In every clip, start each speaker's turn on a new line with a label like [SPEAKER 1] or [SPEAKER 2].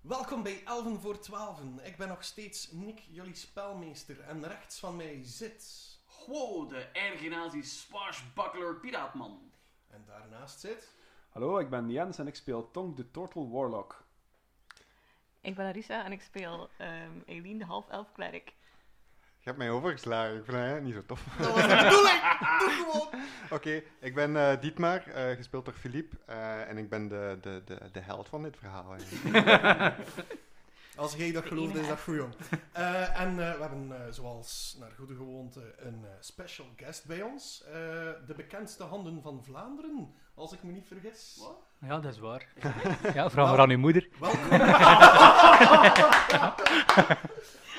[SPEAKER 1] Welkom bij Elven voor Twaalfen. Ik ben nog steeds Nick, jullie spelmeester. En rechts van mij zit...
[SPEAKER 2] Wow, de ergenazi swashbuckler piraatman.
[SPEAKER 1] En daarnaast zit...
[SPEAKER 3] Hallo, ik ben Jens en ik speel Tonk de Turtle Warlock.
[SPEAKER 4] Ik ben Arisa en ik speel ehm Eileen, de half-elf klerk.
[SPEAKER 5] Je hebt mij overgeslagen. Ik vind dat eigenlijk niet zo tof.
[SPEAKER 1] Dat was de bedoeling! Doe gewoon!
[SPEAKER 5] Oké, ik ben eh, Dietmar, eh, gespeeld door Philippe. eh, en ik ben de, de, de, de held van dit verhaal. eigenlijk.
[SPEAKER 1] Als jij dat
[SPEAKER 4] De
[SPEAKER 1] gelooft,
[SPEAKER 4] enige
[SPEAKER 1] is dat goed, jong. Eh, en eh, we hebben, eh, zoals naar goede gewoonte, een eh, special guest bij ons. Eh, de bekendste handen van Vlaanderen, als ik me niet vergis.
[SPEAKER 2] Wat?
[SPEAKER 6] Ja, dat is waar. Ja, vraag maar aan uw moeder.
[SPEAKER 1] Welkom.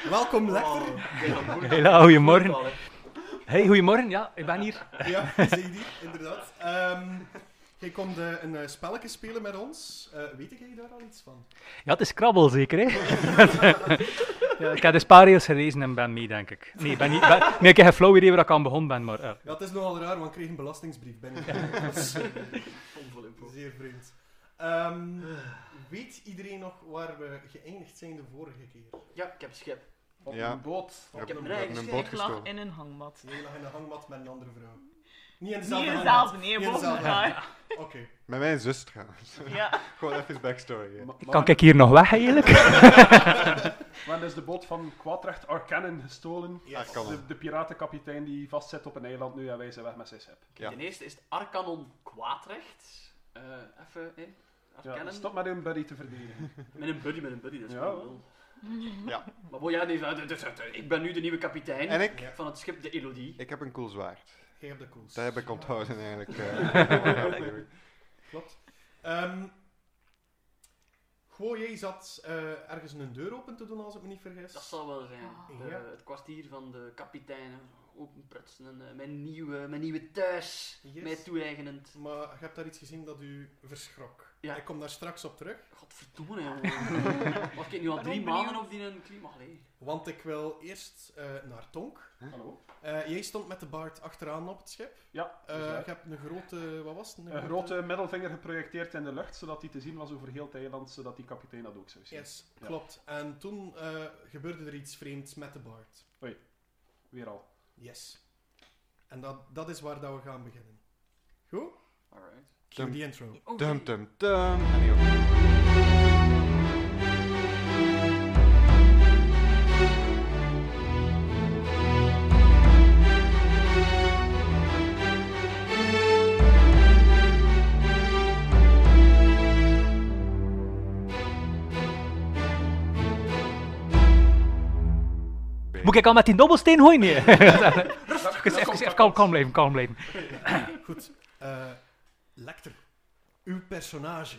[SPEAKER 1] Welkom, Lecter.
[SPEAKER 2] Oh,
[SPEAKER 6] Hela, goeiemorgen. Hey, goeiemorgen. Ja, ik ben hier.
[SPEAKER 1] Ja, zie je die, inderdaad. Ehm, jij komt eh, een eh, spelletje spelen met ons. Eh, weet jij daar al iets van?
[SPEAKER 6] Ja, het is krabbel zeker, hè? ja, ik heb dus een paar rails gelezen en ben mee, denk ik. Nee, ik ben niet, ben, nee ik heb geen flauw idee waar ik aan begonnen ben, maar... eh,
[SPEAKER 1] Ja, het is nogal raar, want ik kreeg een belastingsbrief binnen. Dat is eh, zeer vreemd. Ehm, weet iedereen nog waar we geëindigd zijn de vorige keer?
[SPEAKER 2] Ja, ik heb schip.
[SPEAKER 5] Op Ja. een
[SPEAKER 2] boot.
[SPEAKER 5] Ik
[SPEAKER 2] Ik
[SPEAKER 5] heb
[SPEAKER 2] heb
[SPEAKER 5] een
[SPEAKER 2] een
[SPEAKER 5] boot.
[SPEAKER 2] schip.
[SPEAKER 4] Ik lag
[SPEAKER 5] gestoken.
[SPEAKER 4] in een hangmat.
[SPEAKER 1] Jij lag in de hangmat met een andere vrouw. Niet in
[SPEAKER 4] Niet
[SPEAKER 1] dezelfde
[SPEAKER 4] in
[SPEAKER 1] hangmat.
[SPEAKER 4] dezelfde, nee,
[SPEAKER 1] Niet in
[SPEAKER 4] boven
[SPEAKER 1] dezelfde
[SPEAKER 4] elkaar.
[SPEAKER 1] hangmat. Oké.
[SPEAKER 5] Met mijn zus trouwens.
[SPEAKER 4] Ja.
[SPEAKER 5] Gewoon even backstory. hè.
[SPEAKER 6] Kan ik hier nog weg, eigenlijk?
[SPEAKER 7] Maar is de boot van Quadrecht Arcanen gestolen.
[SPEAKER 1] Yes.
[SPEAKER 5] Ah, kan wel.
[SPEAKER 7] De, de piratenkapitein die vastzit op een eiland nu en wij zijn weg met zijn schip.
[SPEAKER 5] Ja.
[SPEAKER 2] Ten eerste is het Arcanon kwaadrecht. Eh even, hè.
[SPEAKER 7] Ja,
[SPEAKER 2] Arcanon.
[SPEAKER 7] stop met hun buddy te verdedigen.
[SPEAKER 2] Met een buddy, met een buddy, dat is
[SPEAKER 7] Ja.
[SPEAKER 2] wel wel.
[SPEAKER 5] Ja.
[SPEAKER 2] Maar bon, ja, nee, eh, d- d- d- ik ben nu de nieuwe kapitein
[SPEAKER 5] En ik,
[SPEAKER 2] van het schip de Elodie.
[SPEAKER 5] ik heb een cool zwaard.
[SPEAKER 1] Jij hebt de koels.
[SPEAKER 5] Dat heb ik onthouden eigenlijk. eh.
[SPEAKER 1] Klopt. Ehm Goh, jij zat eh, ergens een deur open te doen, als ik me niet vergis.
[SPEAKER 2] Dat zal wel zijn.
[SPEAKER 1] Ja.
[SPEAKER 2] Eh, het kwartier van de kapitein. eh, Openprutsen en eh, mijn, nieuwe, mijn nieuwe thuis.
[SPEAKER 1] Yes.
[SPEAKER 2] Mij toe-eigenend.
[SPEAKER 1] Maar je hebt daar iets gezien dat u verschrok.
[SPEAKER 2] Ja.
[SPEAKER 1] Ik kom daar straks op terug,
[SPEAKER 2] Godverdomme, jongen. Was ik nu al
[SPEAKER 4] Ben
[SPEAKER 2] drie maanden
[SPEAKER 4] ook benieuwd.
[SPEAKER 2] op die een klimaat? Allee.
[SPEAKER 1] want ik wil eerst eh, naar Tonk.
[SPEAKER 7] Hallo.
[SPEAKER 1] Eh, jij stond met de baard achteraan op het schip.
[SPEAKER 7] Ja,
[SPEAKER 1] Eh
[SPEAKER 7] dat is waar.
[SPEAKER 1] je hebt een grote, wat was het?
[SPEAKER 7] een grote middelvinger geprojecteerd in de lucht, zodat die te zien was over heel het eiland, zodat die kapitein dat ook zou zien.
[SPEAKER 1] Yes,
[SPEAKER 7] Ja.
[SPEAKER 1] klopt. En toen eh, gebeurde er iets vreemds met de baard.
[SPEAKER 7] Weer al.
[SPEAKER 1] Yes. En dat, dat is waar dat we gaan beginnen. Goed?
[SPEAKER 2] Alright.
[SPEAKER 1] Cue
[SPEAKER 5] Dum.
[SPEAKER 1] die intro.
[SPEAKER 2] Oh,
[SPEAKER 5] Dum dum dum. En die ook.
[SPEAKER 6] Moet ik al met die dobbelsteen gooien? Nee. even, even, even kalm, kalm blijven, kalm blijven.
[SPEAKER 1] Goed. Eh Lecter, uw personage,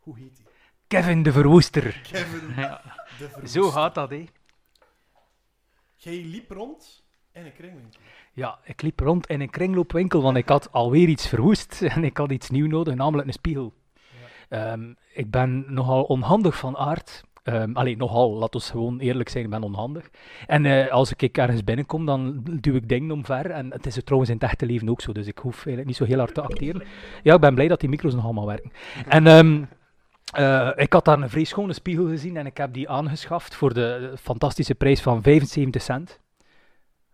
[SPEAKER 1] hoe heet die?
[SPEAKER 6] Kevin de Verwoester.
[SPEAKER 1] Kevin
[SPEAKER 6] Ja.
[SPEAKER 1] de Verwoest.
[SPEAKER 6] Zo gaat dat, hè.
[SPEAKER 1] Jij liep rond in een kringwinkel.
[SPEAKER 6] Ja, ik liep rond in een kringloopwinkel, want ik had alweer iets verwoest en ik had iets nieuw nodig, namelijk een spiegel. Ehm, ik ben nogal onhandig van aard. Ehm allee, nogal, laat ons gewoon eerlijk zijn, ik ben onhandig. En eh, als ik ergens binnenkom, dan duw ik dingen omver. En het is het trouwens in het echte leven ook zo, dus ik hoef eigenlijk niet zo heel hard te acteren. Ja, ik ben blij dat die micro's nog allemaal werken. En ehm, eh, ik had daar een vrij schone spiegel gezien en ik heb die aangeschaft voor de fantastische prijs van 75 cent.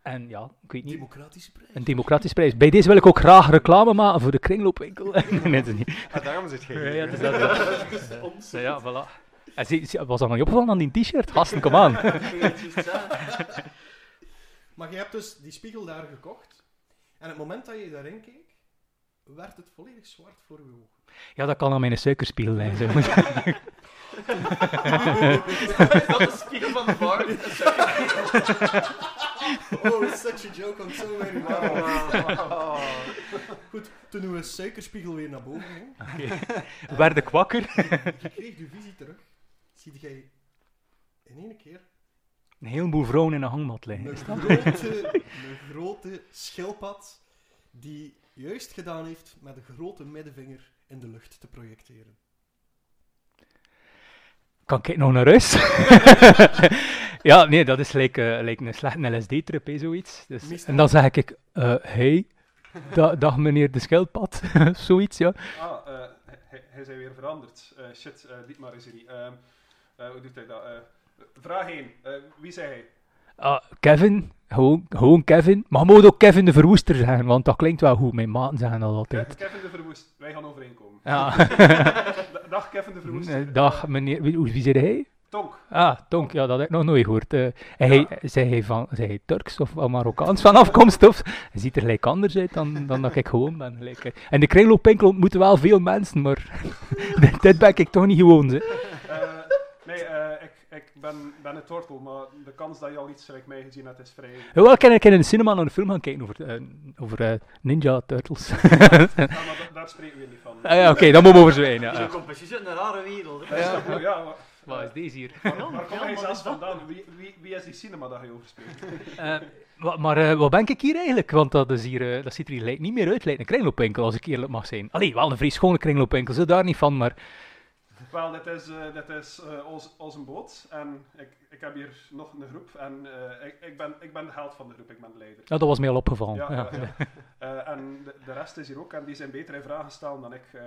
[SPEAKER 6] En ja, ik weet niet...
[SPEAKER 1] Democratische prijs.
[SPEAKER 6] Een democratisch prijs. Bij deze wil ik ook graag reclame maken voor de kringloopwinkel. nee, dat is niet.
[SPEAKER 5] Ah, daarom zit je
[SPEAKER 6] Ja,
[SPEAKER 5] hier.
[SPEAKER 6] ja, het is dat, ja. Ja, ja, voilà. En Ah, zie- zie- was dat nog niet opgevallen aan die t-shirt? Gasten, kom aan.
[SPEAKER 1] Maar je hebt dus die spiegel daar gekocht. En het moment dat je daarin keek, werd het volledig zwart voor je ogen.
[SPEAKER 6] Ja, dat kan aan mijn suikerspiegel zijn. zo.
[SPEAKER 2] Dat is de spiegel van de bar. Dat is ook-
[SPEAKER 1] Oh, it's such a joke on so many levels. Goed, toen uw suikerspiegel weer naar boven ging,
[SPEAKER 6] Werd ik wakker?
[SPEAKER 1] je kreeg je visie terug. Ziet jij in één keer
[SPEAKER 6] Een heleboel vrouwen in een hangmat liggen.
[SPEAKER 1] een
[SPEAKER 6] Is dat?
[SPEAKER 1] grote, een grote schildpad die juist gedaan heeft met een grote middenvinger in de lucht te projecteren.
[SPEAKER 6] Kan ik nog naar rust? ja, nee, dat is lijkt eh, lijkt een slechte LSD-trip, hè, zoiets. Dus,
[SPEAKER 1] Meestal.
[SPEAKER 6] en dan zeg ik, eh hey, da- dag meneer de schildpad, zoiets, ja.
[SPEAKER 7] Ah, eh, hij, hij- hij is weer veranderd. Eh, shit, eh Dietmar is er niet. Ehm, Eh, hoe doet hij dat? Eh, vraag 1. wie zei hij?
[SPEAKER 6] Ah, Kevin, gewoon, gewoon Kevin. Maar je moet ook Kevin de Verwoester zeggen, want dat klinkt wel goed. Mijn maten zeggen dat altijd.
[SPEAKER 7] Ke- Kevin de Verwoest. Wij gaan overeenkomen.
[SPEAKER 6] Ja.
[SPEAKER 7] Da- Dag Kevin de Verwoest.
[SPEAKER 6] Eh, Dag meneer, wie, wie zei hij?
[SPEAKER 7] Tonk.
[SPEAKER 6] Ah, Tonk, ja, dat heb ik nog nooit gehoord. Eh, hij, Zei hij van, zei hij Turks of wel Marokkaans van afkomst? Of, hij ziet er gelijk anders uit dan, dan dat ik gewoon ben. Gelijk. eh. En de kringloopwinkel ontmoet wel veel mensen, maar dit- dit ben ik toch niet gewoon. Hè.
[SPEAKER 7] Eh, nee, eh, ik, ik ben, ben een tortel, maar de kans dat je al iets gelijk mij gezien hebt is vrij.
[SPEAKER 6] Hoewel, ik kan ik in de cinema naar een film gaan kijken over, eh, over eh, Ninja Turtles.
[SPEAKER 7] Ja, maar da- daar spreken we niet van.
[SPEAKER 6] ah, ja, oké, dan moet we overzwijnen. Ah. Ja,
[SPEAKER 2] Je
[SPEAKER 6] ja.
[SPEAKER 2] komt precies uit een rare wereld. hè.
[SPEAKER 7] Ja, maar- ja, maar-
[SPEAKER 6] Wat is deze hier?
[SPEAKER 7] waar, waar kom
[SPEAKER 4] Ja,
[SPEAKER 7] jij
[SPEAKER 4] maar
[SPEAKER 7] zelfs
[SPEAKER 4] is dat-
[SPEAKER 7] vandaan? Wie, wie, wie is die cinema dat je over spreekt?
[SPEAKER 6] Eh, wa- maar eh, wat ben ik hier eigenlijk? Want dat, is hier, eh, dat ziet er hier lijkt niet meer uit, lijkt een kringloopwinkel, als ik eerlijk mag zijn. Allee, wel een vrij schone kringloopwinkel, zo daar niet van, maar...
[SPEAKER 7] Wel, dit is, eh dit is eh, ons, onze boot en ik, ik heb hier nog een groep en eh, ik, ik, ben, ik ben de held van de groep, ik ben de leider.
[SPEAKER 6] Nou, dat was mij al opgevallen.
[SPEAKER 7] Ja,
[SPEAKER 6] Ja,
[SPEAKER 7] ja, ja. Eh, en de, de rest is hier ook en die zijn beter in vragen stellen dan ik. eh,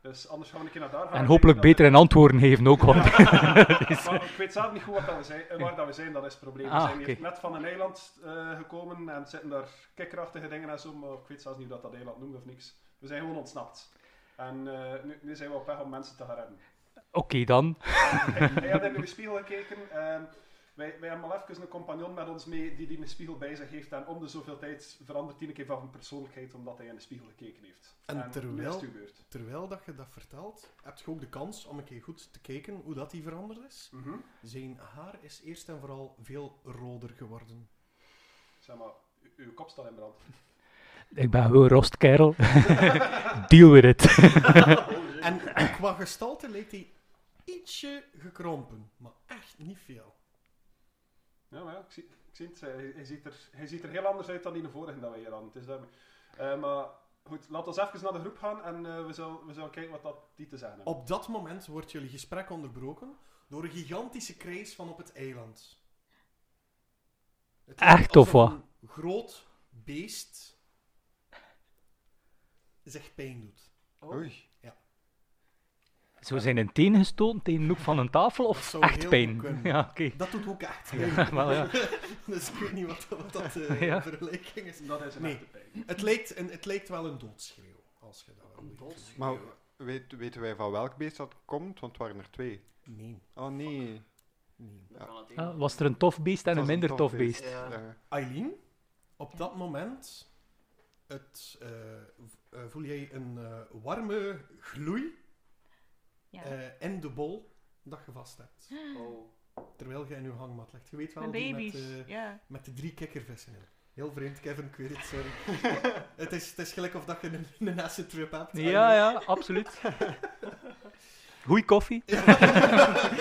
[SPEAKER 7] dus anders gaan we een keer naar daar gaan.
[SPEAKER 6] En
[SPEAKER 7] kijken
[SPEAKER 6] hopelijk
[SPEAKER 7] dat-
[SPEAKER 6] beter in antwoorden geven ook, want...
[SPEAKER 7] Maar ik weet zelf niet goed wat dat we zijn, eh, waar dat we zijn, dat is het probleem.
[SPEAKER 6] Ah,
[SPEAKER 7] we zijn hier
[SPEAKER 6] oké.
[SPEAKER 7] net van een eiland eh, gekomen en zitten daar kikkerachtige dingen en zo, maar ik weet zelfs niet hoe dat, dat eiland noemt of niks. We zijn gewoon ontsnapt. En eh, nu, nu zijn we op weg om mensen te gaan redden.
[SPEAKER 6] Oké, dan.
[SPEAKER 7] Hij hij had in de spiegel gekeken. en wij, wij hebben al even een compagnon met ons mee die die een spiegel bij zich heeft. En om de zoveel tijd verandert hij een keer van zijn persoonlijkheid omdat hij in de spiegel gekeken heeft.
[SPEAKER 1] En
[SPEAKER 7] nu is
[SPEAKER 1] terwijl-
[SPEAKER 7] het gebeurd.
[SPEAKER 1] Terwijl dat je dat vertelt, heb je ook de kans om een keer goed te kijken hoe dat die veranderd is.
[SPEAKER 7] Mhm.
[SPEAKER 1] Zijn haar is eerst en vooral veel roder geworden.
[SPEAKER 7] Zeg maar, u- uw kop staat in brand.
[SPEAKER 6] Ik ben gewoon rostkerel. Deal with it.
[SPEAKER 1] En qua gestalte leek hij ietsje gekrompen, maar echt niet veel.
[SPEAKER 7] Ja, maar ja, ik zie, ik zie het. eh, Hij, hij ziet er, hij ziet er heel anders uit dan in de vorige dat we hier hadden. Het is daarmee. Eh, maar goed, laten we even naar de groep gaan en eh, we, zullen, we zullen kijken wat dat die te zeggen hebben.
[SPEAKER 1] Op dat moment wordt jullie gesprek onderbroken door een gigantische krijs van op het eiland. Het lijkt
[SPEAKER 6] Echt, of
[SPEAKER 1] alsof
[SPEAKER 6] wat?
[SPEAKER 1] Een groot beest zich pijn doet.
[SPEAKER 2] Oh.
[SPEAKER 5] Oei.
[SPEAKER 6] Zo zijn een teen gestoten tegen een hoek van een tafel,
[SPEAKER 1] Dat
[SPEAKER 6] of
[SPEAKER 1] zou heel
[SPEAKER 6] echt
[SPEAKER 1] goed
[SPEAKER 6] pijn?
[SPEAKER 1] kunnen.
[SPEAKER 6] Ja, oké.
[SPEAKER 1] Dat doet ook echt pijn.
[SPEAKER 6] Ja, wel, ja.
[SPEAKER 1] dus ik weet niet wat, wat dat eh
[SPEAKER 6] Ja.
[SPEAKER 1] vergelijking is.
[SPEAKER 7] Dat is een
[SPEAKER 1] Nee.
[SPEAKER 7] echte pijn.
[SPEAKER 1] Het lijkt, een, het lijkt wel een doodschreeuw. Als je dat wel doet.
[SPEAKER 5] Maar weet, weten wij van welk beest dat komt? Want het waren er twee.
[SPEAKER 1] Nee,
[SPEAKER 5] Oh nee.
[SPEAKER 1] nee.
[SPEAKER 2] Dat kan het
[SPEAKER 6] Ja,
[SPEAKER 2] even.
[SPEAKER 6] Ah, was er een tof beest en
[SPEAKER 5] Het
[SPEAKER 6] een
[SPEAKER 5] was
[SPEAKER 6] minder tof beest?
[SPEAKER 2] Ja.
[SPEAKER 5] Eh,
[SPEAKER 1] Eileen, op dat moment het, eh, v- eh, voel jij een eh, warme gloei
[SPEAKER 4] Ja.
[SPEAKER 1] eh, in de bol dat je vast hebt.
[SPEAKER 2] Oh.
[SPEAKER 1] Terwijl je in je hangmat ligt. Je weet wel,
[SPEAKER 4] Mijn
[SPEAKER 1] die
[SPEAKER 4] baby's.
[SPEAKER 1] Met, eh,
[SPEAKER 4] ja.
[SPEAKER 1] met de drie kikkervissen in. Heel vreemd, Kevin, ik weet het, sorry. het, is, het is gelijk of dat je een, een acid trip hebt.
[SPEAKER 6] Ja, ja, absoluut. Goeie koffie.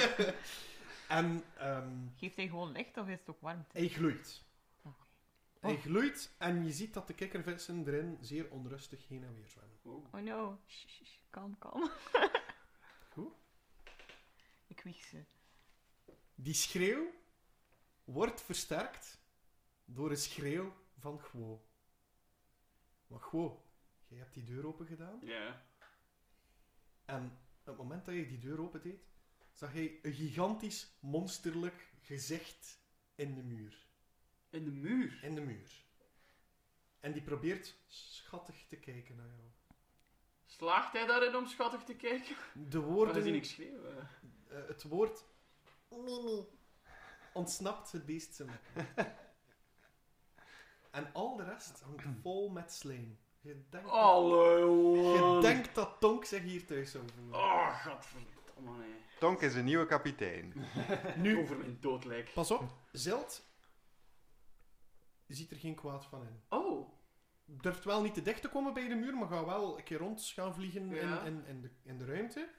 [SPEAKER 1] en ehm,
[SPEAKER 4] Geeft hij gewoon licht of is het ook warmte?
[SPEAKER 1] hij gloeit.
[SPEAKER 4] Oké. Oh.
[SPEAKER 1] Hij gloeit en je ziet dat de kikkervissen erin zeer onrustig heen en weer zwemmen.
[SPEAKER 4] Oh no. Shh, shh, shh. Kalm, kalm.
[SPEAKER 1] Goed.
[SPEAKER 4] Ik wieg ze.
[SPEAKER 1] Die schreeuw wordt versterkt door een schreeuw van Gwo. Maar Gwo, jij hebt die deur open gedaan.
[SPEAKER 2] Ja.
[SPEAKER 1] En op het moment dat je die deur open deed, zag jij een gigantisch, monsterlijk gezicht in de muur.
[SPEAKER 2] In de muur.
[SPEAKER 1] In de muur. En die probeert schattig te kijken naar jou.
[SPEAKER 2] Slaagt hij daarin om schattig te kijken?
[SPEAKER 1] De
[SPEAKER 2] Worden dat is
[SPEAKER 1] woorden,
[SPEAKER 2] hij niks schreeuwen.
[SPEAKER 1] eh, het woord Mimi ontsnapt het beest zijn lippen. En al de rest hangt vol met slijm. Je denkt dat- Je
[SPEAKER 2] Hallo.
[SPEAKER 1] denkt dat Tonk zich hier thuis zou voelen.
[SPEAKER 2] Oh, godverdomme. nee.
[SPEAKER 5] Tonk is een nieuwe kapitein.
[SPEAKER 1] Nu,
[SPEAKER 2] Over mijn dood lijkt.
[SPEAKER 1] pas op, Zilt ziet er geen kwaad van in.
[SPEAKER 2] Oh.
[SPEAKER 1] Durft wel niet te dicht te komen bij de muur, maar gaat wel een keer rond gaan vliegen
[SPEAKER 2] Ja.
[SPEAKER 1] in, in, in, de, in de ruimte.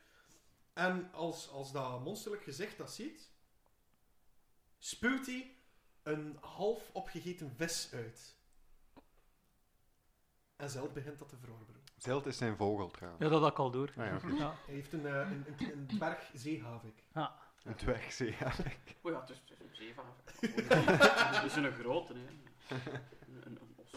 [SPEAKER 1] En als, als dat monsterlijk gezicht dat ziet, spuwt hij een half opgegeten vis uit. En Zelt begint dat te verorberen.
[SPEAKER 5] Zilt is zijn vogel trouwens.
[SPEAKER 6] Ja, dat had ik al door.
[SPEAKER 5] Ah, ja.
[SPEAKER 6] Ja.
[SPEAKER 1] Hij heeft een, eh, een, een, een dwerg zeehavik.
[SPEAKER 5] Een dwergzee. ja.
[SPEAKER 2] Oh ja, het is, het is een zeevanger. Het is een grote, hè. Een, een, een os.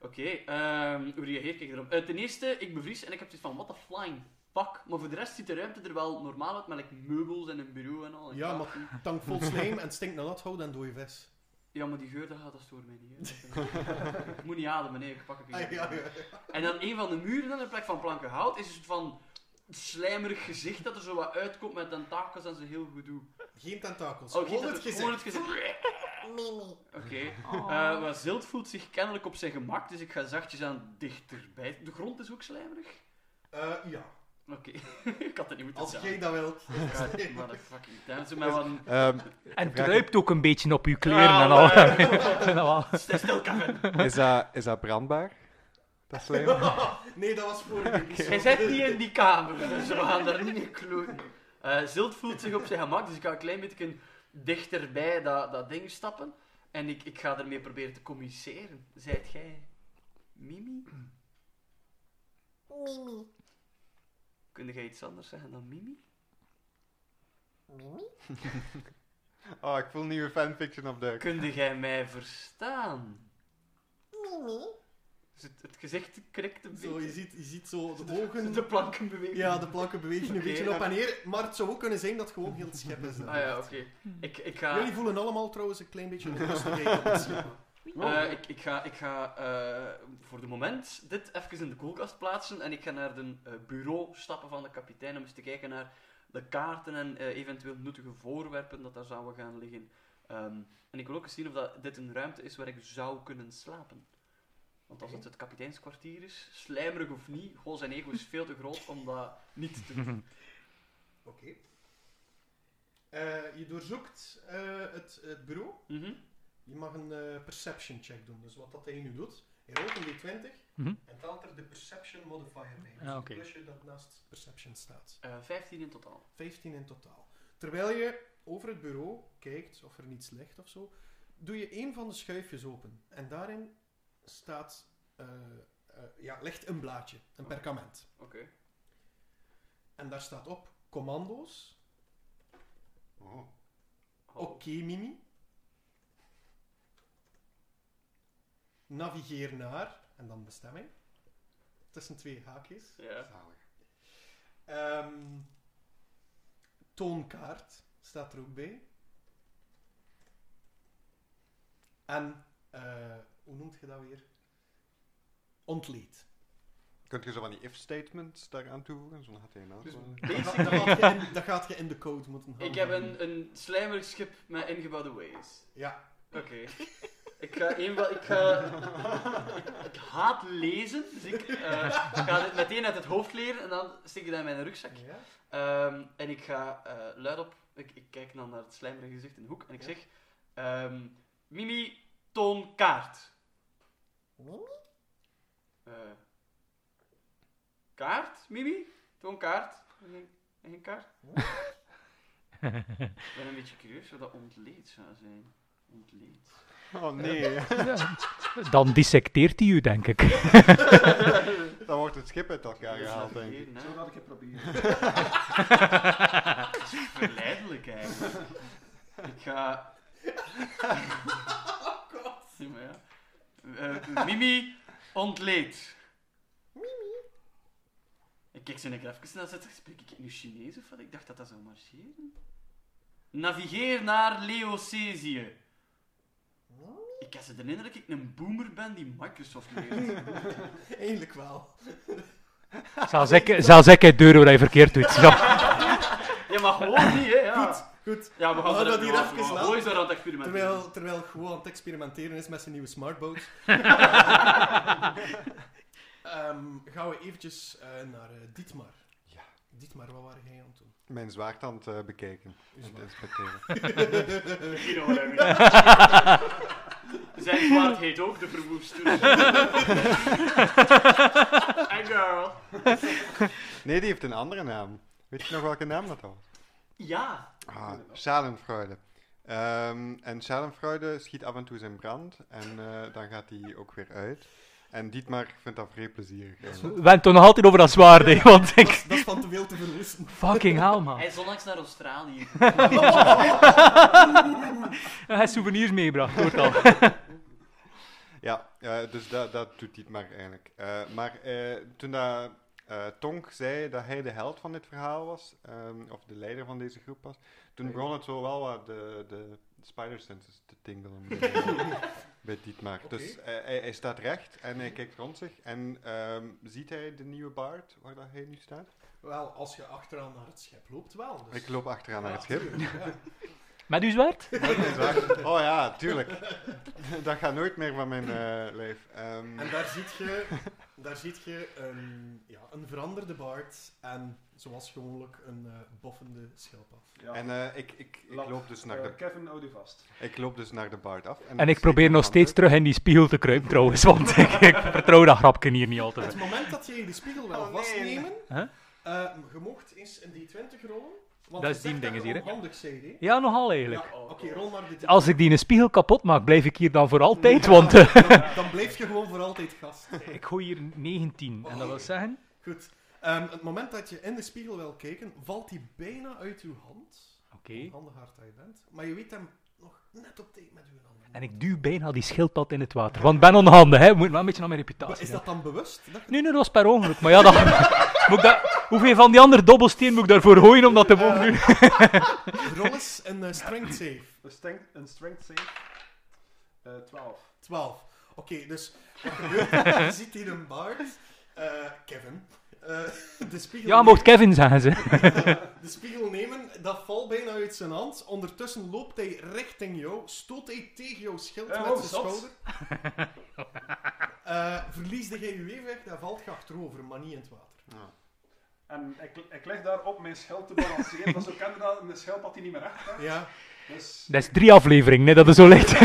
[SPEAKER 2] Oké, ehm, hoe reageer ik erop? Eh, ten eerste, ik bevries en ik heb zoiets van, what the flying pak. Maar voor de rest ziet de ruimte er wel normaal uit, met like, meubels en een bureau en al. en
[SPEAKER 1] Ja,
[SPEAKER 2] kaarten.
[SPEAKER 1] Tank vol slijm en stinkt naar nathout en dode vis.
[SPEAKER 2] ja, maar die geur, dat gaat, dat stoort mij niet. hè. ik moet niet ademen, nee, ik pak het
[SPEAKER 1] Ah,
[SPEAKER 2] niet.
[SPEAKER 1] ja, ja.
[SPEAKER 2] En dan een van de muren, dan in plek van planken hout, is een soort van slijmerig gezicht dat er zo wat uitkomt met tentakels en ze heel goed doen.
[SPEAKER 1] Geen tentakels.
[SPEAKER 2] Oh,
[SPEAKER 1] Gewoon
[SPEAKER 2] dat-
[SPEAKER 1] het
[SPEAKER 2] Gewoon
[SPEAKER 1] gezicht.
[SPEAKER 2] het gezicht.
[SPEAKER 1] Mimi.
[SPEAKER 2] Oké.
[SPEAKER 4] Oh.
[SPEAKER 2] Eh, maar Zilt voelt zich kennelijk op zijn gemak, dus ik ga zachtjes aan dichterbij. De grond is ook slijmerig.
[SPEAKER 1] Eh, ja,
[SPEAKER 2] Oké, ik had het niet moeten
[SPEAKER 1] als
[SPEAKER 2] zeggen.
[SPEAKER 1] jij dat wilt.
[SPEAKER 2] Ja, maar dat fucking damn. Ze met wat een...
[SPEAKER 5] Ehm,
[SPEAKER 6] En
[SPEAKER 5] Vraag-
[SPEAKER 6] druipt ook een beetje op uw kleren
[SPEAKER 2] Ah,
[SPEAKER 6] en al.
[SPEAKER 2] maar-
[SPEAKER 6] En al.
[SPEAKER 2] Stil, stil, Kevin.
[SPEAKER 5] is, dat, is dat brandbaar? Dat slijm?
[SPEAKER 1] nee, dat was vorige week.
[SPEAKER 2] Jij zit niet in die kamer, dus we gaan daar niet in kloten. Eh, Zilt voelt zich op zijn gemak, dus ik ga een klein beetje dichterbij dat, dat ding stappen. En ik, ik ga ermee proberen te communiceren. Zijt jij... Mimi?
[SPEAKER 8] Mimi.
[SPEAKER 2] Kun jij iets anders zeggen dan Mimi?
[SPEAKER 8] Mimi?
[SPEAKER 5] Oh, ik voel nieuwe fanfiction op de...
[SPEAKER 2] Kun jij mij verstaan?
[SPEAKER 8] Mimi?
[SPEAKER 2] Dus het, het gezicht krikt een
[SPEAKER 1] Zo, je
[SPEAKER 2] beetje.
[SPEAKER 1] ziet, je ziet zo de
[SPEAKER 2] De,
[SPEAKER 1] ogen...
[SPEAKER 2] de planken bewegen.
[SPEAKER 1] Ja, de planken bewegen een
[SPEAKER 2] Oké,
[SPEAKER 1] beetje
[SPEAKER 2] ja.
[SPEAKER 1] op en neer. Maar het zou ook kunnen zijn dat het gewoon heel het schip is.
[SPEAKER 2] Ah ja, oké. Ik, ik ga...
[SPEAKER 1] Jullie voelen allemaal trouwens een klein beetje onrustigheid op het schip.
[SPEAKER 2] Eh, ik, ik ga, ik ga eh, voor de moment dit even in de koelkast plaatsen en ik ga naar de eh, bureau stappen van de kapitein om eens te kijken naar de kaarten en eh, eventueel nuttige voorwerpen dat daar zouden gaan liggen. Ehm, en ik wil ook eens zien of dat dit een ruimte is waar ik zou kunnen slapen. Want als het het kapiteinskwartier is, slijmerig of niet, goh, zijn ego is veel te groot om dat niet te doen.
[SPEAKER 1] Oké. Eh, je doorzoekt eh, het, het bureau.
[SPEAKER 2] Mhm.
[SPEAKER 1] Je mag een eh, perception check doen. Dus wat dat hij nu doet, hij rolt een d20
[SPEAKER 6] Mhm.
[SPEAKER 1] en telt er de perception modifier bij. Dus
[SPEAKER 6] Ah,
[SPEAKER 1] het
[SPEAKER 6] oké.
[SPEAKER 1] plusje dat naast perception staat.
[SPEAKER 2] Eh, 15 in totaal.
[SPEAKER 1] 15 in totaal. Terwijl je over het bureau kijkt of er niets ligt of zo, doe je een van de schuifjes open. En daarin staat, eh, eh, ja, ligt een blaadje, een perkament.
[SPEAKER 2] Oké.
[SPEAKER 1] En daar staat op commando's.
[SPEAKER 5] Oh.
[SPEAKER 1] Oké, Mimi. Navigeer naar, en dan bestemming. Tussen twee haakjes.
[SPEAKER 2] Ja.
[SPEAKER 1] Ehm, toonkaart staat er ook bij. En, eh, hoe noemt je dat weer? Ontleed.
[SPEAKER 5] Kunt je zo van die if-statements daaraan toevoegen? Zo'n HTML.
[SPEAKER 2] Dus
[SPEAKER 5] gewoon.
[SPEAKER 1] Dat
[SPEAKER 2] basic-
[SPEAKER 1] gaat, dat gaat je in, dat gaat je in de code moeten gaan.
[SPEAKER 2] ik heb een, een slijmerig schip met ingebouwde ways.
[SPEAKER 1] Ja,
[SPEAKER 2] Oké. Ik ga één wel. Ik ga. Ik haat lezen, dus ik eh, ga dit meteen uit het hoofd leren en dan steek ik dat in mijn rugzak.
[SPEAKER 1] ja.
[SPEAKER 2] Ehm, en ik ga eh luid op. Ik, ik kijk dan naar het slijmerige gezicht in de hoek en ik
[SPEAKER 1] Ja.
[SPEAKER 2] zeg: ehm, Mimi, toon kaart.
[SPEAKER 8] Mimi?
[SPEAKER 2] Eh, kaart, Mimi? Toon kaart. Geen- Geen kaart? ik ben een beetje curieus wat dat ontleed zou zijn. Ontleed.
[SPEAKER 5] Oh nee,
[SPEAKER 6] Dan dissecteert hij u, denk ik.
[SPEAKER 5] dan wordt het schip uit elkaar
[SPEAKER 2] Dus
[SPEAKER 5] gehaald,
[SPEAKER 2] dat
[SPEAKER 5] denk ik.
[SPEAKER 2] hier, hè.
[SPEAKER 7] Zo dat ik het probeer.
[SPEAKER 2] Verleidelijk eigenlijk. Ik ga. Nee, maar ja. Eh, Mimi ontleed. Mimi. Ik kijk ze een keer even naar zitten. Spreek ik nu Chinees of wat? Ik dacht dat dat zou marcheren. Navigeer naar Leocesië. Ik kan ze de indruk dat ik een boomer ben die Microsoft leert.
[SPEAKER 1] Eindelijk wel.
[SPEAKER 6] Zelfs ik, zelfs ik uit deur waar je verkeerd doet. Ja.
[SPEAKER 2] Ja, maar gewoon niet, hè? Ja.
[SPEAKER 1] Goed, goed.
[SPEAKER 2] Ja, we
[SPEAKER 1] We
[SPEAKER 2] gaan
[SPEAKER 1] gaan
[SPEAKER 2] er
[SPEAKER 1] dat hier
[SPEAKER 2] we-
[SPEAKER 1] even
[SPEAKER 2] we gaan
[SPEAKER 1] laten.
[SPEAKER 2] Ooit zo aan het experiment.
[SPEAKER 1] Terwijl, terwijl gewoon aan het experimenteren is met zijn nieuwe smartboat. Ehm, gaan we eventjes eh, naar eh, Dietmar.
[SPEAKER 5] Ja.
[SPEAKER 1] Dietmar, wat waren jij aan het doen?
[SPEAKER 5] Mijn zwaardhand eh, bekeken.
[SPEAKER 1] Is
[SPEAKER 5] en te
[SPEAKER 1] waar.
[SPEAKER 5] inspecteren.
[SPEAKER 2] You know what I mean. Zijn paard heet ook de verwoester. Hey girl.
[SPEAKER 5] Nee, die heeft een andere naam. Weet je nog welke naam dat was?
[SPEAKER 2] Ja.
[SPEAKER 5] Ah, Schadenfreude. Ehm, en Schadenfreude schiet af en toe zijn brand en eh, dan gaat hij ook weer uit. En Dietmar vindt dat vrij plezierig. eigenlijk.
[SPEAKER 6] We hebben toch nog altijd over dat zwaard, hè, want
[SPEAKER 1] Dat
[SPEAKER 6] ik...
[SPEAKER 1] is, dat is van te veel te verwoesten.
[SPEAKER 6] Fucking hell, man.
[SPEAKER 2] Hij is onlangs naar Australië.
[SPEAKER 6] Hij heeft souvenirs meegebracht, hoort al.
[SPEAKER 5] Ja, eh, dus dat, dat doet Dietmar eigenlijk. Eh, maar eh, toen dat, eh, eh, Tonk zei dat hij de held van dit verhaal was, ehm, of de leider van deze groep was. Toen begon het zo wel wat de, de spider senses te tingelen bij- bij Dietmar.
[SPEAKER 1] Oké.
[SPEAKER 5] Dus eh, hij, hij staat recht en hij kijkt rond zich. En ehm, ziet hij de nieuwe baard waar dat hij nu staat?
[SPEAKER 1] Wel, als je achteraan naar het schip loopt, wel. Dus.
[SPEAKER 5] Ik loop achteraan naar het schip.
[SPEAKER 6] Met uw zwaard?
[SPEAKER 5] Dat is waar. Oh ja, tuurlijk. Dat gaat nooit meer van mijn eh, lijf. Ehm,
[SPEAKER 1] En daar ziet je, daar ziet je een, ja, een veranderde baard en zoals gewoonlijk een eh, boffende schildpad.
[SPEAKER 7] Ja.
[SPEAKER 5] en eh, ik, ik, ik,
[SPEAKER 7] Lap,
[SPEAKER 5] loop dus naar
[SPEAKER 7] eh,
[SPEAKER 5] de,
[SPEAKER 7] Kevin, hou die vast.
[SPEAKER 5] ik loop dus naar de baard af.
[SPEAKER 6] En ik probeer nog steeds terug in die spiegel te kruipen trouwens, want ik, ik vertrouw dat grapje hier niet altijd.
[SPEAKER 1] Het moment dat je je de spiegel wil
[SPEAKER 5] Oh, nee.
[SPEAKER 1] vastnemen,
[SPEAKER 6] Huh?
[SPEAKER 1] eh, je mocht eens een D20 rollen. Want
[SPEAKER 6] Dat
[SPEAKER 1] je
[SPEAKER 6] is die
[SPEAKER 1] zegt je
[SPEAKER 6] dinges hier, hè?
[SPEAKER 1] onhandig zei, hè?
[SPEAKER 6] Ja,
[SPEAKER 1] Ja,
[SPEAKER 6] nogal eigenlijk.
[SPEAKER 1] oké, rol naar de d
[SPEAKER 6] Als ik die een spiegel kapot maak, blijf ik hier dan voor altijd, want eh,
[SPEAKER 1] dan, dan blijf je gewoon voor altijd gast.
[SPEAKER 6] ik gooi hier 19. En dat wil zeggen?
[SPEAKER 1] Goed. Ehm, het moment dat je in de spiegel wil kijken, valt die bijna uit je hand.
[SPEAKER 6] Oké.
[SPEAKER 1] Handig hard dat je bent. Maar je weet hem nog net op tijd met uw handen.
[SPEAKER 6] En ik duw bijna die schildpad in het water, want ik ben onhandig, hè. Moet wel een beetje naar mijn
[SPEAKER 1] Maar
[SPEAKER 6] reputatie.
[SPEAKER 1] is
[SPEAKER 6] gaan.
[SPEAKER 1] dat dan bewust? Dat je-
[SPEAKER 6] Nee, nee, dat was per ongeluk. Maar ja, dan, moet ik dat, hoeveel van die andere dobbelsteen moet ik daarvoor gooien om dat te mogen doen?
[SPEAKER 1] Rol is een eh, strength save.
[SPEAKER 7] Een strength, een strength save. Eh 12.
[SPEAKER 1] 12. Oké, dus wat gebeurt er? Je ziet hier een baard. Eh, Kevin. Eh, de spiegel
[SPEAKER 6] Ja, mocht Kevin zeggen ze.
[SPEAKER 1] De spiegel nemen, dat valt bijna uit zijn hand. Ondertussen loopt hij richting jou, stoot hij tegen jouw schild
[SPEAKER 7] Eh,
[SPEAKER 1] met
[SPEAKER 7] oh,
[SPEAKER 1] zijn
[SPEAKER 7] zot.
[SPEAKER 1] schouder. Eh verliesde jij je evenwicht, dan valt je achterover, maar niet in het water.
[SPEAKER 7] En ik, ik leg daar op mijn scheld te balanceren. dat is ook inderdaad een schildpad die niet meer recht gaat.
[SPEAKER 1] Ja,
[SPEAKER 7] Dus
[SPEAKER 6] Dat is drie afleveringen, nee, dat is zo ligt.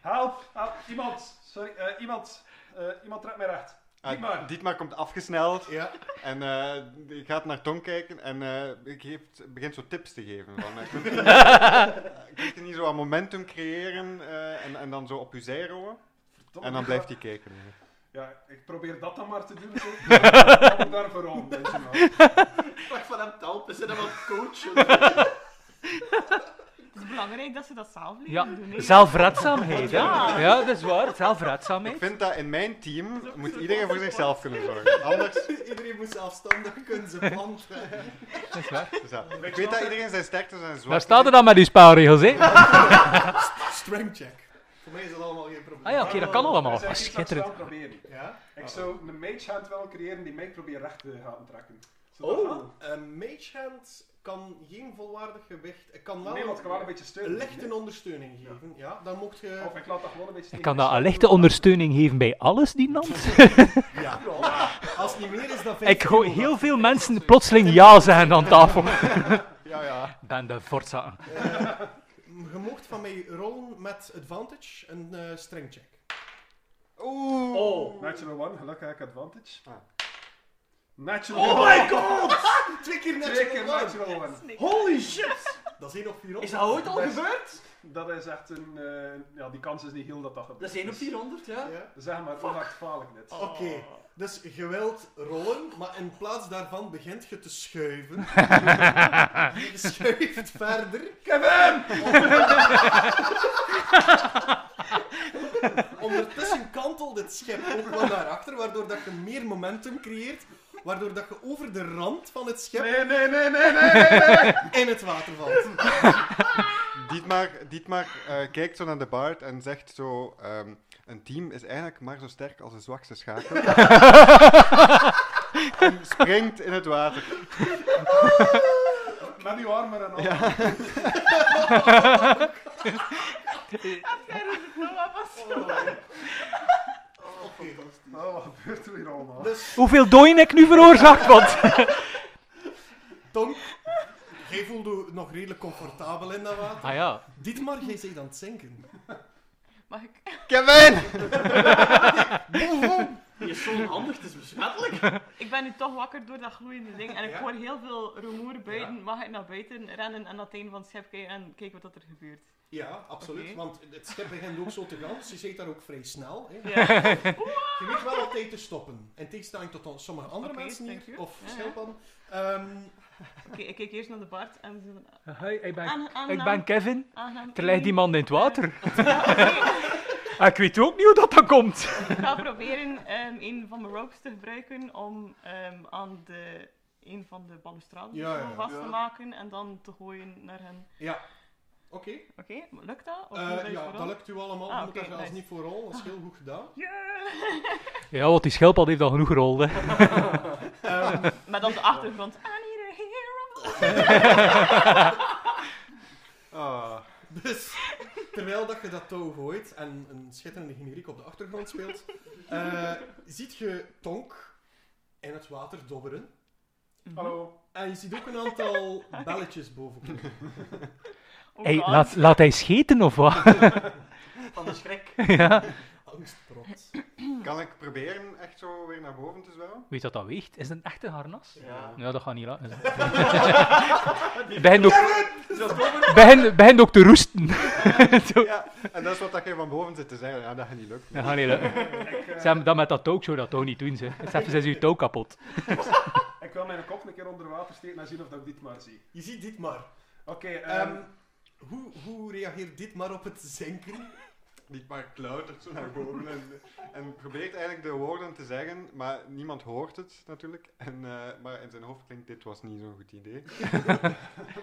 [SPEAKER 7] help, help, iemand. Sorry, eh, iemand. eh, iemand trekt mij recht.
[SPEAKER 5] Ah,
[SPEAKER 7] Dietmar.
[SPEAKER 5] Dietmar komt afgesneld
[SPEAKER 1] ja.
[SPEAKER 5] en eh die gaat naar Tom kijken en eh, ik geef- begint zo tips te geven. Van, eh, kunt, u, kunt u niet zo aan momentum creëren eh, en, en dan zo op uw zij rollen?
[SPEAKER 7] Verdomme,
[SPEAKER 5] En dan
[SPEAKER 7] ik
[SPEAKER 5] blijft
[SPEAKER 7] ga-
[SPEAKER 5] hij kijken.
[SPEAKER 7] Ja, ik probeer dat dan maar te doen. zo. Dan moet ik daar vooral om, deze man.
[SPEAKER 2] Ik vraag van hem te helpen, zijn hem aan het coachen.
[SPEAKER 4] Het is belangrijk dat ze dat zelf leren
[SPEAKER 6] Ja,
[SPEAKER 4] doen. hè.
[SPEAKER 6] zelfredzaamheid, ja. Ja, dat is waar,
[SPEAKER 5] Ik
[SPEAKER 6] zelfredzaamheid.
[SPEAKER 5] vind dat in mijn team moet iedereen voor zichzelf kunnen zorgen. Anders,
[SPEAKER 1] Iedereen moet zelfstandig kunnen zijn plan trekken.
[SPEAKER 6] Dat is waar.
[SPEAKER 5] dus ja. Ik weet dat iedereen zijn sterktes en
[SPEAKER 6] Daar
[SPEAKER 5] zwaktes
[SPEAKER 6] staat er dan met die spelregels, hè?
[SPEAKER 1] Strength check. Voor mij is dat allemaal geen probleem.
[SPEAKER 6] Ah ja, oké, dat kan allemaal.
[SPEAKER 7] Er zijn
[SPEAKER 6] Ah,
[SPEAKER 7] iets dat ik
[SPEAKER 6] schitterend.
[SPEAKER 7] zou proberen.
[SPEAKER 1] Ja.
[SPEAKER 7] Ik zou een mage hand wel creëren die mij probeert recht te gaan trekken. Zou dat
[SPEAKER 1] Oh,
[SPEAKER 7] gaan?
[SPEAKER 1] een mage hand kan geen volwaardig gewicht... eh, Kan wel
[SPEAKER 7] Nee, want ik kan wel een beetje
[SPEAKER 1] een
[SPEAKER 7] steunen.
[SPEAKER 1] lichte ondersteuning geven. Ja, dan mocht je...
[SPEAKER 7] Of ik laat dat gewoon een beetje...
[SPEAKER 6] Ik kan dat een lichte ondersteuning geven bij alles, die land.
[SPEAKER 1] Ja. Als het niet meer is dan vijf
[SPEAKER 6] Ik hoor
[SPEAKER 1] kilo,
[SPEAKER 6] heel veel mensen plotseling ja zeggen aan tafel.
[SPEAKER 5] Ja, ja.
[SPEAKER 6] Ben de Forza.
[SPEAKER 1] dan- Je mocht van mij rollen met advantage een eh strength check.
[SPEAKER 5] Oeh.
[SPEAKER 7] Oh, natural one. Gelukkig heb ik advantage.
[SPEAKER 5] Ah.
[SPEAKER 7] Natural one.
[SPEAKER 1] Oh god! Twee keer
[SPEAKER 7] Twee keer
[SPEAKER 1] natural one.
[SPEAKER 7] natural
[SPEAKER 4] Dat
[SPEAKER 7] one.
[SPEAKER 4] is niks.
[SPEAKER 1] Holy shit! Dat is één op vier op.
[SPEAKER 2] Is dat ooit al gebeurd?
[SPEAKER 7] Dat is echt een... eh, ja, die kans is niet heel dat dat gebeurt.
[SPEAKER 2] Dat is 1 op 400, ja.
[SPEAKER 1] Ja.
[SPEAKER 7] Zeg maar, hoe hard faal ik dit?
[SPEAKER 1] Oké, dus je wilt rollen, maar in plaats daarvan begint je te schuiven. je schuift verder. Kevin! Ondertussen kantelt het schip ook wel naar achter, waardoor dat je meer momentum creëert. Waardoor dat je over de rand van het schip
[SPEAKER 7] Nee, nee, nee, nee, nee, nee, nee.
[SPEAKER 1] in het water valt.
[SPEAKER 5] Dietmar, Dietmar eh, kijkt zo naar de baard en zegt zo... ehm, een team is eigenlijk maar zo sterk als de zwakste schakel. en springt in het water.
[SPEAKER 7] Met uw armen en al.
[SPEAKER 1] Oké.
[SPEAKER 7] Oh, wat gebeurt er hier allemaal?
[SPEAKER 1] Dus,
[SPEAKER 6] Hoeveel dooien ik nu veroorzaakt? Want
[SPEAKER 1] Tom, jij voelde je nog redelijk comfortabel in dat water.
[SPEAKER 6] ah ja.
[SPEAKER 1] Dietmar, jij bent aan het zinken.
[SPEAKER 4] Mag ik?
[SPEAKER 5] Kevin!
[SPEAKER 2] Die is zo handig, het is besmettelijk.
[SPEAKER 4] Ik ben nu toch wakker door dat gloeiende ding en ik
[SPEAKER 1] Ja.
[SPEAKER 4] hoor heel veel rumoer buiten. Mag ik naar buiten rennen en naar het einde van het schip kijken en kijken wat er gebeurt?
[SPEAKER 1] Ja, absoluut.
[SPEAKER 4] Oké.
[SPEAKER 1] Want het schip begint ook zo te gaan, dus je zit daar ook vrij snel. Hè.
[SPEAKER 4] Ja.
[SPEAKER 1] Je weet wel op tijd te stoppen. In tegenstelling tot on- sommige andere
[SPEAKER 4] Oké,
[SPEAKER 1] mensen
[SPEAKER 4] thank
[SPEAKER 1] hier,
[SPEAKER 4] you.
[SPEAKER 1] of
[SPEAKER 4] Ja, ja.
[SPEAKER 1] schildpadden. Ehm,
[SPEAKER 4] Oké, ik kijk eerst naar de Bart en zo.
[SPEAKER 6] Hoi, ik ben,
[SPEAKER 4] Ah, Aan- aan-
[SPEAKER 6] ik ben Kevin.
[SPEAKER 4] aan- aan-
[SPEAKER 6] Er ligt iemand in het water.
[SPEAKER 4] Oké.
[SPEAKER 6] En ik weet ook niet hoe dat dan komt.
[SPEAKER 4] Ik ga proberen ehm, een van mijn ropes te gebruiken om ehm, aan de, een van de balustrades
[SPEAKER 1] Ja, ja,
[SPEAKER 4] zo vast
[SPEAKER 2] ja.
[SPEAKER 4] te maken en dan te gooien naar hen.
[SPEAKER 1] Ja. Oké.
[SPEAKER 4] Oké, lukt dat? Of moet
[SPEAKER 1] Eh,
[SPEAKER 4] dat
[SPEAKER 1] ja,
[SPEAKER 4] vooral?
[SPEAKER 1] dat lukt u allemaal.
[SPEAKER 4] Ah,
[SPEAKER 1] Je moet
[SPEAKER 4] oké,
[SPEAKER 1] daar zelfs
[SPEAKER 4] nice. Ah.
[SPEAKER 1] niet voor rollen. Dat is heel goed gedaan.
[SPEAKER 4] Yeah!
[SPEAKER 6] Ja, want die schildpad heeft al genoeg gerold. Hè.
[SPEAKER 1] Ehm,
[SPEAKER 4] Met op de achtergrond, I need a hero!
[SPEAKER 5] Ah,
[SPEAKER 1] dus terwijl dat je dat touw gooit en een schitterende generiek op de achtergrond speelt, eh, ziet je Tonk in het water dobberen.
[SPEAKER 4] Mhm.
[SPEAKER 7] Hallo.
[SPEAKER 1] En je ziet ook een aantal belletjes boven. komen.
[SPEAKER 4] Oh
[SPEAKER 6] Hey,
[SPEAKER 4] God.
[SPEAKER 6] laat, laat hij scheten of wat?
[SPEAKER 2] Van de schrik.
[SPEAKER 6] ja.
[SPEAKER 1] Angstprot.
[SPEAKER 5] kan ik proberen echt zo weer naar boven te zwemmen?
[SPEAKER 6] Weet dat dat weegt? Is het een echte harnas?
[SPEAKER 2] Ja.
[SPEAKER 6] Ja, dat gaat niet laten. Begint ook, begin, begin ook te roesten. Zo.
[SPEAKER 5] Ja, en dat is wat dat je van boven zit te zeggen. Ja, dat gaat niet lukken.
[SPEAKER 6] Dat gaat niet lukken.
[SPEAKER 7] Ik, eh,
[SPEAKER 6] Sam, dat met dat touw zou dat toch niet doen, ze. Zeg, ze is uw touw kapot.
[SPEAKER 7] ik wil mijn kop een keer onder water steken en zien of dat ik dit maar zie.
[SPEAKER 1] Je ziet dit maar.
[SPEAKER 7] Oké, ehm,
[SPEAKER 1] Ehm, hoe, hoe reageert dit maar op het zinken?
[SPEAKER 5] Niet maar klautert zo naar boven en, en probeert eigenlijk de woorden te zeggen, maar niemand hoort het natuurlijk. En, eh, maar in zijn hoofd klinkt dit was niet zo'n goed idee.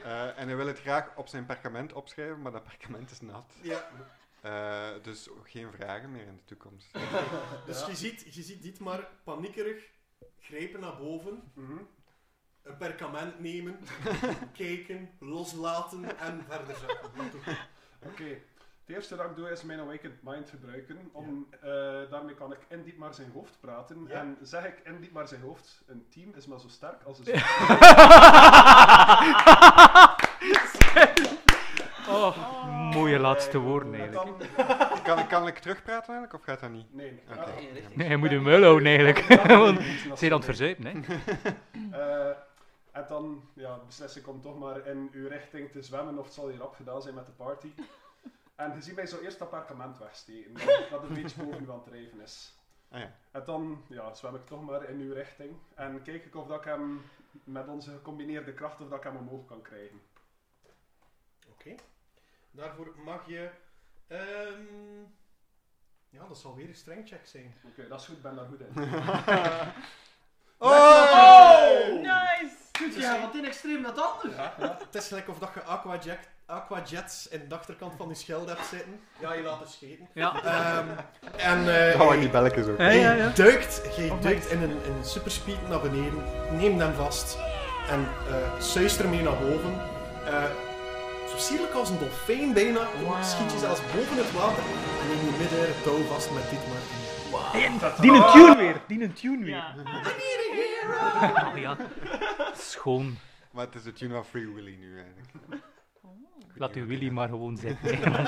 [SPEAKER 5] Eh, en hij wil het graag op zijn perkament opschrijven, maar dat perkament is nat.
[SPEAKER 1] Ja.
[SPEAKER 5] Eh, dus geen vragen meer in de toekomst.
[SPEAKER 1] Dus je ziet, je ziet dit maar paniekerig grijpen naar boven.
[SPEAKER 7] mhm.
[SPEAKER 1] een perkament nemen, kijken, loslaten en verder zetten.
[SPEAKER 7] Oké. Het eerste dat ik doe is mijn Awakened Mind gebruiken. Om, eh, daarmee kan ik in diep maar zijn hoofd praten.
[SPEAKER 1] Ja.
[SPEAKER 7] En zeg ik in diep maar zijn hoofd, een team is maar zo sterk als een stuk.
[SPEAKER 6] Oh, mooie laatste woorden,
[SPEAKER 7] En
[SPEAKER 6] eigenlijk.
[SPEAKER 7] dan...
[SPEAKER 5] Kan, kan ik terugpraten eigenlijk, of gaat dat niet?
[SPEAKER 7] Nee, nee.
[SPEAKER 5] Oké.
[SPEAKER 7] Ah,
[SPEAKER 2] Eén richting.
[SPEAKER 6] Nee, je moet een muil houden, eigenlijk. Want
[SPEAKER 7] Iets
[SPEAKER 6] ze
[SPEAKER 7] nog
[SPEAKER 6] is aan het
[SPEAKER 7] zo mee.
[SPEAKER 6] verzuipen, hè.
[SPEAKER 7] Eh, en dan ja, beslis ik om toch maar in uw richting te zwemmen of het zal hier rap gedaan zijn met de party. En je ziet mij zo eerst dat perkament wegsteken, dat, dat een beetje boven u aan het drijven is.
[SPEAKER 5] Ah ja.
[SPEAKER 7] En dan ja, zwem ik toch maar in uw richting en kijk ik of dat ik hem met onze gecombineerde kracht of dat ik hem omhoog kan krijgen.
[SPEAKER 1] Daarvoor mag je... ehm, ja, dat zal weer een strengcheck zijn.
[SPEAKER 7] Oké, dat is goed, ik ben daar goed in.
[SPEAKER 5] Eh,
[SPEAKER 4] Oh, nice!
[SPEAKER 2] Goed, ja, want in extreem dat anders.
[SPEAKER 1] Het is gelijk of dat je aquajet, aquajets in de achterkant van je schild hebt zitten. Ja, je laat het scheten.
[SPEAKER 6] Ja.
[SPEAKER 1] Ehm, en eh,
[SPEAKER 5] Hou in Oh, die belletjes zo.
[SPEAKER 6] Ja, ja,
[SPEAKER 1] je
[SPEAKER 6] ja.
[SPEAKER 1] duikt, je duikt in een, in een superspeed naar beneden, neemt hem vast en eh suist ermee naar boven. Eh, zo sierlijk als een dolfijn bijna, schiet je zelfs boven het water en neem je midden het touw vast met dit maar.
[SPEAKER 6] Die een tune weer. Die een tune weer.
[SPEAKER 4] Ja.
[SPEAKER 6] Oh, ja. Schoon.
[SPEAKER 5] Maar het is de tune van Free Willy nu eigenlijk. Ik weet
[SPEAKER 6] Laat
[SPEAKER 5] niet
[SPEAKER 6] uw
[SPEAKER 5] wat
[SPEAKER 6] Willy
[SPEAKER 5] die-
[SPEAKER 6] maar gewoon zitten. hè.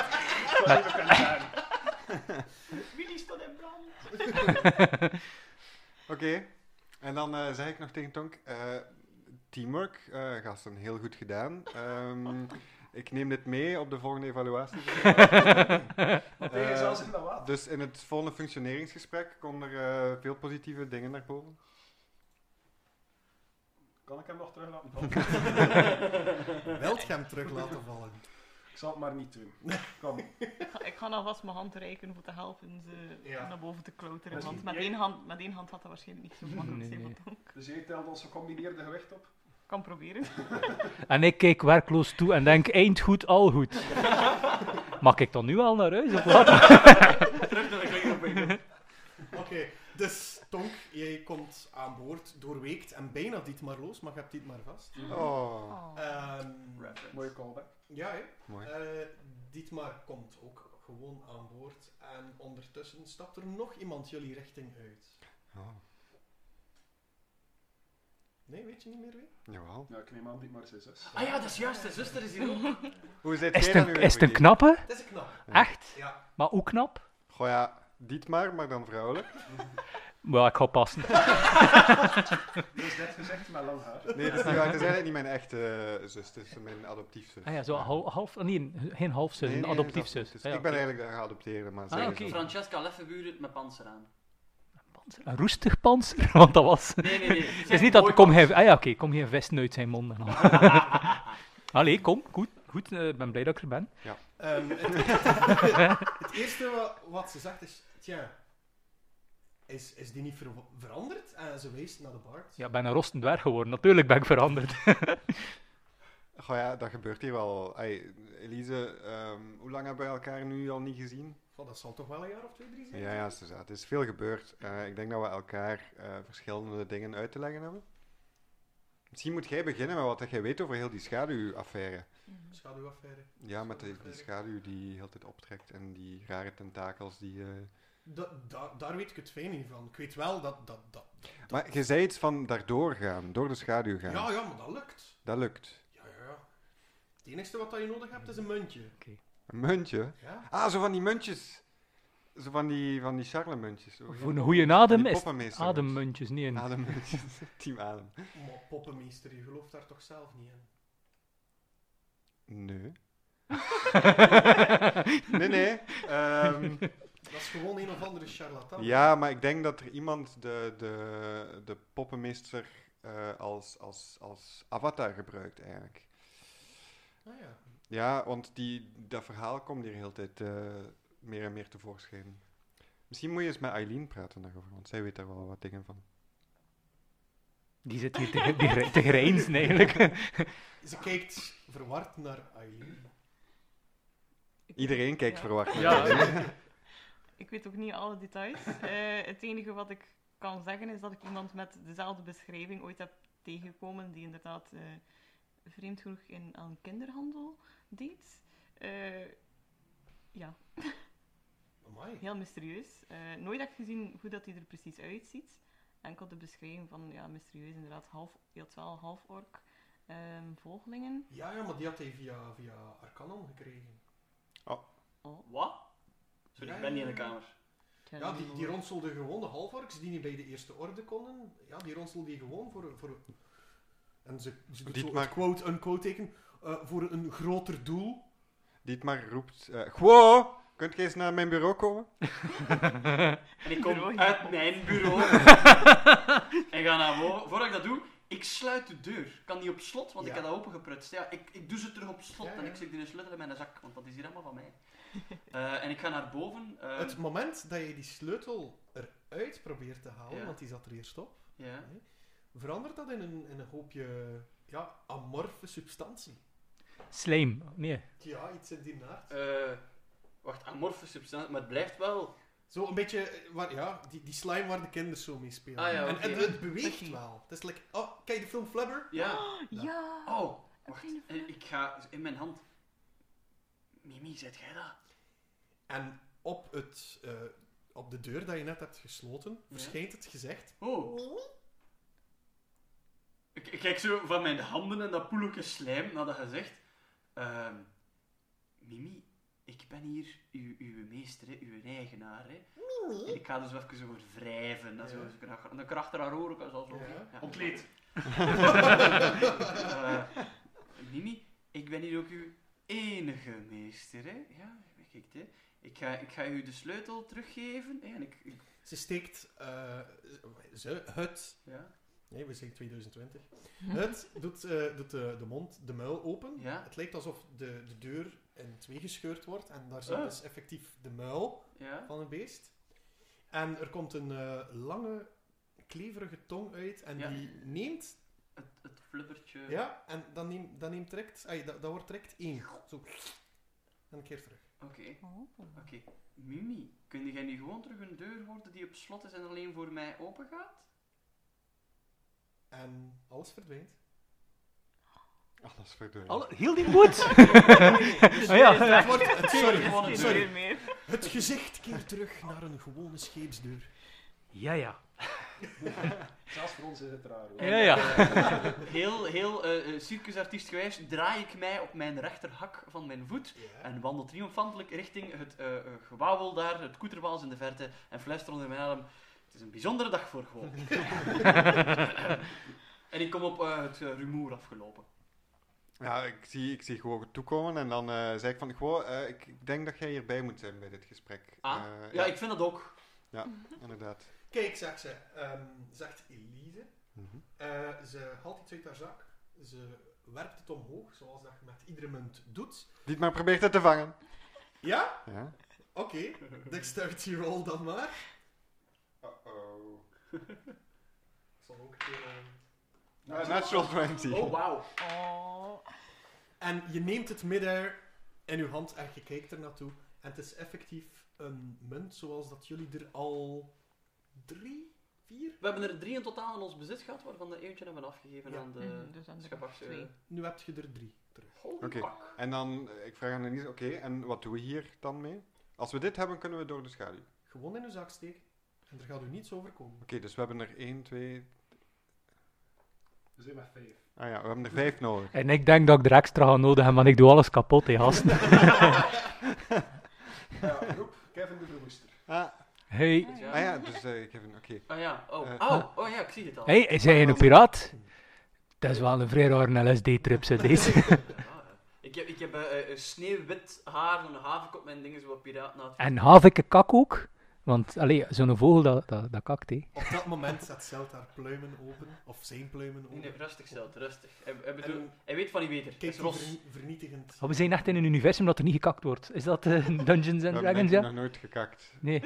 [SPEAKER 4] Willy staat in brand.
[SPEAKER 5] Oké. En dan eh, zeg ik nog tegen Tonk, eh, teamwork, eh, gasten, heel goed gedaan. Ehm, ik neem dit mee op de volgende evaluatie.
[SPEAKER 7] Want hij is
[SPEAKER 5] Eh,
[SPEAKER 7] zelfs in dat water.
[SPEAKER 5] dus in het volgende functioneringsgesprek komen er eh, veel positieve dingen naar boven.
[SPEAKER 7] Kan ik hem nog terug laten
[SPEAKER 1] Wilt je hem terug laten vallen?
[SPEAKER 7] ik zal het maar niet doen. Kom.
[SPEAKER 4] Ik ga- Ik ga alvast mijn hand reiken om te helpen ze
[SPEAKER 1] Ja.
[SPEAKER 4] naar boven te klauteren.
[SPEAKER 7] Dus
[SPEAKER 4] Want met
[SPEAKER 7] jij-
[SPEAKER 4] één, hand, met één hand had dat waarschijnlijk niet zo makkelijk
[SPEAKER 6] Nee,
[SPEAKER 4] zijn.
[SPEAKER 6] nee.
[SPEAKER 4] want dan-
[SPEAKER 7] Dus jij telt ons gecombineerde gewicht op.
[SPEAKER 4] Kan proberen.
[SPEAKER 6] En ik kijk werkloos toe en denk, eind goed, al goed. Mag ik dan nu al naar huis of wat?
[SPEAKER 2] Terug naar de kling op je.
[SPEAKER 1] Oké, dus Tonk, jij komt aan boord, doorweekt en bijna dit maar los, maar je hebt dit maar vast.
[SPEAKER 5] Oh,
[SPEAKER 1] Ehm,
[SPEAKER 7] Mooie callback.
[SPEAKER 1] ja, hè.
[SPEAKER 5] mooi.
[SPEAKER 1] Eh, Dietmar komt ook gewoon aan boord. En ondertussen stapt er nog iemand jullie richting uit.
[SPEAKER 5] Oh,
[SPEAKER 1] Nee, weet je niet meer wie?
[SPEAKER 5] jawel.
[SPEAKER 7] Ja, ik neem aan die maar zijn zus.
[SPEAKER 2] Ah ja, dat is juist, de zuster is hier ook.
[SPEAKER 5] Hoe zit
[SPEAKER 6] Is
[SPEAKER 5] jij
[SPEAKER 6] het
[SPEAKER 5] dan
[SPEAKER 6] een,
[SPEAKER 5] nu
[SPEAKER 6] is het een
[SPEAKER 5] weer?
[SPEAKER 6] knappe?
[SPEAKER 1] Het is een knap.
[SPEAKER 6] Echt?
[SPEAKER 1] Ja.
[SPEAKER 6] Maar ook knap?
[SPEAKER 5] Goh ja, Dietmar, maar dan vrouwelijk.
[SPEAKER 6] Wel, ik ga passen.
[SPEAKER 7] Dus dit gezegd met lang haar.
[SPEAKER 5] Nee, dus dat is niet waar. Het is eigenlijk niet mijn echte eh, zus, het is mijn adoptiefzus.
[SPEAKER 6] Ah ja, zo hal- half... Nee, geen halfzus,
[SPEAKER 5] Nee,
[SPEAKER 6] een
[SPEAKER 5] nee,
[SPEAKER 6] adoptiefzus. Ah
[SPEAKER 5] dat is-
[SPEAKER 6] Ja,
[SPEAKER 5] ik ben
[SPEAKER 6] oké.
[SPEAKER 5] eigenlijk de geadopteerde, maar
[SPEAKER 6] Ah,
[SPEAKER 5] zij is
[SPEAKER 6] oké.
[SPEAKER 5] ook-
[SPEAKER 2] Francesca Leffenburen met panzer aan.
[SPEAKER 6] Panzer? Een roestig panzer? Want dat was...
[SPEAKER 2] Nee, nee, nee.
[SPEAKER 6] Het is niet dat er kom geen... Ah ja, oké, kom geen vest uit zijn mond. en al. Allee, kom, goed. Goed, eh, ik ben blij dat ik er ben.
[SPEAKER 1] Ehm, het, het eerste wat, wat ze zegt is, tja, is, is die niet ver- veranderd? En ze wijst naar de baard.
[SPEAKER 6] Ja, ik ben een rostend dwerg geworden. Natuurlijk ben ik veranderd.
[SPEAKER 5] Goh ja, dat gebeurt hier wel. Ey, Elise, ehm, hoe lang hebben we elkaar nu al niet gezien?
[SPEAKER 1] Goh, dat zal toch wel een jaar of twee, drie zijn?
[SPEAKER 5] Ja, ja, het is- het is veel gebeurd. Eh, ik denk dat we elkaar eh, verschillende dingen uit te leggen hebben. Misschien moet jij beginnen met wat dat jij weet over heel die schaduwaffaire.
[SPEAKER 1] Schaduwaffaire.
[SPEAKER 5] Ja, met die, die schaduw die heel de tijd optrekt en die rare tentakels die... eh,
[SPEAKER 1] Da- da- daar weet ik het fijn niet van. Ik weet wel dat... dat, dat, dat-
[SPEAKER 5] Maar je zei iets van daardoor gaan, door de schaduw gaan.
[SPEAKER 1] ja, ja, maar dat lukt.
[SPEAKER 5] Dat lukt.
[SPEAKER 1] Ja, ja, ja. Het enige wat dat je nodig hebt is een muntje.
[SPEAKER 5] Een muntje?
[SPEAKER 1] Ja?
[SPEAKER 5] Ah, zo van die muntjes. Zo van die, van die charlemuntjes. zo.
[SPEAKER 6] Voor een goede adem
[SPEAKER 5] Die
[SPEAKER 6] is
[SPEAKER 5] poppenmeester.
[SPEAKER 6] ademmuntjes niet een...
[SPEAKER 5] Ademmuntjes. Team adem.
[SPEAKER 1] Maar poppenmeester, je gelooft daar toch zelf niet in?
[SPEAKER 5] Nee. nee, nee. Ehm,
[SPEAKER 1] Dat is gewoon een of andere charlatan.
[SPEAKER 5] ja, maar ik denk dat er iemand de, de, de poppenmeester eh, als, als, als avatar gebruikt, eigenlijk.
[SPEAKER 1] Ah, ja.
[SPEAKER 5] Ja, want die, dat verhaal komt hier heel de tijd eh, meer en meer tevoorschijn. Misschien moet je eens met Eileen praten daarover, want zij weet daar wel wat dingen van.
[SPEAKER 6] Die zit hier te, die gr- te grijnzen, eigenlijk.
[SPEAKER 1] Ze kijkt verward naar Eileen.
[SPEAKER 5] Iedereen kijkt
[SPEAKER 4] Ja.
[SPEAKER 5] verwacht naar
[SPEAKER 6] Ja.
[SPEAKER 5] Eileen.
[SPEAKER 4] Ik weet ook niet alle details. Eh, het enige wat ik kan zeggen is dat ik iemand met dezelfde beschrijving ooit heb tegengekomen die inderdaad eh, vreemd genoeg in, aan kinderhandel deed. Eh, ja,
[SPEAKER 1] Amai.
[SPEAKER 4] heel mysterieus. Eh, nooit echt gezien hoe dat hij er precies uitziet. Enkel de beschrijving van ja, mysterieus inderdaad half, heel wel half ork ehm, volgelingen.
[SPEAKER 1] Ja, ja, maar die had hij via, via Arcanon gekregen.
[SPEAKER 2] Wat? Sorry,
[SPEAKER 1] Ja,
[SPEAKER 2] ik ben niet in de
[SPEAKER 1] ja,
[SPEAKER 2] kamer.
[SPEAKER 1] Ja, die, die ronselde gewoon de halvorks die niet bij de eerste orde konden. Ja, die ronselde die gewoon voor... voor en ze, ze doet zo
[SPEAKER 5] Dietmar.
[SPEAKER 1] een quote, een quote teken eh, voor een groter doel.
[SPEAKER 5] Dietmar roept... eh Gwo, kunt jij eens naar mijn bureau komen?
[SPEAKER 2] En ik kom
[SPEAKER 4] Bureau, ja.
[SPEAKER 2] uit mijn bureau. en ga naar voren. Voordat ik dat doe, ik sluit de deur. Ik kan die op slot, want ik
[SPEAKER 1] Ja.
[SPEAKER 2] heb dat opengeprutst. Ja, ik, ik doe ze terug op slot
[SPEAKER 1] Ja, ja.
[SPEAKER 2] en ik dus zet die sleutel in mijn zak, want dat is hier allemaal van mij. Eh, en ik ga naar boven. eh,
[SPEAKER 1] Het moment dat je die sleutel eruit probeert te halen,
[SPEAKER 2] Ja.
[SPEAKER 1] want die zat er eerst op,
[SPEAKER 2] ja.
[SPEAKER 1] verandert dat in een, in een hoopje ja, amorfe substantie.
[SPEAKER 6] Slijm. Nee.
[SPEAKER 1] Ja, iets in die naart.
[SPEAKER 2] Eh, wacht, amorfe substantie, maar het blijft wel.
[SPEAKER 1] Zo een beetje, eh, waar, ja, die, die slime waar de kinderen zo mee spelen.
[SPEAKER 2] Ah, ja,
[SPEAKER 1] en,
[SPEAKER 2] oké.
[SPEAKER 1] en het beweegt
[SPEAKER 4] Oké.
[SPEAKER 1] wel. Het is like, oh, kijk de film Flubber.
[SPEAKER 2] Ja.
[SPEAKER 4] Ja!
[SPEAKER 2] Oh,
[SPEAKER 4] Een
[SPEAKER 2] wacht.
[SPEAKER 4] kleine
[SPEAKER 2] eh, Ik ga in mijn hand. Mimi, zet jij dat?
[SPEAKER 1] En op, het, eh, op de deur dat je net hebt gesloten,
[SPEAKER 2] Ja.
[SPEAKER 1] verschijnt het gezegd.
[SPEAKER 2] Oh. Ik, ik kijk zo van mijn handen en dat poelijke slijm naar dat gezicht. Ehm, Mimi, ik ben hier uw, uw meester, hè, uw eigenaar. Hè. En ik ga dus even over wrijven. En zo,
[SPEAKER 1] Ja.
[SPEAKER 2] zo kan ik- dan kan ik achter haar oren kan zo. zo-
[SPEAKER 1] Ja.
[SPEAKER 2] ja.
[SPEAKER 7] Ontleed.
[SPEAKER 2] Eh, Mimi, ik ben hier ook uw enige meester. Hè. Ja, kijk, hè. Ik, ga, ik ga u de sleutel teruggeven. hè, En ik, ik-
[SPEAKER 1] Ze steekt, eh, ze, het,
[SPEAKER 2] ja,
[SPEAKER 1] nee, we zeggen 2020. Het doet, eh, doet de, de mond, de muil open.
[SPEAKER 2] ja,
[SPEAKER 1] Het lijkt alsof de, de deur in twee gescheurd wordt en daar zit
[SPEAKER 2] Ah.
[SPEAKER 1] dus effectief de muil
[SPEAKER 2] ja.
[SPEAKER 1] van het beest. En er komt een eh, lange, kleverige tong uit en
[SPEAKER 2] Ja.
[SPEAKER 1] die neemt,
[SPEAKER 2] Het, het flubbertje.
[SPEAKER 1] ja, en dan neemt, dan neemt direct, ai, dat, dat wordt direct één. Zo. En een keer terug.
[SPEAKER 2] Oké.
[SPEAKER 4] Oh.
[SPEAKER 2] Oké, Mimi, kun jij nu gewoon terug een deur worden die op slot is en alleen voor mij open gaat?
[SPEAKER 1] En alles verdwijnt.
[SPEAKER 5] Alles verdwijnt.
[SPEAKER 6] Alle- heel die moed.
[SPEAKER 2] Dus
[SPEAKER 6] Ah, ja, ja.
[SPEAKER 1] Het wordt, het,
[SPEAKER 2] Gewoon
[SPEAKER 1] sorry,
[SPEAKER 2] een
[SPEAKER 1] sorry.
[SPEAKER 4] Geen meer.
[SPEAKER 1] Het gezicht keert terug naar een gewone scheepsdeur.
[SPEAKER 6] Ja, ja.
[SPEAKER 7] Zelfs voor ons is het raar hoor.
[SPEAKER 6] Ja, ja.
[SPEAKER 2] Heel, heel eh eh, circusartiestgewijs draai ik mij op mijn rechterhak van mijn voet en wandel triomfantelijk richting het eh eh, gewauwel daar, het koeterwaals in de verte en fluister onder mijn adem. Het is een bijzondere dag voor gewoon. en ik kom op eh, het eh, rumoer afgelopen.
[SPEAKER 5] Ja, ik zie, ik zie gewoon toekomen en dan eh zei ik van, Gwo, eh, ik, ik denk dat jij hierbij moet zijn bij dit gesprek.
[SPEAKER 2] Ah,
[SPEAKER 5] Eh,
[SPEAKER 2] Ja,
[SPEAKER 5] ja,
[SPEAKER 2] ik vind dat ook.
[SPEAKER 5] inderdaad.
[SPEAKER 1] Kijk, zegt ze, ehm, zegt Elise.
[SPEAKER 5] Mhm.
[SPEAKER 1] Eh, ze haalt iets uit haar zak. Ze werpt het omhoog, zoals dat je met iedere munt doet.
[SPEAKER 5] Dietmar probeert het te vangen.
[SPEAKER 1] Ja?
[SPEAKER 5] Ja.
[SPEAKER 1] Oké. Dexterity roll dan maar.
[SPEAKER 5] Uh-oh.
[SPEAKER 1] Ik zal ook een keer, eh,
[SPEAKER 5] natural 20.
[SPEAKER 2] Oh, wauw.
[SPEAKER 4] Oh.
[SPEAKER 1] En je neemt het middair in je hand en je kijkt er naartoe. En het is effectief een munt zoals dat jullie er al drie, vier...
[SPEAKER 2] We hebben er drie in totaal in ons bezit gehad, waarvan de eentje hebben we afgegeven
[SPEAKER 1] Ja.
[SPEAKER 2] aan de
[SPEAKER 4] Mhm, dus aan de
[SPEAKER 2] schepakse-
[SPEAKER 4] twee.
[SPEAKER 1] Nu heb je er drie terug.
[SPEAKER 2] Holy
[SPEAKER 5] Oké.
[SPEAKER 2] fuck.
[SPEAKER 5] En dan, eh, ik vraag aan Denise, oké, en wat doen we hier dan mee? Als we dit hebben, kunnen we door de schaduw. Oké,
[SPEAKER 1] Gewoon in uw zak steken. En er gaat u niets overkomen.
[SPEAKER 5] dus we hebben er 1, 2...
[SPEAKER 7] We zijn met vijf.
[SPEAKER 5] Ah ja, we hebben er 5 nodig.
[SPEAKER 6] En ik denk dat ik er extra ga nodig heb, want ik doe alles kapot, hè, gasten.
[SPEAKER 7] Ja, roep Kevin de Verwoester.
[SPEAKER 5] Ah,
[SPEAKER 6] Hey.
[SPEAKER 4] Ah,
[SPEAKER 5] ah ja, dus eh Kevin, oké.
[SPEAKER 2] Ah ja, oh.
[SPEAKER 5] Eh,
[SPEAKER 2] oh, oh ja, ik zie dit al.
[SPEAKER 6] Hey, is hij een piraat? Dat is wel een vrij rare LSD-trip, ze deze.
[SPEAKER 2] Ja, eh. ik heb, ik heb eh, eh, eh, sneeuwwit haar en een havenkop en dingen zo wat piraat na.
[SPEAKER 6] En havikke kak ook? Want, allee, zo'n vogel, dat, dat, dat kakt, hè.
[SPEAKER 1] Op dat moment zet Zeld haar pluimen open. Of zijn pluimen
[SPEAKER 2] Nee,
[SPEAKER 1] open.
[SPEAKER 2] nee, rustig, Zeld, rustig. Hij, hij, bedoelt-
[SPEAKER 1] En
[SPEAKER 2] hij weet van wie beter. Het
[SPEAKER 1] kijkt
[SPEAKER 2] is
[SPEAKER 1] die
[SPEAKER 2] Ros.
[SPEAKER 1] ver- vernietigend.
[SPEAKER 6] Maar Oh, we zijn echt in een universum dat er niet gekakt wordt. Is dat eh, Dungeons
[SPEAKER 5] We hebben
[SPEAKER 6] and Dragons,
[SPEAKER 5] denk ik
[SPEAKER 6] ja?
[SPEAKER 5] nog nooit gekakt.
[SPEAKER 6] Nee.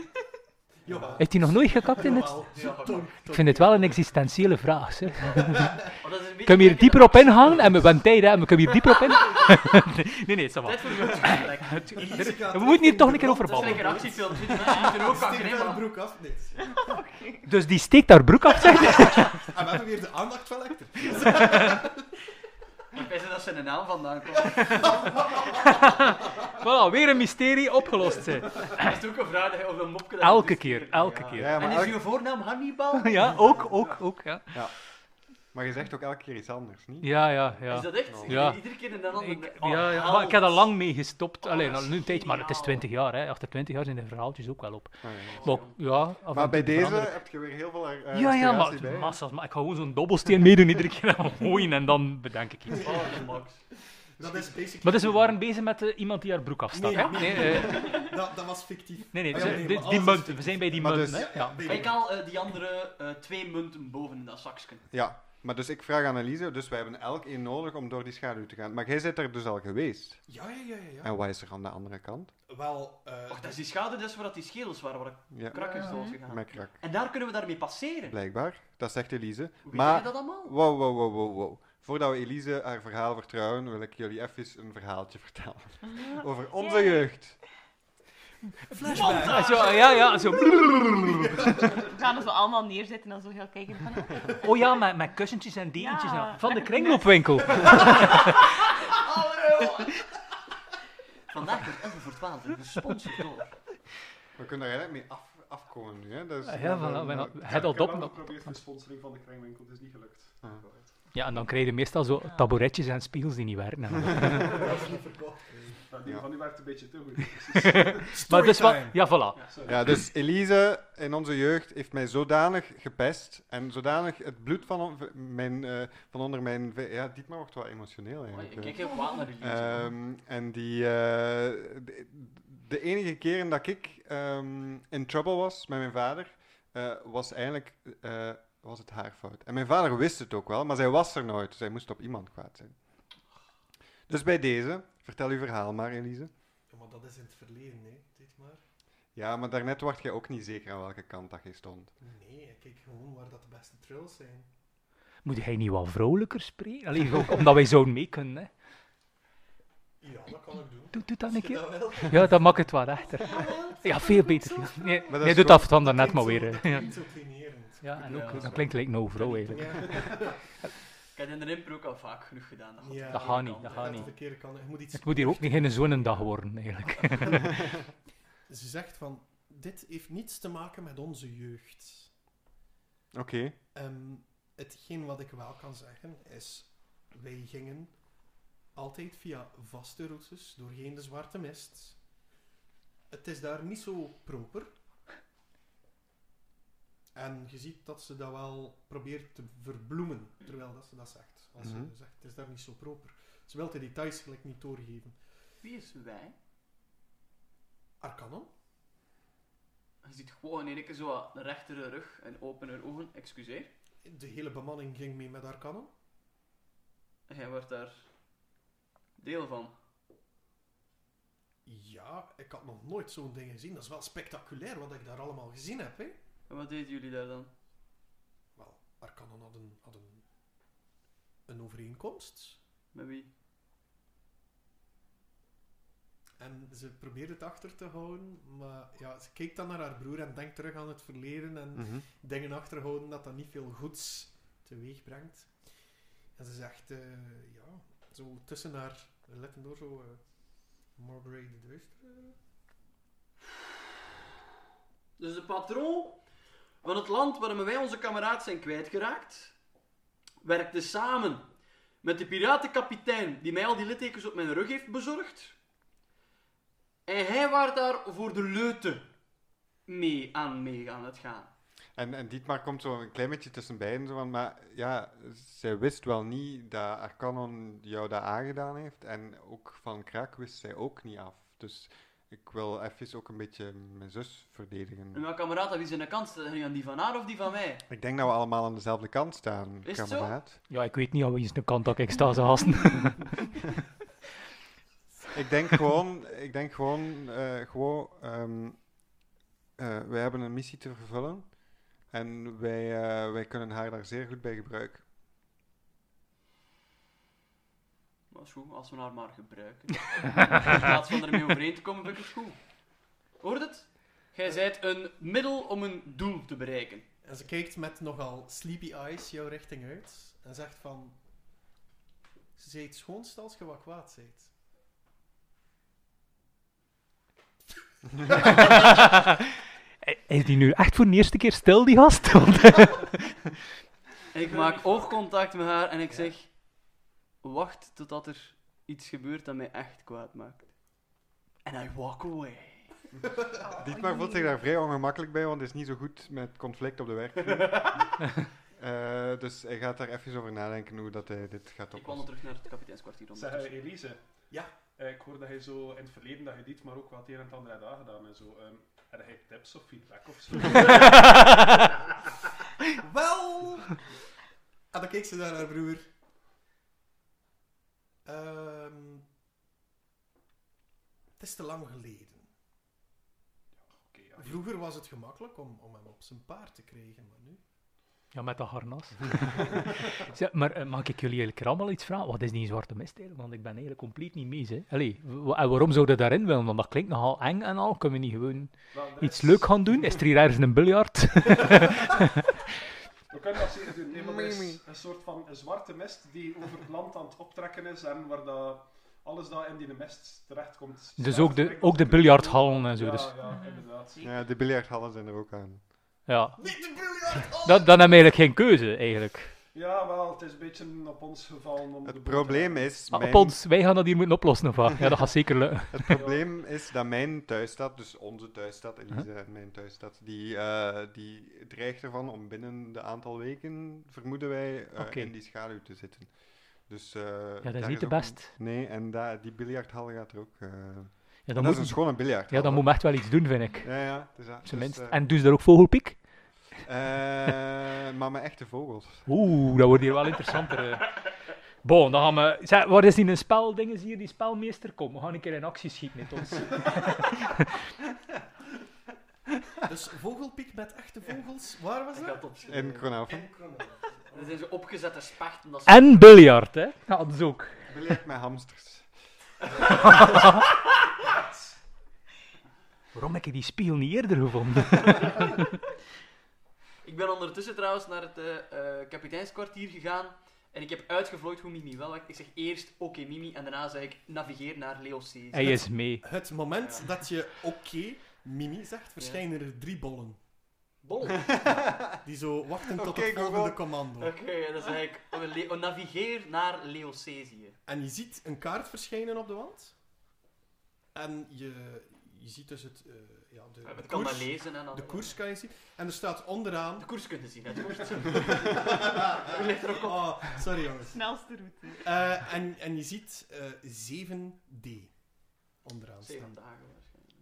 [SPEAKER 1] Jawel.
[SPEAKER 6] Heeft hij nog nooit gekakt in het...
[SPEAKER 1] Jawel.
[SPEAKER 2] Ja,
[SPEAKER 1] Tong-
[SPEAKER 2] ja.
[SPEAKER 6] Ik
[SPEAKER 1] tong-
[SPEAKER 6] vind het wel een existentiële vraag, zeg.
[SPEAKER 2] Oh, dat is een beetje
[SPEAKER 6] Ik kan hier
[SPEAKER 2] gelijk, hè,
[SPEAKER 6] dieper
[SPEAKER 2] dat-
[SPEAKER 6] op ingaan en we hebben tijd, hè. en We kunnen hier dieper op ingaan. Nee, nee, ça va.
[SPEAKER 2] Tijd voor een gesprek. Het
[SPEAKER 1] Elise gaat
[SPEAKER 6] We
[SPEAKER 1] terug
[SPEAKER 6] moeten hier toch een
[SPEAKER 1] in de
[SPEAKER 6] keer over
[SPEAKER 2] is
[SPEAKER 6] babbelen.
[SPEAKER 2] lekker actiefilm. Die moeten er ook
[SPEAKER 1] brand.
[SPEAKER 2] kakken,
[SPEAKER 1] Steek
[SPEAKER 2] hè,
[SPEAKER 1] haar
[SPEAKER 2] man.
[SPEAKER 1] broek af. Nee.
[SPEAKER 6] Dus die steekt haar broek af, zeg.
[SPEAKER 1] En we hebben weer de aandacht van Hector.
[SPEAKER 2] Ik wist niet dat zijn naam vandaan komt.
[SPEAKER 6] Voilà, weer een mysterie opgelost, zeg.
[SPEAKER 2] Dat is ook een vraag dat je over een mopje... dat je
[SPEAKER 6] Elke
[SPEAKER 2] doet.
[SPEAKER 6] keer, elke
[SPEAKER 2] Ja.
[SPEAKER 6] keer.
[SPEAKER 5] Ja, maar,
[SPEAKER 2] en is
[SPEAKER 5] elk-
[SPEAKER 2] uw voornaam Hannibal?
[SPEAKER 6] Ja, ook, ook, ook, ja.
[SPEAKER 5] maar je zegt ook elke keer iets anders, niet?
[SPEAKER 6] Ja, ja, ja.
[SPEAKER 2] Is dat echt?
[SPEAKER 6] Ja.
[SPEAKER 2] Iedere keer een ander...
[SPEAKER 6] Ik,
[SPEAKER 2] Oh,
[SPEAKER 6] ja, ja,
[SPEAKER 2] held.
[SPEAKER 6] maar ik heb daar lang mee gestopt.
[SPEAKER 2] Oh,
[SPEAKER 6] Alleen
[SPEAKER 2] dat
[SPEAKER 6] al
[SPEAKER 2] is
[SPEAKER 6] nu een tijdje, maar het is
[SPEAKER 2] geniaal.
[SPEAKER 6] 20 jaar. Hè. Achter 20 jaar zijn de verhaaltjes ook wel op.
[SPEAKER 5] Ah, ja.
[SPEAKER 6] Maar, ja, af en
[SPEAKER 5] Maar
[SPEAKER 6] toe
[SPEAKER 5] bij deze
[SPEAKER 6] veranderen.
[SPEAKER 5] heb je weer heel veel eh,
[SPEAKER 6] Ja, ja,
[SPEAKER 5] inspiratie
[SPEAKER 6] maar,
[SPEAKER 5] bij.
[SPEAKER 6] massa's, maar ik ga gewoon zo'n dobbelsteen meedoen iedere keer aan gooien en dan bedenk ik iets.
[SPEAKER 2] Oh, de max.
[SPEAKER 1] Dat is basically...
[SPEAKER 6] Maar dus we waren bezig met eh, iemand die haar broek afstak.
[SPEAKER 1] Nee,
[SPEAKER 6] hè?
[SPEAKER 1] nee,
[SPEAKER 6] nee, eh,
[SPEAKER 1] Dat, dat was fictief.
[SPEAKER 6] nee, nee,
[SPEAKER 1] Ah,
[SPEAKER 6] dus,
[SPEAKER 1] ja,
[SPEAKER 6] eh,
[SPEAKER 1] nee,
[SPEAKER 6] dit-
[SPEAKER 1] maar
[SPEAKER 6] die
[SPEAKER 1] alles is
[SPEAKER 6] munten. We zijn bij die
[SPEAKER 5] Maar
[SPEAKER 6] munten.
[SPEAKER 5] dus-
[SPEAKER 6] hè? ja.
[SPEAKER 1] nee, nee.
[SPEAKER 2] Ik haal eh, die andere eh, twee munten boven in dat zakje.
[SPEAKER 5] Ja, maar dus ik vraag aan Elise, dus wij hebben elk één nodig om door die schaduw te gaan. Maar jij bent er dus al geweest.
[SPEAKER 1] Ja, ja, ja, ja. ja.
[SPEAKER 5] En wat is er aan de andere kant?
[SPEAKER 1] Wel, eh,
[SPEAKER 2] Och, dat is die schade dus waar dat die schedels waren, waar ik
[SPEAKER 5] Ja,
[SPEAKER 2] krak is
[SPEAKER 4] Ja.
[SPEAKER 2] doodgegaan.
[SPEAKER 5] mijn krak.
[SPEAKER 2] En daar kunnen we daarmee passeren.
[SPEAKER 5] Blijkbaar, dat zegt Elise.
[SPEAKER 2] Hoe weet
[SPEAKER 5] Maar
[SPEAKER 2] je dat allemaal?
[SPEAKER 5] Wow, wow, wow, wow, wow. Voordat we Elise haar verhaal vertrouwen, wil ik jullie even een verhaaltje vertellen. Over onze
[SPEAKER 4] Yay.
[SPEAKER 5] jeugd.
[SPEAKER 1] flashback.
[SPEAKER 6] Ah, zo, ja, ja, zo.
[SPEAKER 4] We gaan er zo allemaal neerzetten en dan zo gaan kijken van...
[SPEAKER 6] Oh ja, met, met kussentjes en dekentjes.
[SPEAKER 4] Ja.
[SPEAKER 6] en- Van de kringloopwinkel.
[SPEAKER 2] Vandaag wordt 11 voor 12 gesponsord door.
[SPEAKER 5] We kunnen er eigenlijk mee af, afkomen nu, hè? Dat is- eh,
[SPEAKER 6] Ah, ja, voilà, we-
[SPEAKER 5] dat-
[SPEAKER 6] het al
[SPEAKER 7] Ik heb
[SPEAKER 6] dop.
[SPEAKER 7] wel
[SPEAKER 6] nog.
[SPEAKER 7] geprobeerd voor sponsoring van de kringwinkel, het is niet gelukt.
[SPEAKER 5] Ah.
[SPEAKER 6] Ja, en dan krijg je meestal zo taboretjes en spiegels die niet werken.
[SPEAKER 1] Dat is niet verkocht.
[SPEAKER 7] Maar die
[SPEAKER 5] Ja.
[SPEAKER 7] van nu werkt een beetje te goed.
[SPEAKER 6] Maar dus wat,
[SPEAKER 1] Storytime.
[SPEAKER 6] ja, voilà.
[SPEAKER 7] Sorry.
[SPEAKER 5] Ja, dus Elise in onze jeugd heeft mij zodanig gepest en zodanig het bloed van, on- mijn, eh, van onder mijn... ve- Ja, Dietmar wordt wel emotioneel
[SPEAKER 2] Oei, ik
[SPEAKER 5] eigenlijk.
[SPEAKER 2] kijk heel kwaad naar jullie.
[SPEAKER 5] Ehm, en die... eh, de, de enige keren dat ik ehm, in trouble was met mijn vader, eh, was eigenlijk... eh, was het haar fout. En mijn vader wist het ook wel, maar zij was er nooit. Zij moest op iemand kwaad zijn. Dus bij deze, vertel uw verhaal maar, Elise.
[SPEAKER 1] Ja, maar dat is in het verleden, hè. Dit maar.
[SPEAKER 5] Ja, maar daarnet word jij ook niet zeker aan welke kant dat je stond.
[SPEAKER 1] Nee, ik kijk gewoon waar dat de beste trills zijn.
[SPEAKER 6] Moet hij niet wat vrolijker spreken? Allee, ook omdat wij zo mee kunnen. Hè.
[SPEAKER 1] Ja, dat kan ik doen.
[SPEAKER 6] Doe, doe dat
[SPEAKER 1] Als
[SPEAKER 6] een
[SPEAKER 1] je
[SPEAKER 6] keer.
[SPEAKER 1] dat wel.
[SPEAKER 6] Ja, dat maakt het wel echter. Ja, veel beter. Nee,
[SPEAKER 5] dat
[SPEAKER 6] nee
[SPEAKER 5] is
[SPEAKER 6] doet
[SPEAKER 5] goed.
[SPEAKER 6] dat dan daarnet maar
[SPEAKER 1] Klinkt zo-
[SPEAKER 6] weer.
[SPEAKER 1] Dat
[SPEAKER 6] hè. Ja.
[SPEAKER 1] klinkt zo klinerend.
[SPEAKER 6] ja, en eh,
[SPEAKER 2] Ja, dat
[SPEAKER 6] ook,
[SPEAKER 2] is
[SPEAKER 6] dat
[SPEAKER 2] wel.
[SPEAKER 6] klinkt like no vrouw eigenlijk.
[SPEAKER 2] Ik heb in de impro ook al vaak genoeg gedaan. Dat had-
[SPEAKER 1] Ja.
[SPEAKER 6] Dat gaat niet, dat gaat
[SPEAKER 1] Dat
[SPEAKER 6] niet.
[SPEAKER 1] de verkeerde kant. Je moet iets
[SPEAKER 6] Het moet hier ook niet in een zonnedag worden eigenlijk.
[SPEAKER 1] Ze zegt van, dit heeft niets te maken met onze jeugd.
[SPEAKER 5] Oké.
[SPEAKER 1] Ehm, hetgeen wat ik wel kan zeggen is, wij gingen altijd via vaste routes doorheen de zwarte mist. Het is daar niet zo proper. En je ziet dat ze dat wel probeert te verbloemen, terwijl dat ze dat zegt. Als
[SPEAKER 5] Mhm.
[SPEAKER 1] ze zegt, het is daar niet zo proper. Ze wil de details gelijk niet doorgeven.
[SPEAKER 2] Wie is wij?
[SPEAKER 1] Arcanon?
[SPEAKER 2] Je ziet gewoon in één keer zo wat een rechtere rug en opener ogen. Excuseer.
[SPEAKER 1] De hele bemanning ging mee met Arcanon.
[SPEAKER 2] Jij werd daar deel van.
[SPEAKER 1] Ja, ik had nog nooit zo'n ding gezien. Dat is wel spectaculair wat ik daar allemaal gezien heb. Hè?
[SPEAKER 2] En wat deden jullie daar dan?
[SPEAKER 1] Wel, Arcanon had een, had een, een overeenkomst.
[SPEAKER 2] Met wie?
[SPEAKER 1] En ze probeerde het achter te houden. Maar ja, ze keek dan naar haar broer en denkt terug aan het verleden.
[SPEAKER 5] Hm.
[SPEAKER 1] En dingen achterhouden dat dat niet veel goeds teweeg brengt. En ze zegt, eh, ja, zo tussen haar letten door, zo eh Marbury de Duister.
[SPEAKER 2] Dus de patroon van het land waarin wij onze kameraad zijn kwijtgeraakt, werkte samen met de piratenkapitein die mij al die littekens op mijn rug heeft bezorgd. En hij was daar voor de leuten mee aan, mee aan het gaan.
[SPEAKER 5] En, en Dietmar komt zo een klein beetje tussen beiden. Zo van, maar ja, zij wist wel niet dat Arcanon jou dat aangedaan heeft. En ook van Kraak wist zij ook niet af. Dus ik wil even ook een beetje mijn zus verdedigen.
[SPEAKER 2] En mijn kameraad, aan wie zijn de kant? Staat hij nu aan die van haar of die van mij?
[SPEAKER 5] Ik denk dat we allemaal aan dezelfde kant staan,
[SPEAKER 2] Is het zo?
[SPEAKER 5] kameraad.
[SPEAKER 6] Ja, ik weet niet aan wie is de kant dat ik sta, ze hasten.
[SPEAKER 5] Ik denk gewoon, ik denk gewoon, eh, gewoon ehm, eh, wij hebben een missie te vervullen. En wij, eh, wij kunnen haar daar zeer goed bij gebruiken.
[SPEAKER 2] Dat is goed, als we haar maar gebruiken. In plaats van ermee overeen te komen, vind ik het goed. Hoort het? Jij zijt een middel om een doel te bereiken.
[SPEAKER 1] En ze kijkt met nogal sleepy eyes jouw richting uit. En zegt van, ze zei het schoonst als je wat kwaad zijt.
[SPEAKER 6] Eh, is die nu echt voor de eerste keer stil, die gast? Want-
[SPEAKER 2] En ik maak oogcontact met haar en ik zeg... Wacht totdat er iets gebeurt dat mij echt kwaad maakt. En I walk away.
[SPEAKER 5] Dietmar voelt zich daar vrij ongemakkelijk bij, want hij is niet zo goed met conflict op de werk. Eh, dus hij gaat daar even over nadenken hoe dat hij dit gaat
[SPEAKER 2] Ik wandel
[SPEAKER 5] oplossen.
[SPEAKER 2] terug naar het kapiteinskwartier
[SPEAKER 7] Zeg, eh,
[SPEAKER 2] ondertussen.
[SPEAKER 7] Elise.
[SPEAKER 1] Ja.
[SPEAKER 7] Eh, ik hoor dat je zo in het verleden dat je dit maar ook wat het een en het ander hebt aangedaan en zo. Ehm heb je tips of feedback of zo?
[SPEAKER 1] Wel! En dan keek ze naar haar broer. Ehm, het is te lang geleden.
[SPEAKER 7] Oké, ja.
[SPEAKER 1] Vroeger was het gemakkelijk om, om hem op zijn paard te krijgen, maar nu...
[SPEAKER 6] Ja, met dat harnas. Zeg, maar eh, mag ik jullie eigenlijk allemaal iets vragen? Wat is die zwarte mist eigenlijk? Want ik ben eigenlijk compleet niet mee. Hè. Allee, wa- en waarom zouden we daarin willen? Want dat klinkt nogal eng en al. Kunnen we niet gewoon
[SPEAKER 7] Wel, er
[SPEAKER 6] iets
[SPEAKER 7] is-
[SPEAKER 6] leuk gaan doen? Is er hier ergens een biljart?
[SPEAKER 7] We kunnen dat zeker doen. Nee, maar er is een soort van zwarte mist die over het land aan het optrekken is en waar dat alles dat in die mist terechtkomt.
[SPEAKER 6] Dus ook de,
[SPEAKER 7] terechtkomt.
[SPEAKER 6] ook de biljarthallen en zo.
[SPEAKER 7] Ja,
[SPEAKER 6] Dus,
[SPEAKER 7] ja, inderdaad.
[SPEAKER 5] Ja, de biljarthallen zijn er ook aan.
[SPEAKER 6] ja.
[SPEAKER 1] Niet de biljart! oh!
[SPEAKER 6] Dan, dan hebben we eigenlijk geen keuze, eigenlijk.
[SPEAKER 7] Ja, wel, het is een beetje op ons gevallen. Om de boel
[SPEAKER 5] Het
[SPEAKER 7] te
[SPEAKER 5] probleem
[SPEAKER 7] redden.
[SPEAKER 5] is,
[SPEAKER 6] Ah, op
[SPEAKER 5] mijn,
[SPEAKER 6] ons, wij gaan dat hier moeten oplossen, of wat? Ja, dat gaat zeker lukken.
[SPEAKER 5] het probleem is dat mijn thuisstad, dus onze thuisstad, Elise en mijn thuisstad, die, eh, die dreigt ervan om binnen de aantal weken, vermoeden wij, eh,
[SPEAKER 6] Oké.
[SPEAKER 5] in die schaduw te zitten. Dus, eh,
[SPEAKER 6] Ja, dat is
[SPEAKER 5] daar
[SPEAKER 6] niet de
[SPEAKER 5] ook een-
[SPEAKER 6] best.
[SPEAKER 5] Nee, en daar die biljarthal gaat er ook... eh, en
[SPEAKER 6] Ja,
[SPEAKER 5] dat
[SPEAKER 6] dan
[SPEAKER 5] is een
[SPEAKER 6] moet,
[SPEAKER 5] schone biljarthal.
[SPEAKER 6] ja, dan
[SPEAKER 5] hoor.
[SPEAKER 6] moet men echt wel iets doen, vind ik.
[SPEAKER 5] Ja, ja, dus, ja,
[SPEAKER 6] Op zijn
[SPEAKER 5] dus,
[SPEAKER 6] minst.
[SPEAKER 5] eh,
[SPEAKER 6] En dus daar ook vogelpiek?
[SPEAKER 5] eh, maar mijn echte vogels.
[SPEAKER 6] Oeh, dat wordt hier wel interessanter. eh. Bon, dan gaan we... Zeg, wat is die een spel, dingen hier, die spelmeester? Kom, we gaan een keer in actie schieten met ons.
[SPEAKER 1] Dus vogelpiek met echte vogels, waar was
[SPEAKER 2] Ik
[SPEAKER 1] dat?
[SPEAKER 2] ga het opschrijven.
[SPEAKER 5] En Kronaven.
[SPEAKER 2] Er zijn zo opgezette spechten. Dat ze-
[SPEAKER 6] En biljart, hè? Ja, dat is ook.
[SPEAKER 5] Beleefd met hamsters.
[SPEAKER 6] Waarom heb ik die spiegel niet eerder gevonden?
[SPEAKER 2] Ik ben ondertussen trouwens naar het eh, eh, kapiteinskwartier gegaan. En ik heb uitgevlooid hoe Mimi wel werkt. Ik zeg eerst oké Mimi en daarna zeg ik navigeer naar Leocese.
[SPEAKER 6] Hij is mee.
[SPEAKER 1] Het moment dat je oké, Mimi zegt, verschijnen er drie bollen.
[SPEAKER 2] Bol. Oké,
[SPEAKER 1] Die zo wachten tot
[SPEAKER 5] Oké,
[SPEAKER 1] het volgende
[SPEAKER 5] Google.
[SPEAKER 1] commando.
[SPEAKER 2] dan zeg ik eh, Le- eh, navigeer naar Leocesië.
[SPEAKER 1] En je ziet een kaart verschijnen op de wand. En je, je ziet dus het, eh, ja, de, de
[SPEAKER 2] Ik kan dat
[SPEAKER 1] koers,
[SPEAKER 2] lezen en dan...
[SPEAKER 1] de koers kan je zien. En er staat onderaan...
[SPEAKER 2] De koers kunnen zien, hè, het woord. Hoe ligt er ook op?
[SPEAKER 1] Oh, sorry jongens.
[SPEAKER 4] Snelste route.
[SPEAKER 1] Eh, en, en je ziet eh 7D onderaan
[SPEAKER 2] Zeven
[SPEAKER 1] staan.
[SPEAKER 2] dagen waarschijnlijk.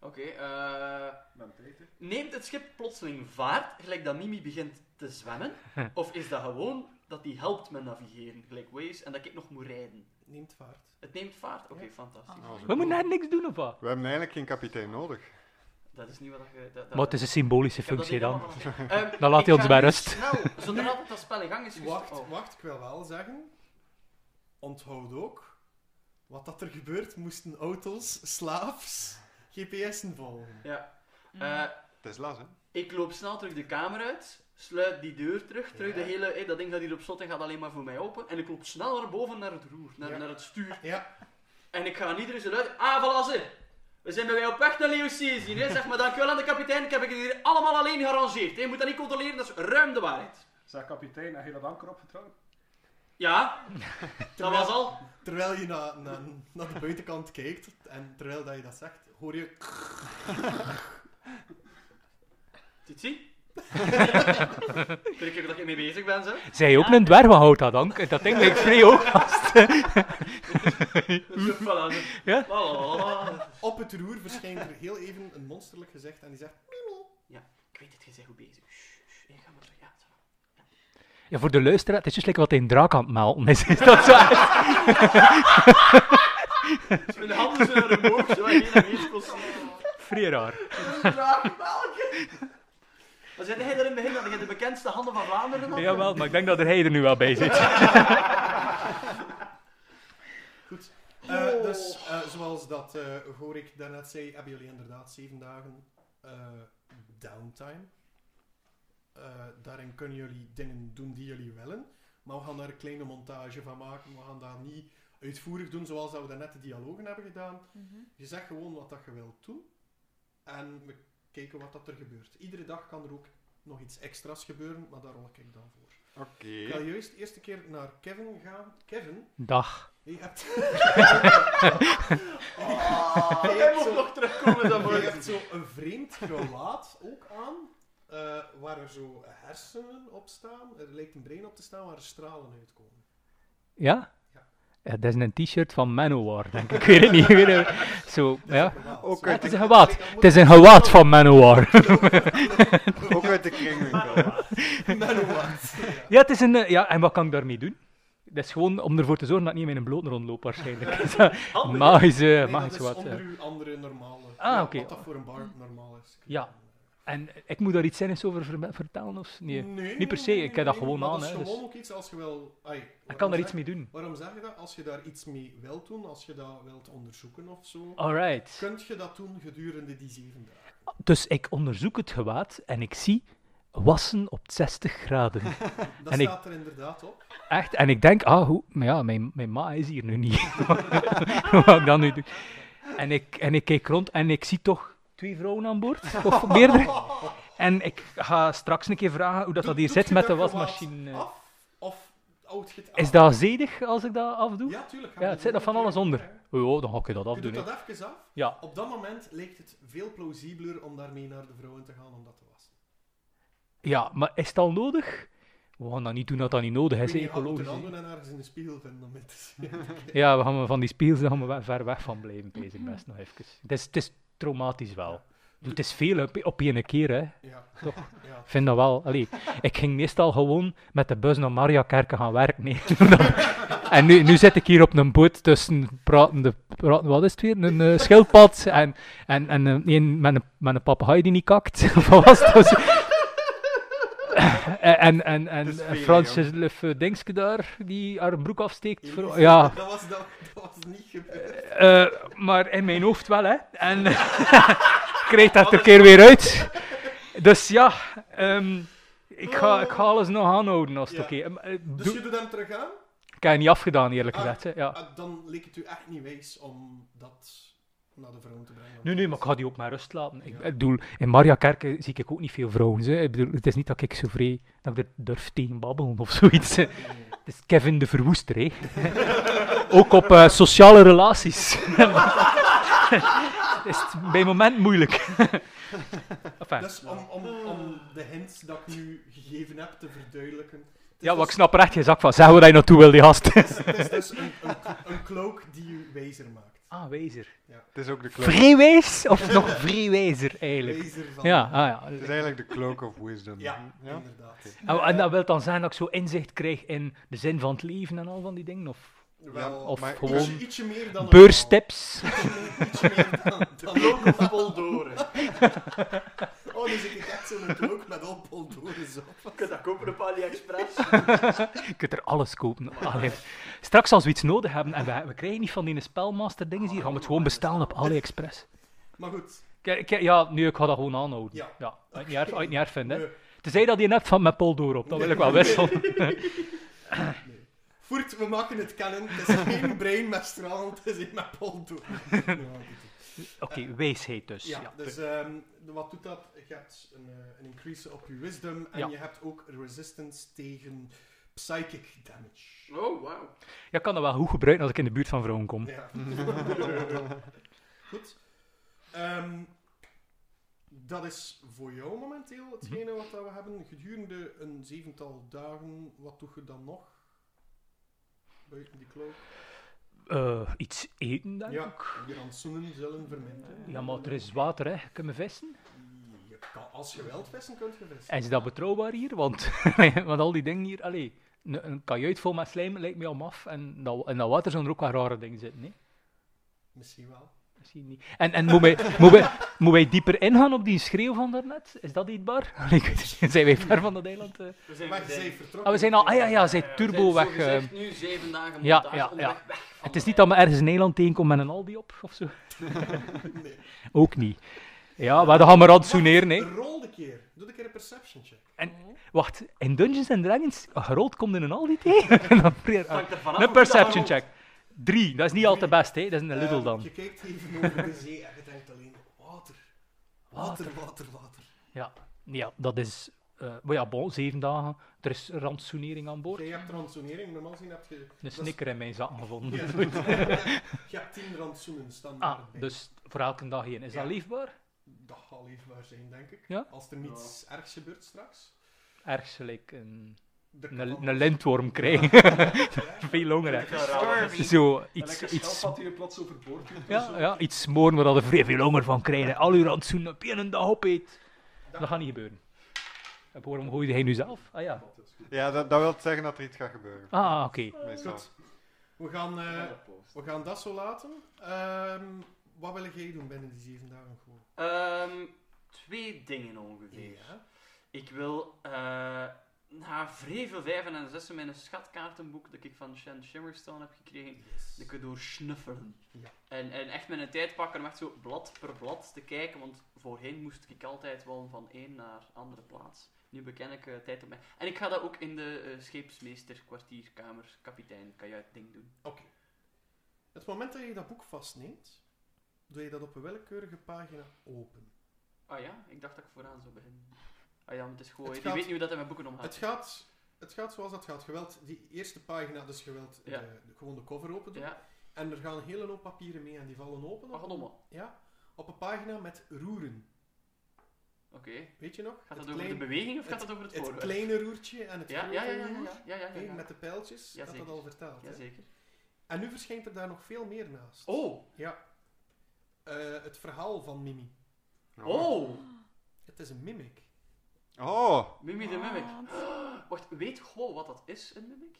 [SPEAKER 2] Oké, eh,
[SPEAKER 7] Ben Peter.
[SPEAKER 2] neemt het schip plotseling vaart, gelijk dat Mimi begint te zwemmen? Of is dat gewoon dat die helpt met navigeren, gelijk Waze, en dat ik nog moet rijden.
[SPEAKER 1] Neemt vaart.
[SPEAKER 2] Het neemt vaart? Oké, fantastisch.
[SPEAKER 4] Ah.
[SPEAKER 5] Nou, zo.
[SPEAKER 6] We moeten net niks doen of wat?
[SPEAKER 5] We hebben eigenlijk geen kapitein nodig.
[SPEAKER 2] Dat is niet wat je... Dat, dat,
[SPEAKER 6] Maar het is een symbolische
[SPEAKER 2] ik heb dat
[SPEAKER 6] functie
[SPEAKER 2] niet
[SPEAKER 6] dan.
[SPEAKER 2] allemaal gezien. Ehm,
[SPEAKER 6] Dan laat
[SPEAKER 2] ik
[SPEAKER 6] hij ons
[SPEAKER 2] ga
[SPEAKER 6] bij
[SPEAKER 2] nu
[SPEAKER 6] rust.
[SPEAKER 2] Snel, zodra dat spel in gang is gestart-
[SPEAKER 1] Wacht,
[SPEAKER 2] oh.
[SPEAKER 1] wacht, ik wil wel zeggen. Onthoud ook. Wat dat er gebeurt, moesten auto's slaafs GPS'en volgen.
[SPEAKER 2] Ja.
[SPEAKER 4] Mm.
[SPEAKER 2] Eh,
[SPEAKER 5] Tesla's, hè?
[SPEAKER 2] ik loop snel terug de kamer uit, sluit die deur terug, terug
[SPEAKER 1] Ja.
[SPEAKER 2] de hele... eh, dat ding gaat hier op slot en gaat alleen maar voor mij open. En ik loop snel naar boven, naar het roer, naar,
[SPEAKER 1] Ja.
[SPEAKER 2] naar het stuur.
[SPEAKER 1] Ja,
[SPEAKER 2] En ik ga aan iedereen zo luid... Ah, voilà ze! We zijn bij mij op weg naar Leocesië, hè. Zeg maar dankjewel aan de kapitein, ik heb het hier allemaal alleen gearrangeerd. hè. Je moet dat niet controleren, dat is ruim de waarheid.
[SPEAKER 7] Zeg kapitein, heb je dat anker opgetrokken?
[SPEAKER 2] Ja, dat
[SPEAKER 1] terwijl,
[SPEAKER 2] was al.
[SPEAKER 1] terwijl je naar na, naar de buitenkant kijkt en terwijl dat je dat zegt, hoor je.
[SPEAKER 2] Titsi? Drie keer dat ik mee bezig ben, zo.
[SPEAKER 6] Zij ook een dwerg, wat houdt dat dan? Dat ding lijkt vrij ook vast.
[SPEAKER 2] Dus voilà, zo.
[SPEAKER 6] Ja?
[SPEAKER 2] Lalalala.
[SPEAKER 1] Op het roer verschijnt er heel even een monsterlijk gezicht en die zegt:
[SPEAKER 2] Ik weet het, je bent goed bezig. Shh, shh, ik ga maar terug. Ja, zo.
[SPEAKER 6] Ja, voor de luisteraar, het is juist lekker wat hij een draak aan het melden is. Is dat zo?
[SPEAKER 2] Dus Mijn handen zijn naar omhoog, zo. En hier naar hier constant.
[SPEAKER 6] Vrij raar.
[SPEAKER 2] Maar zei hij er in het begin dat je de bekendste handen van Vlaanderen had?
[SPEAKER 6] Jawel, maar ik denk dat er hij er nu wel bij zit.
[SPEAKER 1] Goed. Eh, Dus eh, zoals dat eh Gorik daarnet zei, hebben jullie inderdaad zeven dagen eh, downtime. Eh, daarin kunnen jullie dingen doen die jullie willen. Maar we gaan daar een kleine montage van maken. We gaan daar niet uitvoerig doen zoals dat we daarnet de dialogen hebben gedaan.
[SPEAKER 4] Mhm.
[SPEAKER 1] Je zegt gewoon wat dat je wilt doen. En we kijken wat dat er gebeurt. Iedere dag kan er ook nog iets extra's gebeuren, maar daar rol ik dan voor.
[SPEAKER 5] Oké.
[SPEAKER 1] Ik ga juist de eerste keer naar Kevin gaan. Kevin,
[SPEAKER 6] Dag.
[SPEAKER 1] je hebt...
[SPEAKER 2] Ah, Jij mocht nog terugkomen dan
[SPEAKER 1] Je
[SPEAKER 2] voor
[SPEAKER 1] hebt zo een vreemd gelaat ook aan, eh, waar er zo hersenen op staan. Er lijkt een brein op te staan waar er stralen uitkomen.
[SPEAKER 6] Ja?
[SPEAKER 1] Ja.
[SPEAKER 6] Ja, dat is een t-shirt van Manowar, denk ik. Ik weet het niet. Ik weet het niet. Zo,
[SPEAKER 1] Dat is
[SPEAKER 6] ja.
[SPEAKER 1] een gewaad.
[SPEAKER 5] Ook
[SPEAKER 1] Zo-
[SPEAKER 5] uit de-
[SPEAKER 6] Het is een gewaad.
[SPEAKER 1] Dat moet-
[SPEAKER 6] Het is een gewaad van Manowar.
[SPEAKER 5] Ook uit de kringwinkel.
[SPEAKER 1] Nou, wat? Ja.
[SPEAKER 6] Ja, het is een... eh, Ja, en wat kan ik daarmee doen? Dat is gewoon om ervoor te zorgen dat ik niet met een bloot rondloop, waarschijnlijk. eh,
[SPEAKER 2] handen.
[SPEAKER 6] Magische,
[SPEAKER 1] Nee, dat
[SPEAKER 6] magische
[SPEAKER 1] is
[SPEAKER 6] Eh, wat.
[SPEAKER 1] onder
[SPEAKER 6] ja.
[SPEAKER 1] uw andere normale.
[SPEAKER 6] Ah,
[SPEAKER 1] Ja,
[SPEAKER 6] oké.
[SPEAKER 1] Wat dat voor een bar normaal is.
[SPEAKER 6] Ja. En eh, ik moet daar iets zinnigs over ver- vertellen, of nee? niet per se, ik heb dat gewoon
[SPEAKER 1] maar
[SPEAKER 6] aan,
[SPEAKER 1] Dat is
[SPEAKER 6] hè, dus-
[SPEAKER 1] gewoon ook iets als je wel... ai,
[SPEAKER 6] Ik
[SPEAKER 1] waarom
[SPEAKER 6] kan daar
[SPEAKER 1] zeg-
[SPEAKER 6] iets mee doen.
[SPEAKER 1] Waarom zeg je dat? Als je daar iets mee wilt doen, als je dat wilt onderzoeken of zo,
[SPEAKER 6] Ah. Alright.
[SPEAKER 1] kunt je dat doen gedurende die zeven dagen.
[SPEAKER 6] Dus ik onderzoek het gewaad en ik zie wassen op 60 graden.
[SPEAKER 1] Dat
[SPEAKER 6] En ik- Dus
[SPEAKER 1] staat er inderdaad op.
[SPEAKER 6] Echt. En ik denk, ah, hoe, maar ja, mijn, mijn ma is hier nu niet. Wat ga ik dan nu doen? En ik, en ik kijk rond en ik zie toch twee vrouwen aan boord, of meerdere. En ik ga straks een keer vragen hoe dat, dat hier
[SPEAKER 1] Doet- doet
[SPEAKER 6] zit
[SPEAKER 1] je
[SPEAKER 6] met de
[SPEAKER 1] dat gewaad
[SPEAKER 6] wasmachine. eh?
[SPEAKER 1] Af, of oud je het
[SPEAKER 6] Is
[SPEAKER 1] aan?
[SPEAKER 6] dat zedig als ik dat afdoe?
[SPEAKER 1] Ja, tuurlijk.
[SPEAKER 6] Ja, het zit nog van alles onder. Oh, dan ga ik dat
[SPEAKER 1] Of
[SPEAKER 6] afdoen.
[SPEAKER 1] doet
[SPEAKER 6] hè.
[SPEAKER 1] dat even af.
[SPEAKER 6] Ja.
[SPEAKER 1] Op dat moment leek het veel plausibeler om daarmee naar de vrouwen te gaan om dat te wassen.
[SPEAKER 6] ja, maar is het al nodig? We gaan dat niet doen dat dat niet nodig is, hè, ecologisch.
[SPEAKER 1] Dan
[SPEAKER 6] hè.
[SPEAKER 1] doen en ergens in de spiegel vinden om het te zien.
[SPEAKER 6] Ja, we gaan we van die spiegels daar gaan we wel ver weg van blijven bezig, best nog even. Het is, het is traumatisch wel. Het is veel op, op één keer, hè. Ik
[SPEAKER 1] Ja.
[SPEAKER 6] Toch?
[SPEAKER 1] Ja.
[SPEAKER 6] vind dat wel. Allee, ik ging meestal gewoon met de bus naar Mariakerken gaan werken. hè. en nu, nu zit ik hier op een boot tussen pratende, praten, wat is het weer? Een eh, schildpad en, en, en een, een met een, met een papegaai die niet kakt. Of wat was het? Dus- en en, en, en
[SPEAKER 5] Het is veel,
[SPEAKER 6] Francis Leffe Dingske daar, die haar broek afsteekt.
[SPEAKER 1] Jullie-
[SPEAKER 6] voor- ja.
[SPEAKER 1] Dat was, dat, dat was niet gebeurd.
[SPEAKER 6] Eh, maar in mijn hoofd wel, hè. En ik krijg dat er keer weer uit. Dus ja, ehm, ik, ga, ik ga alles nog aanhouden als het
[SPEAKER 1] Ja.
[SPEAKER 6] oké Ehm, eh,
[SPEAKER 1] Dus
[SPEAKER 6] doe-
[SPEAKER 1] je doet hem terug aan.
[SPEAKER 6] Ik heb het niet afgedaan, eerlijk
[SPEAKER 1] Ah.
[SPEAKER 6] gezegd. hè. Ja.
[SPEAKER 1] Ah, Dan leek het u echt niet wijs om dat naar de vrouwen te brengen.
[SPEAKER 6] Nee, nee, maar ik ga die ook maar rust laten. Ik
[SPEAKER 1] Ja.
[SPEAKER 6] ik bedoel, in Mariakerken zie ik ook niet veel vrouwen. Hè. Ik bedoel, het is niet dat ik zo vrij dat ik er durf tegen babbelen of zoiets. hè. Het is Kevin de Verwoester, hè. ook op eh, sociale relaties. is het bij moment moeilijk. enfin,
[SPEAKER 1] Dus om, om, om de hints dat ik nu gegeven heb te verduidelijken. Het is
[SPEAKER 6] Ja,
[SPEAKER 1] dus-
[SPEAKER 6] wat ik snap er echt geen zak van. Zeg waar je naartoe wil, die gast.
[SPEAKER 1] Het is dus een, een, een cloak die je wezer maakt.
[SPEAKER 6] Ah, wezer.
[SPEAKER 5] Het is ook de cloak.
[SPEAKER 6] Vreewees? Of nog vreewezer, eigenlijk?
[SPEAKER 1] Wezer van...
[SPEAKER 6] Ja, ah,
[SPEAKER 5] Het
[SPEAKER 6] ja.
[SPEAKER 5] is eigenlijk de cloak of wisdom.
[SPEAKER 1] Ja,
[SPEAKER 5] ja?
[SPEAKER 1] inderdaad.
[SPEAKER 6] En, en dat wil dan zijn dat ik zo inzicht krijg in de zin van het leven en al van die dingen? Of
[SPEAKER 1] Wel,
[SPEAKER 6] of
[SPEAKER 1] maar
[SPEAKER 6] gewoon
[SPEAKER 1] ietsje- ietsje meer dan een
[SPEAKER 6] beurstips?
[SPEAKER 1] vrouw. Ietsje meer dan, dan
[SPEAKER 2] Loop op Poldoren.
[SPEAKER 1] Oh, dan zit ik echt zo'n cloak met al poldoren op.
[SPEAKER 2] Je kunt dat kopen op AliExpress.
[SPEAKER 6] Je kunt er alles kopen. Allee. Straks als we iets nodig hebben en we, we krijgen niet van die spelmaster dingen hier, gaan we het gewoon bestellen op AliExpress.
[SPEAKER 1] Maar goed,
[SPEAKER 6] Kijk, kijk, ja, nu, ik ga dat gewoon aanhouden.
[SPEAKER 1] Ja.
[SPEAKER 6] Als je het niet erg- als je het niet erg vindt, hè.
[SPEAKER 1] Nee.
[SPEAKER 6] Tenzij dat je net van met Paul doorop, dan wil ik wel
[SPEAKER 1] Nee.
[SPEAKER 6] wisselen.
[SPEAKER 1] voert, we maken het kennen. Het is geen brein met stralen, het is een met poldoren. Ja, goed.
[SPEAKER 6] Oké, wijsheid dus.
[SPEAKER 1] Ja,
[SPEAKER 6] Ja,
[SPEAKER 1] dus ehm, de- wat doet dat? Je hebt een, eh, een increase op je wisdom en
[SPEAKER 6] Ja.
[SPEAKER 1] je hebt ook resistance tegen psychic damage.
[SPEAKER 2] Oh, wauw.
[SPEAKER 6] Ja, ik kan dat wel goed gebruiken als ik in de buurt van vrouwen kom.
[SPEAKER 1] Ja. Goed. Ehm, dat is voor jou momenteel hetgene
[SPEAKER 6] Mhm.
[SPEAKER 1] wat dat we hebben. Gedurende een zevental dagen, wat doe je dan nog? Buiten die kloof.
[SPEAKER 6] Eh, iets eten, denk
[SPEAKER 1] Ja.
[SPEAKER 6] ik.
[SPEAKER 1] Je rantsoenen zullen verminderen.
[SPEAKER 6] Ja, maar er is water, hè. Kunnen we vissen?
[SPEAKER 1] Je kan, als je wilt vissen, kunt je vissen.
[SPEAKER 6] En is dat betrouwbaar hier? Want, want al die dingen hier, allee, een, een kajuit vol met slijm lijkt me al maf. En dat, en dat water zijn er ook wel rare dingen zitten, nee?
[SPEAKER 1] Misschien wel.
[SPEAKER 6] Misschien niet. En, en moet, wij, moet, wij, moet wij dieper ingaan op die schreeuw van daarnet? Is dat eetbaar? Allee, ik weet het, zijn wij ver van dat eiland? eh?
[SPEAKER 2] We zijn,
[SPEAKER 1] Maar je bent vertrokken.
[SPEAKER 6] Ah, we zijn al... Ah ja, ja, zij
[SPEAKER 2] we
[SPEAKER 6] turbo
[SPEAKER 2] zijn
[SPEAKER 6] weg. eh.
[SPEAKER 2] zogezegd nu zeven dagen
[SPEAKER 6] ja,
[SPEAKER 2] montage
[SPEAKER 6] ja,
[SPEAKER 2] onderweg
[SPEAKER 6] ja.
[SPEAKER 2] weg van
[SPEAKER 6] het is
[SPEAKER 2] de
[SPEAKER 6] niet dat we ergens een eiland tegenkomen met een Aldi op, of zo.
[SPEAKER 1] Nee.
[SPEAKER 6] Ook niet. Ja, maar dan gaan we rantsoeneren, hè.
[SPEAKER 1] Rol de keer. Doe de keer een perception check.
[SPEAKER 6] Wacht, in Dungeons and Dragons, gerold komt in een Aldi tegen? Dan vreer-
[SPEAKER 2] Hangt er vanaf
[SPEAKER 6] Een
[SPEAKER 2] hoe dat rolt.
[SPEAKER 6] perception check. Drie, dat is niet al te best, hè. Dat is een Lidl
[SPEAKER 1] Ehm,
[SPEAKER 6] dan.
[SPEAKER 1] Je kijkt even over de zee en je denkt alleen water. Water, water, water.
[SPEAKER 6] Ja, ja dat is... eh maar ja, bon, zeven dagen. Er is rantsoenering aan boord.
[SPEAKER 1] Jij hebt rantsoenering, normaal gezien heb je...
[SPEAKER 6] Een snikker in mijn zak gevonden.
[SPEAKER 1] Ja. je hebt tien rantsoenen standaard
[SPEAKER 6] Ah,
[SPEAKER 1] bij.
[SPEAKER 6] dus voor elke dag één. Is
[SPEAKER 1] Ja.
[SPEAKER 6] dat liefbaar?
[SPEAKER 1] Dat zal leefbaar zijn, denk ik.
[SPEAKER 6] Ja?
[SPEAKER 1] Als er niets ergs gebeurt straks.
[SPEAKER 6] Ergens gelijk een,
[SPEAKER 1] Er kan
[SPEAKER 6] een,
[SPEAKER 1] anders.
[SPEAKER 6] een lintworm krijgen.
[SPEAKER 1] Ja.
[SPEAKER 6] Veel langer,
[SPEAKER 2] Ja, raar.
[SPEAKER 6] hè. Zo,
[SPEAKER 7] Een
[SPEAKER 6] iets...
[SPEAKER 7] lekker
[SPEAKER 6] iets
[SPEAKER 7] schelpad die je plots overboord doet.
[SPEAKER 6] ja, eh, ja, iets smoren waar dat er vrij veel honger van krijgen. Al uw rantsoen op één dag opeet. Dat gaat niet gebeuren. En Waarom gooide hij nu zelf? Ah ja.
[SPEAKER 5] Ja, dat, dat wil zeggen dat er iets gaat gebeuren.
[SPEAKER 6] Ah, oké.
[SPEAKER 5] Meestal.
[SPEAKER 1] Goed. We gaan, eh, we gaan dat zo laten. Ehm, wat wil jij doen binnen die zeven dagen gewoon?
[SPEAKER 2] Ehm, twee dingen ongeveer.
[SPEAKER 1] Ja.
[SPEAKER 2] Ik wil eh na Vrevel 5 en 6 mijn schatkaartenboek dat ik van Shen Shimmerstone heb gekregen, dat ik door snuffelen.
[SPEAKER 1] Ja.
[SPEAKER 2] En, en echt mijn tijd pakken om echt zo blad per blad te kijken, want voorheen moest ik altijd wel van één naar andere plaats. Nu beken ik eh, tijd op mij. En ik ga dat ook in de eh, scheepsmeester, kwartierkamer, kapitein, kajuit ding doen.
[SPEAKER 1] Oké. Het moment dat je dat boek vastneemt, doe je dat op een willekeurige pagina open.
[SPEAKER 2] Ah ja, ik dacht dat ik vooraan zou beginnen. Ah ja, maar het is gewoon...
[SPEAKER 1] Het
[SPEAKER 2] Je
[SPEAKER 1] gaat-
[SPEAKER 2] weet niet hoe dat in mijn boeken omgaat.
[SPEAKER 1] Het gaat, het gaat zoals dat gaat. Geweld, die eerste pagina, dus geweld,
[SPEAKER 2] Ja.
[SPEAKER 1] de, de- gewoon de cover open doen.
[SPEAKER 2] Ja,
[SPEAKER 1] En er gaan een hele hoop papieren mee en die vallen open.
[SPEAKER 2] maar
[SPEAKER 1] Op,
[SPEAKER 2] goddomme. Oké.
[SPEAKER 1] ja, op een pagina met roeren. Weet je nog?
[SPEAKER 2] Gaat
[SPEAKER 1] Het
[SPEAKER 2] dat over
[SPEAKER 1] klein-
[SPEAKER 2] de beweging of gaat dat over het
[SPEAKER 1] Het
[SPEAKER 2] voorwerp?
[SPEAKER 1] kleine roertje en het
[SPEAKER 2] ja,
[SPEAKER 1] grote
[SPEAKER 2] ja, ja, ja,
[SPEAKER 1] roer.
[SPEAKER 2] ja, ja, ja, ja,
[SPEAKER 1] Oké,
[SPEAKER 2] ja.
[SPEAKER 1] Met de pijltjes, dat dat
[SPEAKER 2] Jazeker.
[SPEAKER 1] al vertaald. hè?
[SPEAKER 2] Jazeker.
[SPEAKER 1] en nu verschijnt er daar nog veel meer naast.
[SPEAKER 2] Oh,
[SPEAKER 1] Ja. Eh, het verhaal van Mimi.
[SPEAKER 2] oh,
[SPEAKER 1] Het is een mimic.
[SPEAKER 5] Oh,
[SPEAKER 2] Mimi de Mimic.
[SPEAKER 4] Wat?
[SPEAKER 2] Wacht, weet gewoon wat dat is, een Mimic?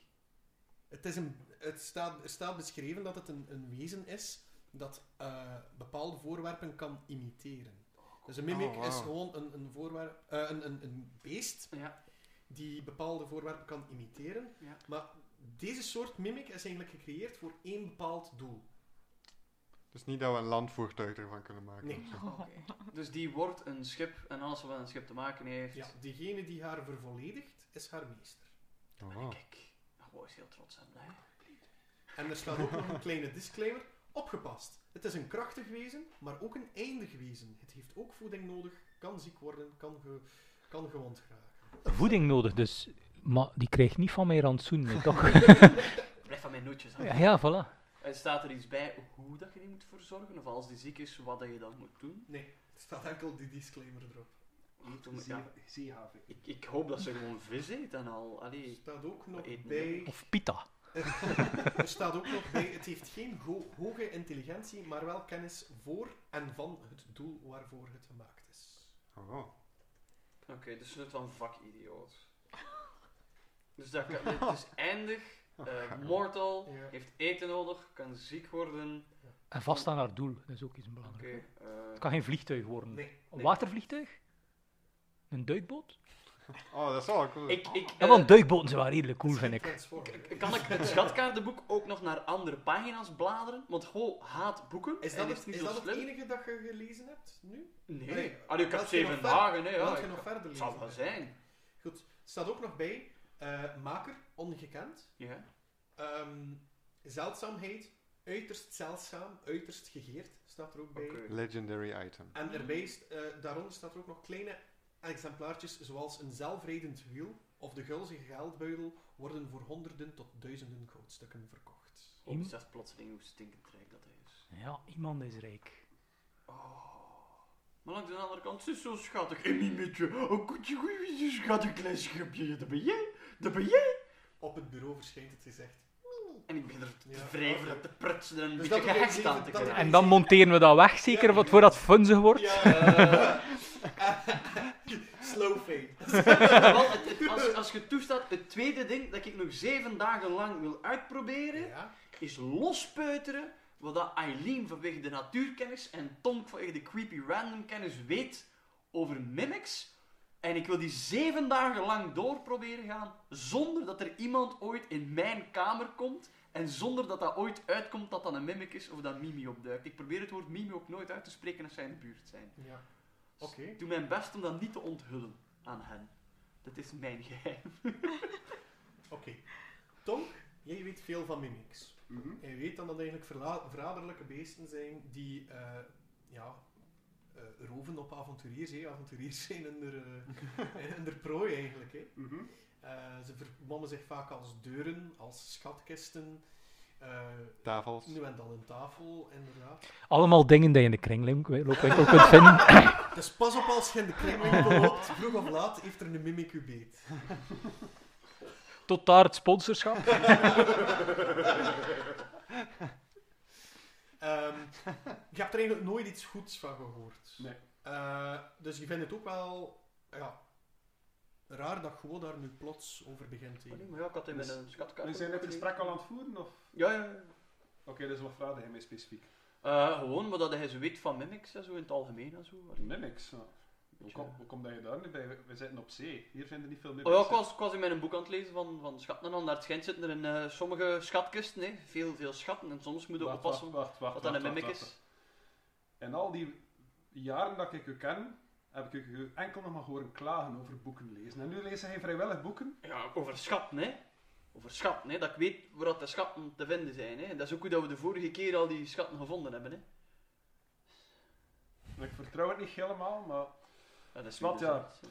[SPEAKER 1] Het, is een, het staat, er staat beschreven dat het een, een wezen is dat eh, bepaalde voorwerpen kan imiteren. Dus een mimic
[SPEAKER 5] Oh, wauw.
[SPEAKER 1] is gewoon een, een, voorwerp, eh, een, een, een beest
[SPEAKER 2] Ja,
[SPEAKER 1] die bepaalde voorwerpen kan imiteren.
[SPEAKER 2] Ja.
[SPEAKER 1] Maar deze soort mimic is eigenlijk gecreëerd voor één bepaald doel.
[SPEAKER 5] dus niet dat we een landvoertuig ervan kunnen maken.
[SPEAKER 1] Nee.
[SPEAKER 2] oké. Dus die wordt een schip en alles wat met een schip te maken heeft.
[SPEAKER 1] Ja, degene die haar vervolledigt, is haar meester.
[SPEAKER 5] Oh.
[SPEAKER 2] Kijk, daar word ik heel trots en blij.
[SPEAKER 1] En er staat ook nog een kleine disclaimer. Opgepast. Het is een krachtig wezen, maar ook een eindig wezen. Het heeft ook voeding nodig, kan ziek worden, kan, ge, kan gewond geraken.
[SPEAKER 6] Voeding nodig, dus... Maar die krijgt niet van mijn rantsoen, nee, toch?
[SPEAKER 2] Blijf van mijn nootjes af.
[SPEAKER 6] ja, ja, voilà.
[SPEAKER 2] En staat er iets bij hoe dat je die moet verzorgen? Of als die ziek is, wat dat je dan moet doen?
[SPEAKER 1] Nee, er staat enkel die disclaimer erop.
[SPEAKER 2] Oké. eet om...
[SPEAKER 7] Zee-
[SPEAKER 2] Ja,
[SPEAKER 7] Zeehavik.
[SPEAKER 2] ik, ik hoop dat ze gewoon vis eet en al. Allee.
[SPEAKER 1] staat ook nog
[SPEAKER 2] eten
[SPEAKER 1] bij...
[SPEAKER 6] Of pita.
[SPEAKER 1] Er staat ook nog bij, het heeft geen ho- hoge intelligentie, maar wel kennis voor en van het doel waarvoor het gemaakt is.
[SPEAKER 5] Oh.
[SPEAKER 2] Oké, dus het van vakidioot. Dus dat kan, het is eindig. eh, mortal.
[SPEAKER 1] Ja.
[SPEAKER 2] Heeft eten nodig. Kan ziek worden.
[SPEAKER 6] En vast aan haar doel. Dat is ook iets
[SPEAKER 2] Oké.
[SPEAKER 6] belangrijks.
[SPEAKER 2] eh,
[SPEAKER 6] Het kan geen vliegtuig
[SPEAKER 2] Hmm.
[SPEAKER 6] worden.
[SPEAKER 1] Nee.
[SPEAKER 6] Een
[SPEAKER 1] nee.
[SPEAKER 6] watervliegtuig? Een duikboot?
[SPEAKER 5] oh, dat is wel cool.
[SPEAKER 2] ik, ik,
[SPEAKER 6] Ja,
[SPEAKER 2] eh,
[SPEAKER 6] want duikboten zijn wel redelijk cool, vind ik.
[SPEAKER 1] Transformer, hè.
[SPEAKER 2] k- kan ik het schatkaartenboek ook nog naar andere pagina's bladeren? Want Ho haat boeken.
[SPEAKER 1] Is
[SPEAKER 2] en
[SPEAKER 1] dat,
[SPEAKER 2] is
[SPEAKER 1] het,
[SPEAKER 2] niet
[SPEAKER 1] is
[SPEAKER 2] zo
[SPEAKER 1] dat het
[SPEAKER 2] slim.
[SPEAKER 1] enige dat je gelezen hebt nu?
[SPEAKER 2] Nee. Ah,
[SPEAKER 1] Nee.
[SPEAKER 2] Allee, ik heb
[SPEAKER 1] Wilt je nog
[SPEAKER 2] zeven
[SPEAKER 1] verder-
[SPEAKER 2] dagen, hè. Ja,
[SPEAKER 1] Wilt je
[SPEAKER 2] ik-
[SPEAKER 1] nog verder
[SPEAKER 2] het
[SPEAKER 1] lezen?
[SPEAKER 2] zal wel zijn.
[SPEAKER 1] Goed. Er staat ook nog bij, eh, maker, ongekend.
[SPEAKER 2] Ja.
[SPEAKER 1] Ehm, zeldzaamheid, uiterst zeldzaam, uiterst gegeerd, staat er ook bij.
[SPEAKER 2] Oké.
[SPEAKER 5] Legendary item.
[SPEAKER 1] En erbij, st- eh, daaronder staat er ook nog kleine exemplaartjes, zoals een zelfrijdend wiel of de gulzige geldbuidel, worden voor honderden tot duizenden goudstukken verkocht.
[SPEAKER 2] Oh, dus dat is plotseling hoe stinkend rijk dat hij is.
[SPEAKER 6] Ja, iemand is rijk.
[SPEAKER 2] Oh. Maar langs de andere kant, ze is zo schattig. Een mimetje, een koetje, goeie, een schattig klein schipje. Dat ben jij, dat ben jij.
[SPEAKER 1] Op het bureau verschijnt het gezegd.
[SPEAKER 2] En ik ben er te
[SPEAKER 1] Ja.
[SPEAKER 2] wrevelen, te prutsen en een
[SPEAKER 1] Dus
[SPEAKER 2] beetje
[SPEAKER 1] dat
[SPEAKER 2] gehecht
[SPEAKER 1] betekent
[SPEAKER 2] aan te
[SPEAKER 1] dat-
[SPEAKER 2] krijgen.
[SPEAKER 6] En dan monteren we dat weg, zeker, wat- voordat het funzig wordt.
[SPEAKER 1] Slow fade.
[SPEAKER 2] Wel, het- het- als, als je toestaat, het tweede ding dat ik nog zeven dagen lang wil uitproberen,
[SPEAKER 1] Ja.
[SPEAKER 2] is lospeuteren wat dat Eileen vanwege de natuurkennis en Tonk vanwege de creepy random kennis weet over mimics. En ik wil die zeven dagen lang door proberen gaan, zonder dat er iemand ooit in mijn kamer komt. En zonder dat dat ooit uitkomt dat dat een mimic is of dat Mimi opduikt. Ik probeer het woord Mimi ook nooit uit te spreken als zij in de buurt zijn.
[SPEAKER 1] ja.
[SPEAKER 2] Dus
[SPEAKER 1] Oké.
[SPEAKER 2] Ik doe mijn best om dat niet te onthullen aan hen. Dat is mijn geheim.
[SPEAKER 1] Oké. Tonk, jij weet veel van mimics.
[SPEAKER 7] Mhm.
[SPEAKER 1] En je weet dan dat eigenlijk verla- verraderlijke beesten zijn die eh, ja, eh, roven op avonturiers. Hè. Avonturiers zijn hun der, eh, hun der prooi eigenlijk. Hè.
[SPEAKER 7] Mhm.
[SPEAKER 1] Eh, ze vermommen zich vaak als deuren, als schatkisten. eh,
[SPEAKER 5] Tafels.
[SPEAKER 1] nu en dan een tafel, inderdaad.
[SPEAKER 6] Allemaal dingen die je in de kringloopwinkel kunt vinden.
[SPEAKER 1] Dus pas op als je in de kringwinkel loopt, vroeg of laat heeft er een mimic u beet.
[SPEAKER 6] Tot daar het sponsorschap.
[SPEAKER 1] Ehm, je hebt er eigenlijk nooit iets goeds van gehoord.
[SPEAKER 7] Nee.
[SPEAKER 1] Eh, dus je vindt het ook wel ja, raar dat Go daar nu plots over begint. hè.
[SPEAKER 2] Maar ja, ik had hem met een schatkaart.
[SPEAKER 7] We zijn dit gesprek al aan Dus het voeren, of?
[SPEAKER 2] Ja, ja, ja.
[SPEAKER 7] Oké, dus wat vragen hij mij specifiek?
[SPEAKER 2] Eh, gewoon wat dat hij zo weet van mimics en zo in het algemeen en zo. Allee,
[SPEAKER 7] Mimics. Mm, ja. Hoe komt hoe komt dat je daar nu bij? We- We zitten op zee. Hier vinden niet veel mimics.
[SPEAKER 2] Oh ja, ik was, ik was in mijn boek aan het lezen van, van schatten en al. Naar het schijnt zitten er in eh, sommige schatkisten, hè. Veel, veel schatten. En soms moet je
[SPEAKER 7] Wacht,
[SPEAKER 2] oppassen
[SPEAKER 7] wacht, wacht, wacht,
[SPEAKER 2] wat dan een
[SPEAKER 7] wacht,
[SPEAKER 2] mimic
[SPEAKER 7] wacht,
[SPEAKER 2] is.
[SPEAKER 7] wacht. In al die jaren dat ik u ken, heb ik u enkel nog maar horen klagen over boeken lezen. En nu lees hij vrijwillig boeken.
[SPEAKER 2] Ja, over schatten, hè. Over schatten, hè. Dat ik weet waar dat de schatten te vinden zijn, hè. En dat is ook hoe dat we de vorige keer al die schatten gevonden hebben, hè.
[SPEAKER 7] En ik vertrouw het niet helemaal, maar
[SPEAKER 2] Ja, dat is
[SPEAKER 7] Wat,
[SPEAKER 2] weer
[SPEAKER 7] ja.
[SPEAKER 2] zoiets, hè.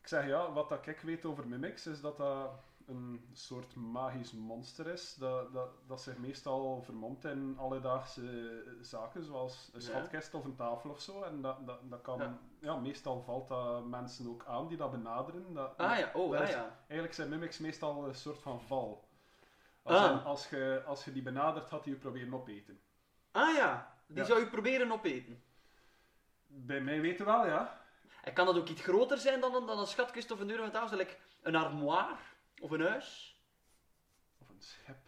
[SPEAKER 7] ik zeg ja, wat dat ik weet over mimics is dat dat een soort magisch monster is. Dat, dat, dat zich meestal vermomt in alledaagse eh, zaken, zoals een
[SPEAKER 2] Ja.
[SPEAKER 7] schatkist of een tafel of zo. En dat, dat, dat kan,
[SPEAKER 2] Ja.
[SPEAKER 7] ja. meestal valt dat mensen ook aan die dat benaderen. Dat,
[SPEAKER 2] Ah ja, oh,
[SPEAKER 7] dat
[SPEAKER 2] ah
[SPEAKER 7] is-
[SPEAKER 2] ja.
[SPEAKER 7] Eigenlijk zijn mimics meestal een soort van val. Als,
[SPEAKER 2] Ah.
[SPEAKER 7] in, als, je, als je die benadert, had hij je proberen opeten.
[SPEAKER 2] Ah ja, die
[SPEAKER 7] Ja.
[SPEAKER 2] zou je proberen opeten.
[SPEAKER 7] Bij mij weten wel, ja.
[SPEAKER 2] En kan dat ook iets groter zijn dan, een- dan een schatkist of een deur met tafel? Like een armoire of een huis?
[SPEAKER 7] Of een schep.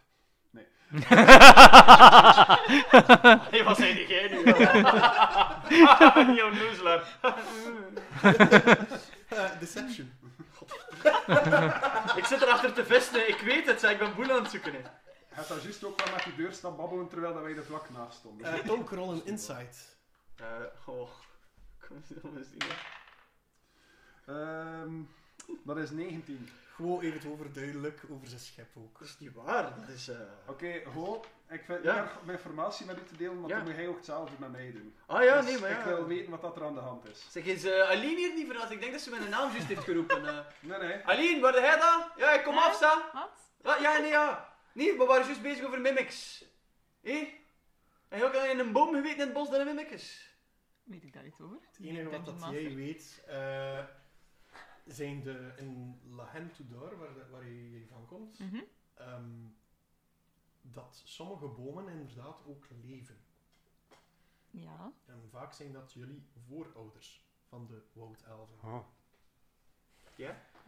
[SPEAKER 2] Nee, wat zei jij nu? Jouw nuzelaar.
[SPEAKER 1] Eh, deception.
[SPEAKER 2] Ik zit erachter te vesten, ik weet het, zeg, ik ben boel aan het zoeken. hè.
[SPEAKER 7] Je hebt daar juist ook wel met die deur staan babbelen terwijl dat wij er vlak naast stonden.
[SPEAKER 1] Eh Tonk, rol een insight.
[SPEAKER 2] Eh, oh. Kom eens kom eens zien. hè.
[SPEAKER 7] Ehm, dat is 19.
[SPEAKER 1] Gewoon even het overduidelijk over zijn schep ook.
[SPEAKER 2] Dat is niet waar, dat is... eh,
[SPEAKER 7] Oké, Ho, ik vind het
[SPEAKER 2] Ja.
[SPEAKER 7] erg om informatie met u te delen, want
[SPEAKER 2] Ja.
[SPEAKER 7] dan moet hij ook hetzelfde met mij doen.
[SPEAKER 2] Ah ja,
[SPEAKER 7] Dus
[SPEAKER 2] nee, maar ja.
[SPEAKER 7] Ik wil weten wat dat er aan de hand is.
[SPEAKER 2] Zeg, is eh Aline hier niet verrast? Ik denk dat ze mijn naam juist heeft geroepen. eh.
[SPEAKER 7] Nee, nee.
[SPEAKER 2] Aline, waar ben jij dan? Ja, ik kom
[SPEAKER 4] Hè?
[SPEAKER 2] af, staan.
[SPEAKER 4] Wat?
[SPEAKER 2] Wat? Ah, Ja, nee, ja. Nee, we waren juist bezig over mimics. Hé? En je ook al in een boom geweten in het bos dat een mimic is.
[SPEAKER 4] Weet ik daar iets over?
[SPEAKER 1] Het enige wat dat jij weet, eh, zijn de in La Haine Tudor, waar, de- waar je van komt,
[SPEAKER 4] Mhm.
[SPEAKER 1] ehm, dat sommige bomen inderdaad ook leven.
[SPEAKER 4] Ja.
[SPEAKER 1] En vaak zijn dat jullie voorouders van de woudelven.
[SPEAKER 5] Oh.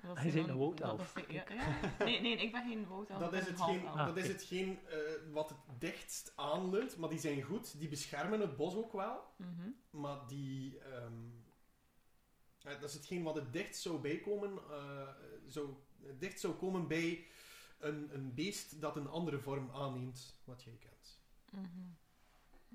[SPEAKER 4] Dat
[SPEAKER 6] Hij is
[SPEAKER 4] zijn
[SPEAKER 6] een
[SPEAKER 4] dan-
[SPEAKER 6] woudelf.
[SPEAKER 4] dat- dat zijn- ja, ja. Nee, nee, ik ben geen woudelf.
[SPEAKER 1] Dat
[SPEAKER 4] ik
[SPEAKER 1] is
[SPEAKER 4] ben een
[SPEAKER 1] hetgeen,
[SPEAKER 4] halfelf.
[SPEAKER 6] Ah,
[SPEAKER 1] dat is
[SPEAKER 6] oké.
[SPEAKER 1] hetgeen eh, wat het dichtst aanleunt, maar die zijn goed, die beschermen het bos ook wel,
[SPEAKER 4] Mhm.
[SPEAKER 1] maar die... ehm, eh, dat is hetgeen wat het dichtst zou bijkomen, eh, zou, het dichtst zou komen bij een, een beest dat een andere vorm aanneemt, wat jij kent.
[SPEAKER 4] Mhm.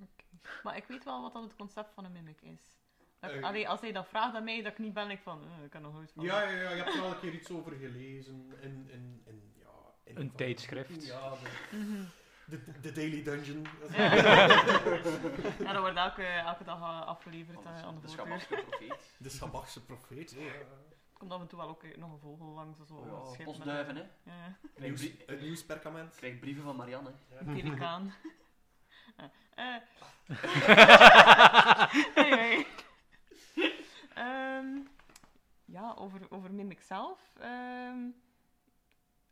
[SPEAKER 4] Oké. Maar ik weet wel wat dan het concept van een mimic is. Dat-
[SPEAKER 1] Eh.
[SPEAKER 4] allee, als hij dat vraagt aan mij, dat ik niet ben, ik van, eh, ik kan nog nooit van.
[SPEAKER 1] Ja, ja, ja, je hebt er al een keer iets over gelezen in... in, in, ja, in
[SPEAKER 6] Een tijdschrift.
[SPEAKER 1] Ja, de,
[SPEAKER 4] Mhm.
[SPEAKER 1] de, de Daily Dungeon. Dat is-
[SPEAKER 4] Ja. ja, dat wordt elke, elke dag eh,
[SPEAKER 1] Oh,
[SPEAKER 4] afgeleverd eh, aan de
[SPEAKER 2] de
[SPEAKER 4] voordeur.
[SPEAKER 2] schaamachtige profeet.
[SPEAKER 1] De Sabachse profeet. hè, ja.
[SPEAKER 4] Er komt af en toe wel ook eh, nog een vogel langs of zo. een
[SPEAKER 2] Oh,
[SPEAKER 4] schip
[SPEAKER 2] ja,
[SPEAKER 4] met
[SPEAKER 2] bosduiven, hè.
[SPEAKER 4] een- Ja,
[SPEAKER 1] Het
[SPEAKER 2] Krijg,
[SPEAKER 1] nieuws-
[SPEAKER 2] brie-
[SPEAKER 1] het nieuwsperkament.
[SPEAKER 2] ik krijg brieven van Marianne.
[SPEAKER 4] een pelikaan. Ja, eh. hey, hey. Ehm, ja, over, over Mimic zelf. ehm,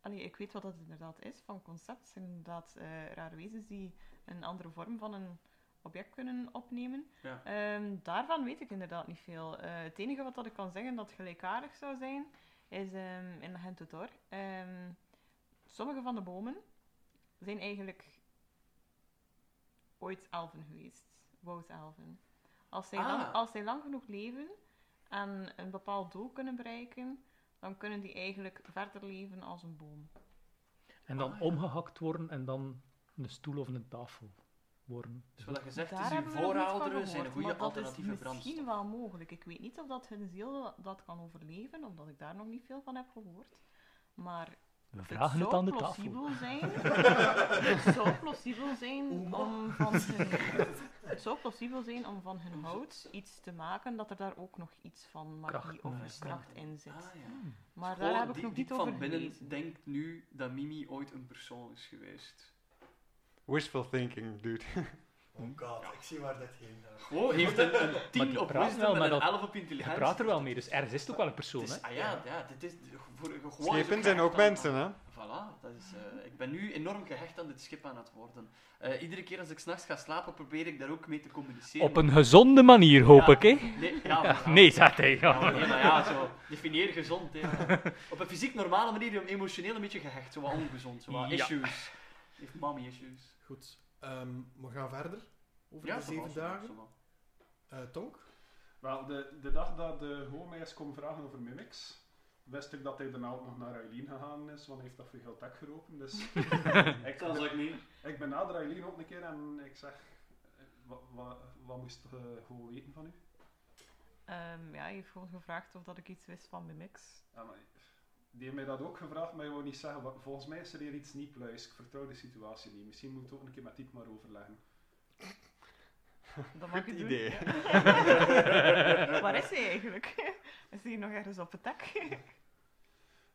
[SPEAKER 4] allee, ik weet wat dat inderdaad is van concept. Het zijn inderdaad eh, rare wezens die een andere vorm van een object kunnen opnemen.
[SPEAKER 2] Ja.
[SPEAKER 4] Ehm, daarvan weet ik inderdaad niet veel. Eh, het enige wat dat ik kan zeggen dat gelijkaardig zou zijn, is ehm, in de Gentotor. ehm sommige van de bomen zijn eigenlijk ooit elfen geweest. Woud-elfen. Als, zij
[SPEAKER 2] Ah.
[SPEAKER 4] lang- als zij lang genoeg leven en een bepaald doel kunnen bereiken, dan kunnen die eigenlijk verder leven als een boom.
[SPEAKER 6] En dan
[SPEAKER 2] Ah, ja.
[SPEAKER 6] omgehakt worden en dan een stoel of een tafel worden. Dus
[SPEAKER 2] Zoals gezegd
[SPEAKER 4] Daar
[SPEAKER 2] is, uw
[SPEAKER 4] hebben we nog niet van
[SPEAKER 2] voorouderen zijn
[SPEAKER 4] gehoord,
[SPEAKER 2] een
[SPEAKER 4] maar
[SPEAKER 2] goede
[SPEAKER 4] dat is
[SPEAKER 2] alternatieve brandstof.
[SPEAKER 4] misschien wel mogelijk. Ik weet niet of dat hun ziel dat kan overleven, omdat ik daar nog niet veel van heb gehoord. Maar
[SPEAKER 6] We vragen
[SPEAKER 4] het
[SPEAKER 6] het
[SPEAKER 4] zou
[SPEAKER 6] aan de tafel.
[SPEAKER 4] plausibel zijn. het zou plausibel zijn om van hun, het zou plausibel zijn om van hun hout iets te maken dat er daar ook nog iets van magie
[SPEAKER 6] Kracht
[SPEAKER 4] of
[SPEAKER 6] in zit.
[SPEAKER 4] kracht in zit.
[SPEAKER 2] Ah, ja.
[SPEAKER 4] Maar
[SPEAKER 2] Gewoon
[SPEAKER 4] daar heb ik
[SPEAKER 2] diep-
[SPEAKER 4] nog
[SPEAKER 2] diep
[SPEAKER 4] niet over
[SPEAKER 2] van binnen
[SPEAKER 4] gelezen.
[SPEAKER 2] denkt nu dat Mimi ooit een persoon is geweest.
[SPEAKER 5] Wishful thinking, dude.
[SPEAKER 1] Oh god, ik zie waar dit heen gaat.
[SPEAKER 2] Gewoon Oh, heeft een, een 10
[SPEAKER 6] die
[SPEAKER 2] op
[SPEAKER 6] praat wel,
[SPEAKER 2] wisdom en
[SPEAKER 6] maar
[SPEAKER 2] een
[SPEAKER 6] dat-
[SPEAKER 2] 11 op
[SPEAKER 6] Je
[SPEAKER 2] intelligentie.
[SPEAKER 6] praat er wel mee, dus ergens is het ook wel een
[SPEAKER 2] Het
[SPEAKER 6] persoon, hè?
[SPEAKER 2] is, ah ja, ja, dit is voor, gewoon
[SPEAKER 5] Schepen
[SPEAKER 2] zo
[SPEAKER 5] zijn ook
[SPEAKER 2] gehecht aan-
[SPEAKER 5] mensen, hè?
[SPEAKER 2] Voilà, dat is, eh, ik ben nu enorm gehecht aan dit schip aan het worden. Eh, iedere keer als ik s'nachts ga slapen, probeer ik daar ook mee te communiceren.
[SPEAKER 6] Op een gezonde manier, hoop
[SPEAKER 2] Ja.
[SPEAKER 6] ik, hè?
[SPEAKER 2] Nee, ja, maar-
[SPEAKER 6] Nee, zegt hij.
[SPEAKER 2] Ja, maar
[SPEAKER 6] Ja.
[SPEAKER 2] nee, maar ja, zo. Definieer gezond. Hè. Op een fysiek normale manier, emotioneel een beetje gehecht. Zo wat ongezond, zo wat
[SPEAKER 6] Ja.
[SPEAKER 2] issues. Heeft mommy issues.
[SPEAKER 1] Goed, ehm, we gaan verder. Over de
[SPEAKER 2] zo wel,
[SPEAKER 1] zeven
[SPEAKER 2] zo wel,
[SPEAKER 1] dagen.
[SPEAKER 2] zo wel.
[SPEAKER 1] Eh, Tonk?
[SPEAKER 7] Wel, de, de dag dat de homeis kwam vragen over mimics, wist ik dat hij daarna ook nog naar Eileen gegaan is, want hij heeft dat voor heel tak geropen. Dus ik,
[SPEAKER 2] Zelfs ook niet.
[SPEAKER 7] ik benader Eileen ook een keer en ik zeg, eh, wa- wa- wat moest eh Ho weten van u?
[SPEAKER 4] Ehm, ja, je heeft gewoon gevraagd of dat ik iets wist van Mimics.
[SPEAKER 7] Ja, maar die heeft mij dat ook gevraagd, maar je wou niet zeggen, wa- volgens mij is er hier iets niet pluis, ik vertrouw de situatie niet. Misschien moet ik het ook een keer met Diep maar overleggen.
[SPEAKER 4] Dat mag je
[SPEAKER 5] Goed
[SPEAKER 4] doen.
[SPEAKER 5] idee.
[SPEAKER 4] Waar is hij eigenlijk? is hij nog ergens op het dak?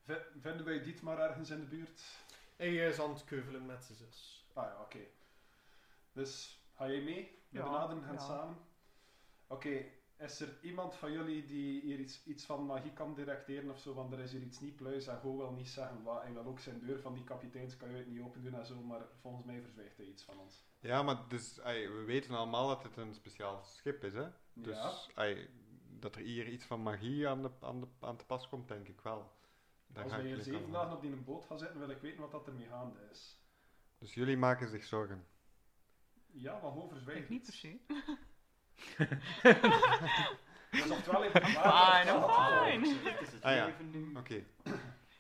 [SPEAKER 7] V- vinden wij Diep maar ergens in de buurt?
[SPEAKER 1] En jij is aan het keuvelen met zijn zus.
[SPEAKER 7] Ah ja, oké. Dus ga jij mee? We
[SPEAKER 4] Ja,
[SPEAKER 7] benaderen hen
[SPEAKER 4] ja.
[SPEAKER 7] samen. Oké, is er iemand van jullie die hier iets, iets van magie kan directeren of zo? Want er is hier iets niet pluis en Go wil niet zeggen wat. En wel ook zijn deur van die kapiteins kan je het niet open doen en zo, maar volgens mij verzwijgt hij iets van ons.
[SPEAKER 5] Ja, maar dus, ai, we weten allemaal dat het een speciaal schip is, hè? Dus
[SPEAKER 7] Ja.
[SPEAKER 5] ai, dat er hier iets van magie aan, de, aan, de, aan te pas komt, denk ik wel. Daar
[SPEAKER 7] Als
[SPEAKER 5] ga
[SPEAKER 7] wij
[SPEAKER 5] ik
[SPEAKER 7] hier
[SPEAKER 5] niet aan
[SPEAKER 7] zeven
[SPEAKER 5] houden.
[SPEAKER 7] dagen op die boot gaan zitten, wil ik weten wat dat ermee gaande is.
[SPEAKER 5] Dus jullie maken zich zorgen.
[SPEAKER 7] Ja, maar Go verzwijgt
[SPEAKER 4] Ik niet per
[SPEAKER 7] iets.
[SPEAKER 4] se.
[SPEAKER 7] Dus oftewel heeft hij
[SPEAKER 4] Fine,
[SPEAKER 7] Ja,
[SPEAKER 4] I'm fine.
[SPEAKER 2] Dit is het
[SPEAKER 5] Ah, ja.
[SPEAKER 2] leven nu.
[SPEAKER 5] Oké,
[SPEAKER 4] Dit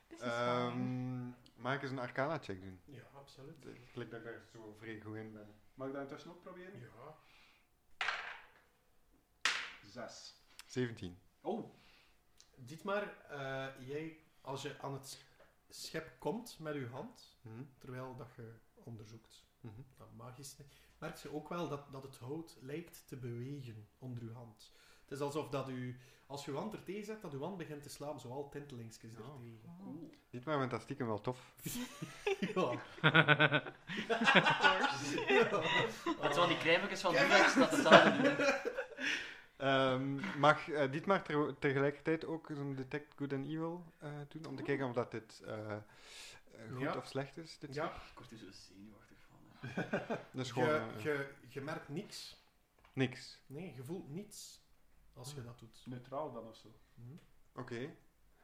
[SPEAKER 4] is fijn.
[SPEAKER 5] ehm, maak eens een arcana-check doen.
[SPEAKER 1] Ja, absoluut.
[SPEAKER 5] Ik denk dat ik daar zo vrij goed in ben.
[SPEAKER 7] Mag ik dat intussen ook proberen?
[SPEAKER 1] Ja.
[SPEAKER 7] Zes.
[SPEAKER 5] 17.
[SPEAKER 2] Oh,
[SPEAKER 1] Dietmar, eh jij, als je aan het schep komt met je hand,
[SPEAKER 5] Hm?
[SPEAKER 1] terwijl dat je onderzoekt,
[SPEAKER 5] Mhm.
[SPEAKER 1] dat magisch, merk je ook wel dat, dat het hout lijkt te bewegen onder je hand. Het is alsof dat u, als je hand er tegen zet, dat uw hand begint te slaan, zoal tintelingsjes er
[SPEAKER 5] Oh.
[SPEAKER 1] tegen.
[SPEAKER 2] cool.
[SPEAKER 5] Niet maar, want dat stiekem wel tof.
[SPEAKER 1] Ja.
[SPEAKER 4] Of course.
[SPEAKER 1] ja.
[SPEAKER 2] Dat is wel die crèmekes van Durex dat hetzelfde doen. hè.
[SPEAKER 5] Ehm, mag eh, Dietmar ter- tegelijkertijd ook zo'n Detect Good and Evil eh, doen? Om te kijken of dat dit eh, eh, goed
[SPEAKER 1] Ja.
[SPEAKER 5] of slecht is. Dit
[SPEAKER 1] Ja,
[SPEAKER 2] Ik word er zo zenuwachtig van. hè.
[SPEAKER 5] Dus gewoon
[SPEAKER 1] je,
[SPEAKER 5] eh,
[SPEAKER 1] je, je merkt niks.
[SPEAKER 5] niks.
[SPEAKER 1] Nee, je voelt niets als je dat doet.
[SPEAKER 7] Neutraal dan of zo.
[SPEAKER 1] Hm?
[SPEAKER 5] Oké.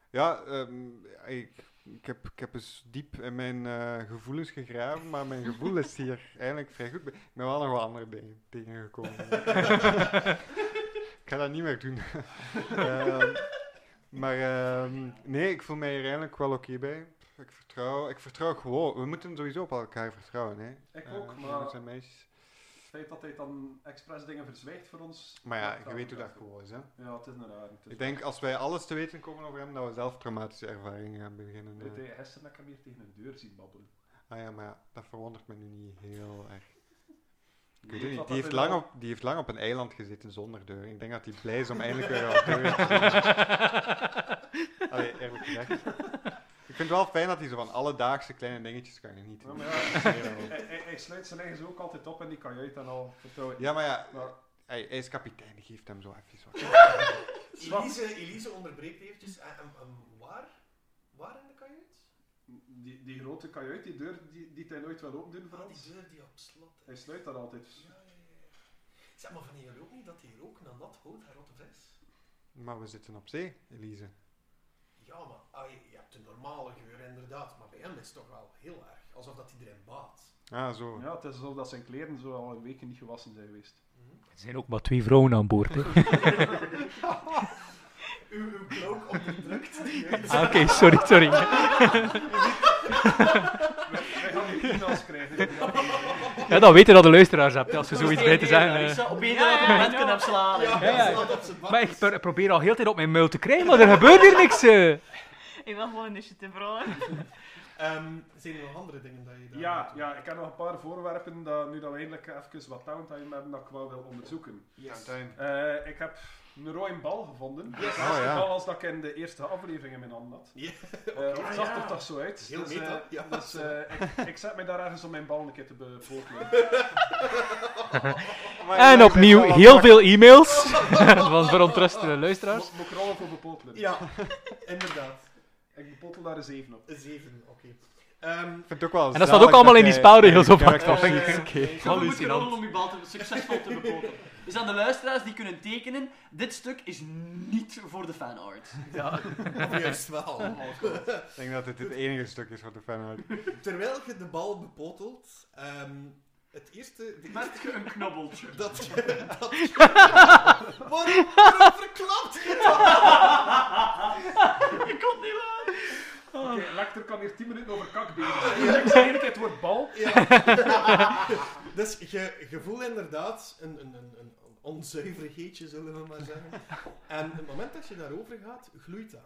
[SPEAKER 5] Ja, ehm, ik, ik, heb, ik heb eens diep in mijn eh, gevoelens gegraven, maar mijn gevoel is hier eigenlijk vrij goed. bij. Ik ben wel nog wel andere dingen tegengekomen. ik ga dat niet meer doen. Ehm, maar ehm, nee, ik voel mij hier eigenlijk wel oké bij. Ik vertrouw, ik vertrouw gewoon. We moeten sowieso op elkaar vertrouwen, hè?
[SPEAKER 7] Ik
[SPEAKER 5] Eh,
[SPEAKER 7] ook,
[SPEAKER 5] jongens
[SPEAKER 7] maar
[SPEAKER 5] en meisjes.
[SPEAKER 7] het feit dat hij dan expres dingen verzwijgt voor ons...
[SPEAKER 5] Maar ja,
[SPEAKER 7] dat
[SPEAKER 5] je
[SPEAKER 7] kan
[SPEAKER 5] weet hoe dat
[SPEAKER 7] niet.
[SPEAKER 5] gewoon is, hè?
[SPEAKER 7] Ja, het is een raar. Het is
[SPEAKER 5] Ik denk als wij alles te weten komen over hem, dat we zelf traumatische ervaringen gaan beginnen.
[SPEAKER 7] Weet
[SPEAKER 5] eh.
[SPEAKER 7] je, gisteren heb ik hem hier tegen een deur zien babbelen.
[SPEAKER 5] Ah ja, maar ja, dat verwondert me nu niet heel erg. Ik
[SPEAKER 7] Weet
[SPEAKER 5] weet het
[SPEAKER 7] wat dat
[SPEAKER 5] niet. Die heeft,
[SPEAKER 7] is
[SPEAKER 5] lang
[SPEAKER 7] al?
[SPEAKER 5] op, die heeft lang op een eiland gezeten zonder deur. Ik denk dat hij blij is om eindelijk weer wat deur te zien. Allee, eerlijk gezegd. Ik vind het wel fijn dat hij zo van alledaagse kleine dingetjes kan genieten.
[SPEAKER 7] Ja, maar ja, hij, hij- hij sluit zijn eigen ook altijd op en die kan je dan al vertrouwen.
[SPEAKER 5] Ja, maar ja,
[SPEAKER 7] Maar-
[SPEAKER 5] hij, hij is kapitein, die geeft hem zo even wat.
[SPEAKER 7] Zwart.
[SPEAKER 1] Elise, Elise onderbreekt eventjes. Eh, ehm, ehm, waar? Waar in de kajuit?
[SPEAKER 7] Die, die grote kajuit, die deur, die, die hij nooit wil opendoen voor
[SPEAKER 1] Ah,
[SPEAKER 7] ons.
[SPEAKER 1] die deur die op slot
[SPEAKER 7] Hij
[SPEAKER 1] is.
[SPEAKER 7] sluit daar altijd.
[SPEAKER 1] Ja, ja, ja. Zeg maar, van jullie ook niet dat die roken aan dat hout haar rotte vis?
[SPEAKER 5] Maar we zitten op zee, Elise.
[SPEAKER 1] Ja, maar ah, je, je hebt de normale geur inderdaad, maar bij hem is het toch wel heel erg. Alsof dat hij erin baat.
[SPEAKER 5] Ah, zo.
[SPEAKER 7] Ja, het is alsof dat zijn kleren zo al een week niet gewassen zijn geweest.
[SPEAKER 1] Hm?
[SPEAKER 6] Er zijn ook maar twee vrouwen aan boord. Hè.
[SPEAKER 1] Uw, uw cloak onderdrukt.
[SPEAKER 6] Ah, Oké, sorry, sorry.
[SPEAKER 7] Wij gaan die kina's krijgen.
[SPEAKER 6] Ja, dan weten dat de luisteraars hebt, als ze zoiets bij te
[SPEAKER 2] zijn.
[SPEAKER 6] zeggen.
[SPEAKER 2] Ik
[SPEAKER 6] eh.
[SPEAKER 2] zou op
[SPEAKER 4] Ja,
[SPEAKER 2] ieder
[SPEAKER 4] ja,
[SPEAKER 2] moment
[SPEAKER 4] ja.
[SPEAKER 2] kunnen afslaan.
[SPEAKER 1] Ja,
[SPEAKER 6] ja, ja.
[SPEAKER 1] dat op zijn bak
[SPEAKER 6] Maar ik
[SPEAKER 1] is.
[SPEAKER 6] pro- probeer al heel de tijd op mijn muil te krijgen, maar er gebeurt hier niks. eh.
[SPEAKER 4] Ik wil gewoon initiatief rollen.
[SPEAKER 1] Ehm, zijn er nog andere dingen dat je daar
[SPEAKER 7] Ja,
[SPEAKER 1] naartoe-
[SPEAKER 7] ja, ik heb nog een paar voorwerpen, dat, nu dat we eindelijk even wat downtime hebben, dat ik wel wil onderzoeken.
[SPEAKER 1] Yes.
[SPEAKER 7] Eh, ik heb een rode bal gevonden. Dat is
[SPEAKER 5] Oh,
[SPEAKER 7] de
[SPEAKER 5] ja.
[SPEAKER 7] bal als dat ik in de eerste aflevering in mijn hand had.
[SPEAKER 1] Ja,
[SPEAKER 7] Eh, het zag er toch zo uit.
[SPEAKER 1] Heel
[SPEAKER 7] dus, eh,
[SPEAKER 1] meta, ja.
[SPEAKER 7] dus eh, ik, ik zet mij daar ergens om mijn bal een keer te bevoortelen.
[SPEAKER 6] En opnieuw heel veel e-mails van verontrustende luisteraars.
[SPEAKER 7] Moet, moet ik rollen voor bepotelen?
[SPEAKER 1] Ja, inderdaad.
[SPEAKER 7] Ik bepotel daar een 7 op.
[SPEAKER 1] Een zeven, oké. Ehm,
[SPEAKER 5] Ik vind het ook wel
[SPEAKER 6] En dat staat ook allemaal in die spelregels op.
[SPEAKER 5] Dat
[SPEAKER 6] Dat vind
[SPEAKER 1] eh,
[SPEAKER 6] ik oké.
[SPEAKER 2] Je moet
[SPEAKER 6] Hallucinant.
[SPEAKER 2] rollen om je bal te, succesvol te bepoten. Dus aan de luisteraars die kunnen tekenen, dit stuk is niet voor de fanart.
[SPEAKER 1] ja, of juist wel.
[SPEAKER 5] Ik denk dat dit het enige stuk is wat de fan houdt.
[SPEAKER 1] Terwijl je de bal bepotelt, ehm, het eerste... De
[SPEAKER 2] Merk je een knobbeltje.
[SPEAKER 1] Dat je... Dat je- waarom, waarom verklapt je dat?
[SPEAKER 2] Ik kon niet laten.
[SPEAKER 7] Oké, Lecter kan hier 10 minuten over kak bezig zijn. Ik zeg eigenlijk het woord bal.
[SPEAKER 1] Ja. dus je, je voelt inderdaad een, een, een, een onzuiver geetje, zullen we maar zeggen. En het moment dat je daarover gaat, gloeit dat.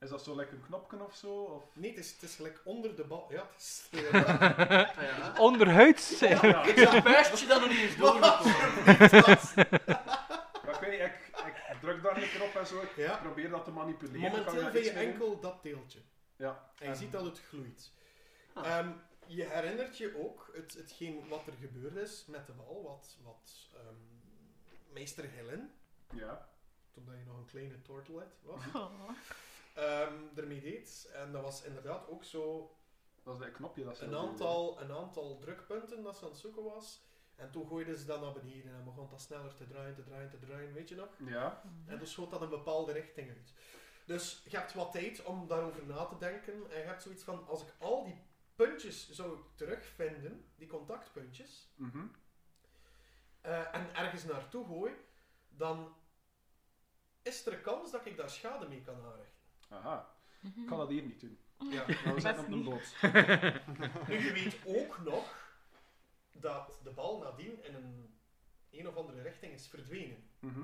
[SPEAKER 7] Is dat zo lekker een knopje of zo? Of?
[SPEAKER 1] Nee, het is, het is gelijk onder de bal. Ja, het is...
[SPEAKER 2] Ja.
[SPEAKER 6] Onderhuids. eh.
[SPEAKER 7] Ja.
[SPEAKER 2] Ik zag puistje dat nog niet eens doorgekomen.
[SPEAKER 7] Maar ik weet niet, ik, ik druk daar een keer op en zo. Ik
[SPEAKER 1] Ja.
[SPEAKER 7] probeer dat te manipuleren. Kan
[SPEAKER 1] Momenteel
[SPEAKER 7] daar
[SPEAKER 1] vind je
[SPEAKER 7] iets mee doen?
[SPEAKER 1] enkel dat deeltje.
[SPEAKER 7] Ja.
[SPEAKER 1] En je
[SPEAKER 7] Ehm,
[SPEAKER 1] ziet dat het gloeit.
[SPEAKER 2] Ah.
[SPEAKER 1] Ehm, je herinnert je ook het, hetgeen wat er gebeurd is met de bal, wat, wat ehm, meester Helen,
[SPEAKER 7] Ja.
[SPEAKER 1] toen dat je nog een kleine tortelhead was,
[SPEAKER 4] Oh.
[SPEAKER 1] ehm, ermee deed. En dat was inderdaad ook zo
[SPEAKER 7] Dat is dat knopje dat ze
[SPEAKER 1] een
[SPEAKER 7] dat doen.
[SPEAKER 1] aantal, een aantal drukpunten dat ze aan het zoeken was. En toen gooiden ze dat naar beneden en begon dat sneller te draaien, te draaien, te draaien, weet je nog?
[SPEAKER 7] Ja.
[SPEAKER 4] Mhm.
[SPEAKER 1] En dus schoot dat een bepaalde richting uit. Dus je hebt wat tijd om daarover na te denken. En je hebt zoiets van, als ik al die puntjes zou terugvinden, die contactpuntjes,
[SPEAKER 7] Mhm.
[SPEAKER 1] eh, en ergens naartoe gooi, dan is er een kans dat ik daar schade mee kan aanrichten.
[SPEAKER 7] Aha.
[SPEAKER 4] Oh.
[SPEAKER 7] Ik kan dat hier niet doen.
[SPEAKER 1] Ja.
[SPEAKER 7] Nou, we
[SPEAKER 4] Best
[SPEAKER 7] zitten op een
[SPEAKER 4] niet.
[SPEAKER 7] boot.
[SPEAKER 1] Nu, je weet ook nog dat de bal nadien in een, een of andere richting is verdwenen.
[SPEAKER 7] Mhm.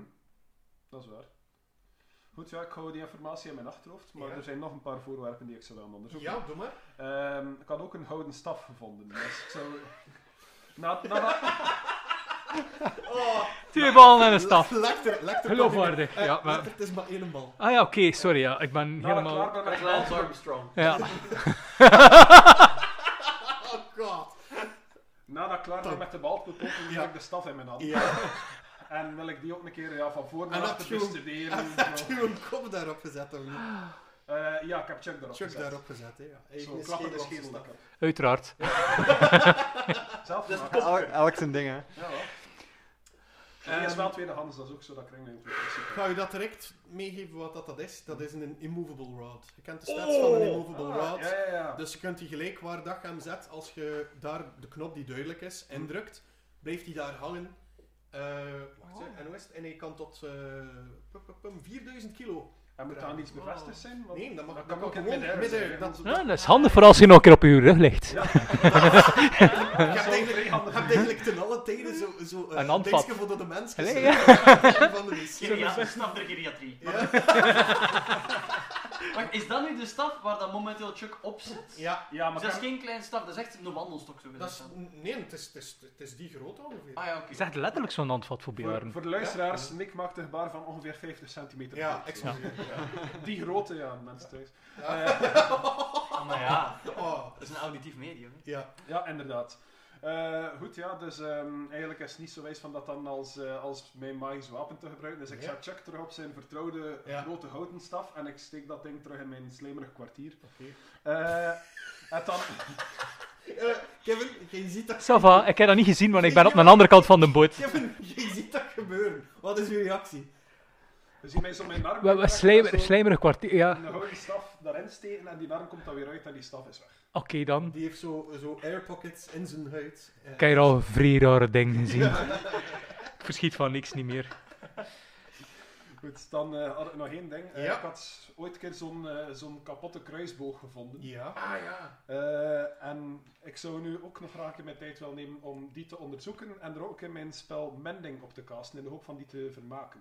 [SPEAKER 7] Dat is waar. Goed, ja, ik hou die informatie in mijn achterhoofd, maar
[SPEAKER 1] Ja.
[SPEAKER 7] er zijn nog een paar voorwerpen die ik zou willen onderzoeken.
[SPEAKER 1] Ja, doe maar.
[SPEAKER 7] Ehm, ik had ook een gouden staf gevonden, dus ik zou... Na, nadat,
[SPEAKER 1] Oh,
[SPEAKER 6] Twee ballen en een staf.
[SPEAKER 1] Lekter, lekter.
[SPEAKER 6] Geloofwaardig.
[SPEAKER 1] Eh,
[SPEAKER 6] Ja, maar... Nou,
[SPEAKER 1] lekter, Het is maar één bal.
[SPEAKER 6] Ah ja, oké, sorry. Ja. Ik ben
[SPEAKER 7] nadat ik
[SPEAKER 6] helemaal...
[SPEAKER 7] klaar ben met
[SPEAKER 2] Lance Armstrong.
[SPEAKER 6] Ja.
[SPEAKER 1] Oh god. Oh,
[SPEAKER 7] nadat ik klaar ben met de bal te bepotten,
[SPEAKER 1] Ja.
[SPEAKER 7] heb ik de staf in mijn hand.
[SPEAKER 1] Ja.
[SPEAKER 7] En wil ik die ook een keer ja, van voor naar
[SPEAKER 1] En
[SPEAKER 7] achter
[SPEAKER 1] had je-
[SPEAKER 7] bestuderen.
[SPEAKER 1] Heb
[SPEAKER 7] zo.
[SPEAKER 1] je een kop daarop gezet of niet?
[SPEAKER 7] Eh, ja, ik heb Chuck erop
[SPEAKER 1] Chuck
[SPEAKER 7] gezet.
[SPEAKER 1] daarop Ah, gezet, hè. Ja. Even
[SPEAKER 7] Zo,
[SPEAKER 1] een
[SPEAKER 7] klap in de
[SPEAKER 1] schedel
[SPEAKER 7] schedel.
[SPEAKER 1] opgestapt.
[SPEAKER 6] Uiteraard.
[SPEAKER 7] Zelf
[SPEAKER 2] Dat is
[SPEAKER 7] gemaakt.
[SPEAKER 5] Elk, elk zijn ding, hè.
[SPEAKER 7] Ja, wel.
[SPEAKER 1] Ehm,
[SPEAKER 7] Die is wel tweedehands, dat is ook zo dat kringloop.
[SPEAKER 1] Ik ga u dat direct meegeven wat dat, dat is. Dat is een immovable rod. Je kent de stats van een immovable
[SPEAKER 7] Ah,
[SPEAKER 1] rod.
[SPEAKER 7] Ja, ja, ja.
[SPEAKER 1] Dus je kunt die gelijk waar dat je hem zet, als je daar de knop die duidelijk is indrukt, blijft die daar hangen. Eh, wacht, hè.
[SPEAKER 4] Oh.
[SPEAKER 1] en hoe is het? En hij kan tot eh, pum, pum, pum, 4000 kilo.
[SPEAKER 7] En moet daar niets bevestigd zijn? Want-
[SPEAKER 1] Oh. Nee, dat mag
[SPEAKER 7] Dat
[SPEAKER 1] dat
[SPEAKER 7] kan
[SPEAKER 1] kan
[SPEAKER 7] ook in
[SPEAKER 1] gewoon
[SPEAKER 7] midair
[SPEAKER 1] midden.
[SPEAKER 7] zijn,
[SPEAKER 1] Dat,
[SPEAKER 7] hè.
[SPEAKER 1] dat-
[SPEAKER 6] Ja, dat is handig voor als je nog een keer op je rug ligt.
[SPEAKER 7] Ja.
[SPEAKER 1] je hebt eigenlijk- je
[SPEAKER 7] tweehandig.
[SPEAKER 1] hebt eigenlijk ten alle tijden zo, zo eh,
[SPEAKER 6] Een handvat.
[SPEAKER 1] dingetje voor de mens.
[SPEAKER 6] Allee,
[SPEAKER 1] gezet. Van de wc.
[SPEAKER 2] Geriatrie, staf der geriatrie.
[SPEAKER 1] Ja.
[SPEAKER 2] Wacht, is dat nu de staf waar dat momenteel Chuck op zit?
[SPEAKER 1] ja,
[SPEAKER 7] Ja,
[SPEAKER 2] Dus dat
[SPEAKER 7] maar
[SPEAKER 2] is
[SPEAKER 7] kan-
[SPEAKER 2] geen kleine staf, dat is echt een wandelstok zo
[SPEAKER 1] dat
[SPEAKER 2] gezegd.
[SPEAKER 1] is,
[SPEAKER 2] dan.
[SPEAKER 1] nee, het is, het, is, het is die groot ongeveer.
[SPEAKER 2] Ah ja, oké.
[SPEAKER 6] Het is echt letterlijk zo'n handvat voor
[SPEAKER 7] voor,
[SPEAKER 6] Bjorn.
[SPEAKER 7] voor de luisteraars, Nick maakt een gebaar van ongeveer 50 centimeter.
[SPEAKER 1] Ja,
[SPEAKER 7] breed, zo.
[SPEAKER 1] excuseer.
[SPEAKER 7] Die grote, ja, mensen thuis. Eh,
[SPEAKER 2] Ah, maar ja,
[SPEAKER 1] Oh,
[SPEAKER 2] dat is een auditief medium. hè.
[SPEAKER 1] ja.
[SPEAKER 7] Ja, inderdaad. Eh, goed, ja, dus ehm, eigenlijk is het niet zo wijs van dat dan als, eh, als mijn magisch wapen te gebruiken. Dus ik
[SPEAKER 1] Ja.
[SPEAKER 7] zet Chuck terug op zijn vertrouwde
[SPEAKER 1] Ja.
[SPEAKER 7] grote houten staf en ik steek dat ding terug in mijn slijmerig kwartier.
[SPEAKER 1] Oké.
[SPEAKER 7] Eh, en dan...
[SPEAKER 1] Eh, Kevin, je ziet dat
[SPEAKER 6] Sava, ik heb dat niet gezien, want ik ben op de andere kant van de boot.
[SPEAKER 1] Kevin, je ziet dat gebeuren. Wat is uw reactie?
[SPEAKER 7] We zien mij zo mijn arm...
[SPEAKER 6] We, we
[SPEAKER 7] uittrekken,
[SPEAKER 6] slijmer,
[SPEAKER 7] zo
[SPEAKER 6] slijmerig kwartier, ja.
[SPEAKER 7] Een houten staf daarin steken en die arm komt dan weer uit en die staf is weg.
[SPEAKER 6] Oké dan.
[SPEAKER 1] Die heeft zo, zo airpockets in zijn huid. Eh,
[SPEAKER 6] Ik heb hier al een vrij rare dingen gezien. Ik verschiet van niks niet meer.
[SPEAKER 7] Goed, dan eh, had ik nog één ding. Eh,
[SPEAKER 1] Ja.
[SPEAKER 7] Ik had ooit een keer zo'n eh, zo'n kapotte kruisboog gevonden.
[SPEAKER 1] Ja.
[SPEAKER 2] Ah ja.
[SPEAKER 7] Eh, en ik zou nu ook nog graag in mijn tijd wel nemen om die te onderzoeken en er ook in mijn spel Mending op te casten in de hoop van die te vermaken.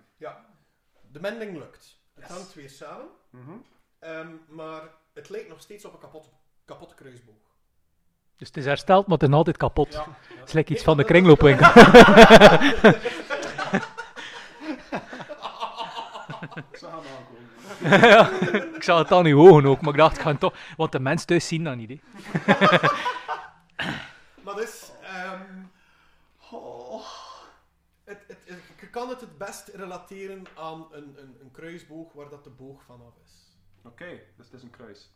[SPEAKER 1] De mending lukt. Het
[SPEAKER 7] Yes.
[SPEAKER 1] hangt weer samen. Ehm, maar het lijkt nog steeds op een kapot, kapot kruisboog.
[SPEAKER 6] Dus het is hersteld, maar het is nog altijd kapot.
[SPEAKER 7] Ja,
[SPEAKER 6] Het is like iets van de kringloopwinkel.
[SPEAKER 7] ze gaan aankomen.
[SPEAKER 6] ik zag het aan uw ogen ook, maar ik dacht, ik ga het toch... Want de mensen thuis zien dat niet, hè.
[SPEAKER 1] Maar dus... ehm, oh, het, het, het- je kan het het best relateren aan een, een, een kruisboog waar dat de boog vanaf is.
[SPEAKER 7] Oké, dus het is een kruis.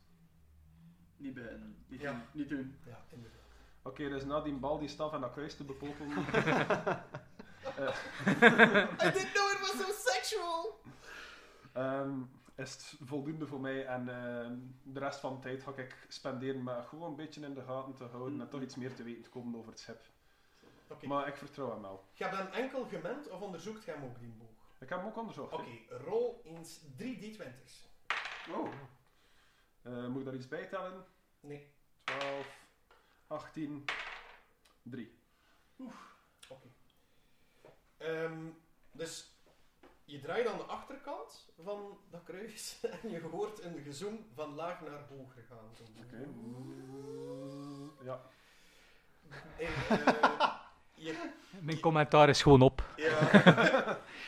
[SPEAKER 2] Niet ben, niet,
[SPEAKER 1] Ja.
[SPEAKER 2] doen, niet doen.
[SPEAKER 1] Ja, inderdaad.
[SPEAKER 7] Oké, dus na die bal, die staf en dat kruis te bepopelen.
[SPEAKER 1] I didn't know it was so sexual!
[SPEAKER 7] Ehm, is het voldoende voor mij en ehm, de rest van de tijd ga ik spenderen met gewoon een beetje in de gaten te houden en toch iets meer te weten te komen over het schip.
[SPEAKER 1] Oké.
[SPEAKER 7] Maar ik vertrouw hem wel.
[SPEAKER 1] Je hebt hem enkel gemend of onderzoekt je hem ook die boog?
[SPEAKER 7] Ik heb hem ook onderzocht.
[SPEAKER 1] Oké, rol eens 3d20's.
[SPEAKER 7] Oh. Eh, moet ik daar iets bij tellen?
[SPEAKER 1] Nee.
[SPEAKER 7] 12, 18, 3.
[SPEAKER 1] Oké. Ehm, dus je draait aan de achterkant van dat kruis en je hoort een gezoem van laag naar hoger gaan.
[SPEAKER 7] Oké. Ja.
[SPEAKER 1] En, eh, je
[SPEAKER 6] Mijn commentaar is gewoon op.
[SPEAKER 1] Ja.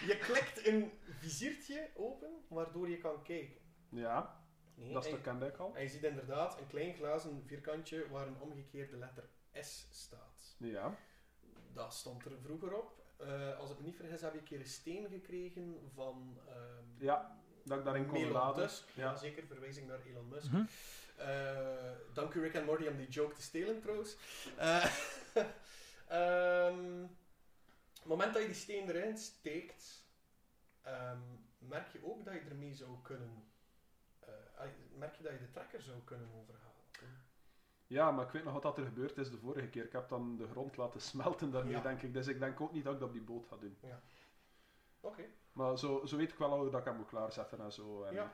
[SPEAKER 1] je klikt een viziertje open, waardoor je kan kijken.
[SPEAKER 7] Ja,
[SPEAKER 1] Nee,
[SPEAKER 7] dat stuk
[SPEAKER 1] en,
[SPEAKER 7] kende ik al.
[SPEAKER 1] en je ziet inderdaad een klein glazen vierkantje waar een omgekeerde letter S staat.
[SPEAKER 7] Ja.
[SPEAKER 1] Dat stond er vroeger op. Eh, als ik me niet vergis, heb ik een keer een steen gekregen van... ehm,
[SPEAKER 7] Ja, dat ik daarin kon
[SPEAKER 1] Elon
[SPEAKER 7] laden.
[SPEAKER 1] Musk,
[SPEAKER 7] Ja.
[SPEAKER 1] ja. zeker, verwijzing naar Elon Musk.
[SPEAKER 6] Mhm.
[SPEAKER 1] Eh, dank u Rick en Morty om die joke te stelen trouwens. Eh, ehm, het moment dat je die steen erin steekt, ehm, merk je ook dat je ermee zou kunnen... eh, ai, merk je dat je de trekker zou kunnen overhalen.
[SPEAKER 7] Ja, maar ik weet nog wat dat er gebeurd is de vorige keer. Ik heb dan de grond laten smelten daarmee,
[SPEAKER 1] Ja.
[SPEAKER 7] denk ik. Dus ik denk ook niet dat ik dat op die boot ga doen.
[SPEAKER 1] Oké,
[SPEAKER 7] Maar zo, zo weet ik wel al hoe dat ik hem moet klaarzetten en zo. En...
[SPEAKER 1] Ja.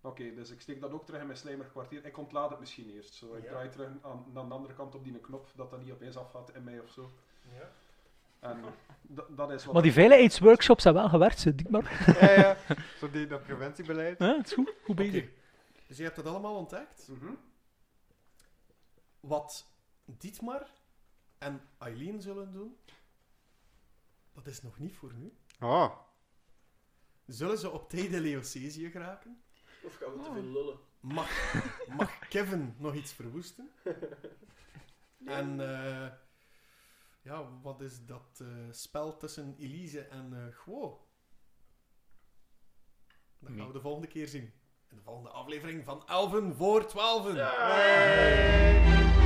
[SPEAKER 7] Oké, dus ik steek dat ook terug in mijn slijmerkwartier. Ik ontlaad het misschien eerst. Zo. Ik
[SPEAKER 1] Ja.
[SPEAKER 7] draai terug aan, aan de andere kant op die knop, dat dat niet opeens afgaat in mij of zo.
[SPEAKER 1] ja.
[SPEAKER 7] En d- dat is wat...
[SPEAKER 6] Maar die veiligheidsworkshops hebben wel gewerkt, ze, Dietmar.
[SPEAKER 5] Ja, ja. Zo die dat preventiebeleid.
[SPEAKER 6] Hè, het is goed. Goed bezig.
[SPEAKER 1] Oké. Dus je hebt dat allemaal ontdekt.
[SPEAKER 7] Mhm.
[SPEAKER 1] Wat Dietmar en Eileen zullen doen, dat is nog niet voor nu.
[SPEAKER 5] Oh.
[SPEAKER 1] Zullen ze op tijd de Leocesië geraken?
[SPEAKER 2] Of gaan we
[SPEAKER 6] Ah.
[SPEAKER 2] te veel lullen?
[SPEAKER 1] Mag, mag Kevin nog iets verwoesten? En eh, Ja, wat is dat eh, spel tussen Elise en eh Guo? Dat gaan
[SPEAKER 6] Nee.
[SPEAKER 1] we de volgende keer zien. In de volgende aflevering van Elven voor Twaalfen.
[SPEAKER 2] Hey!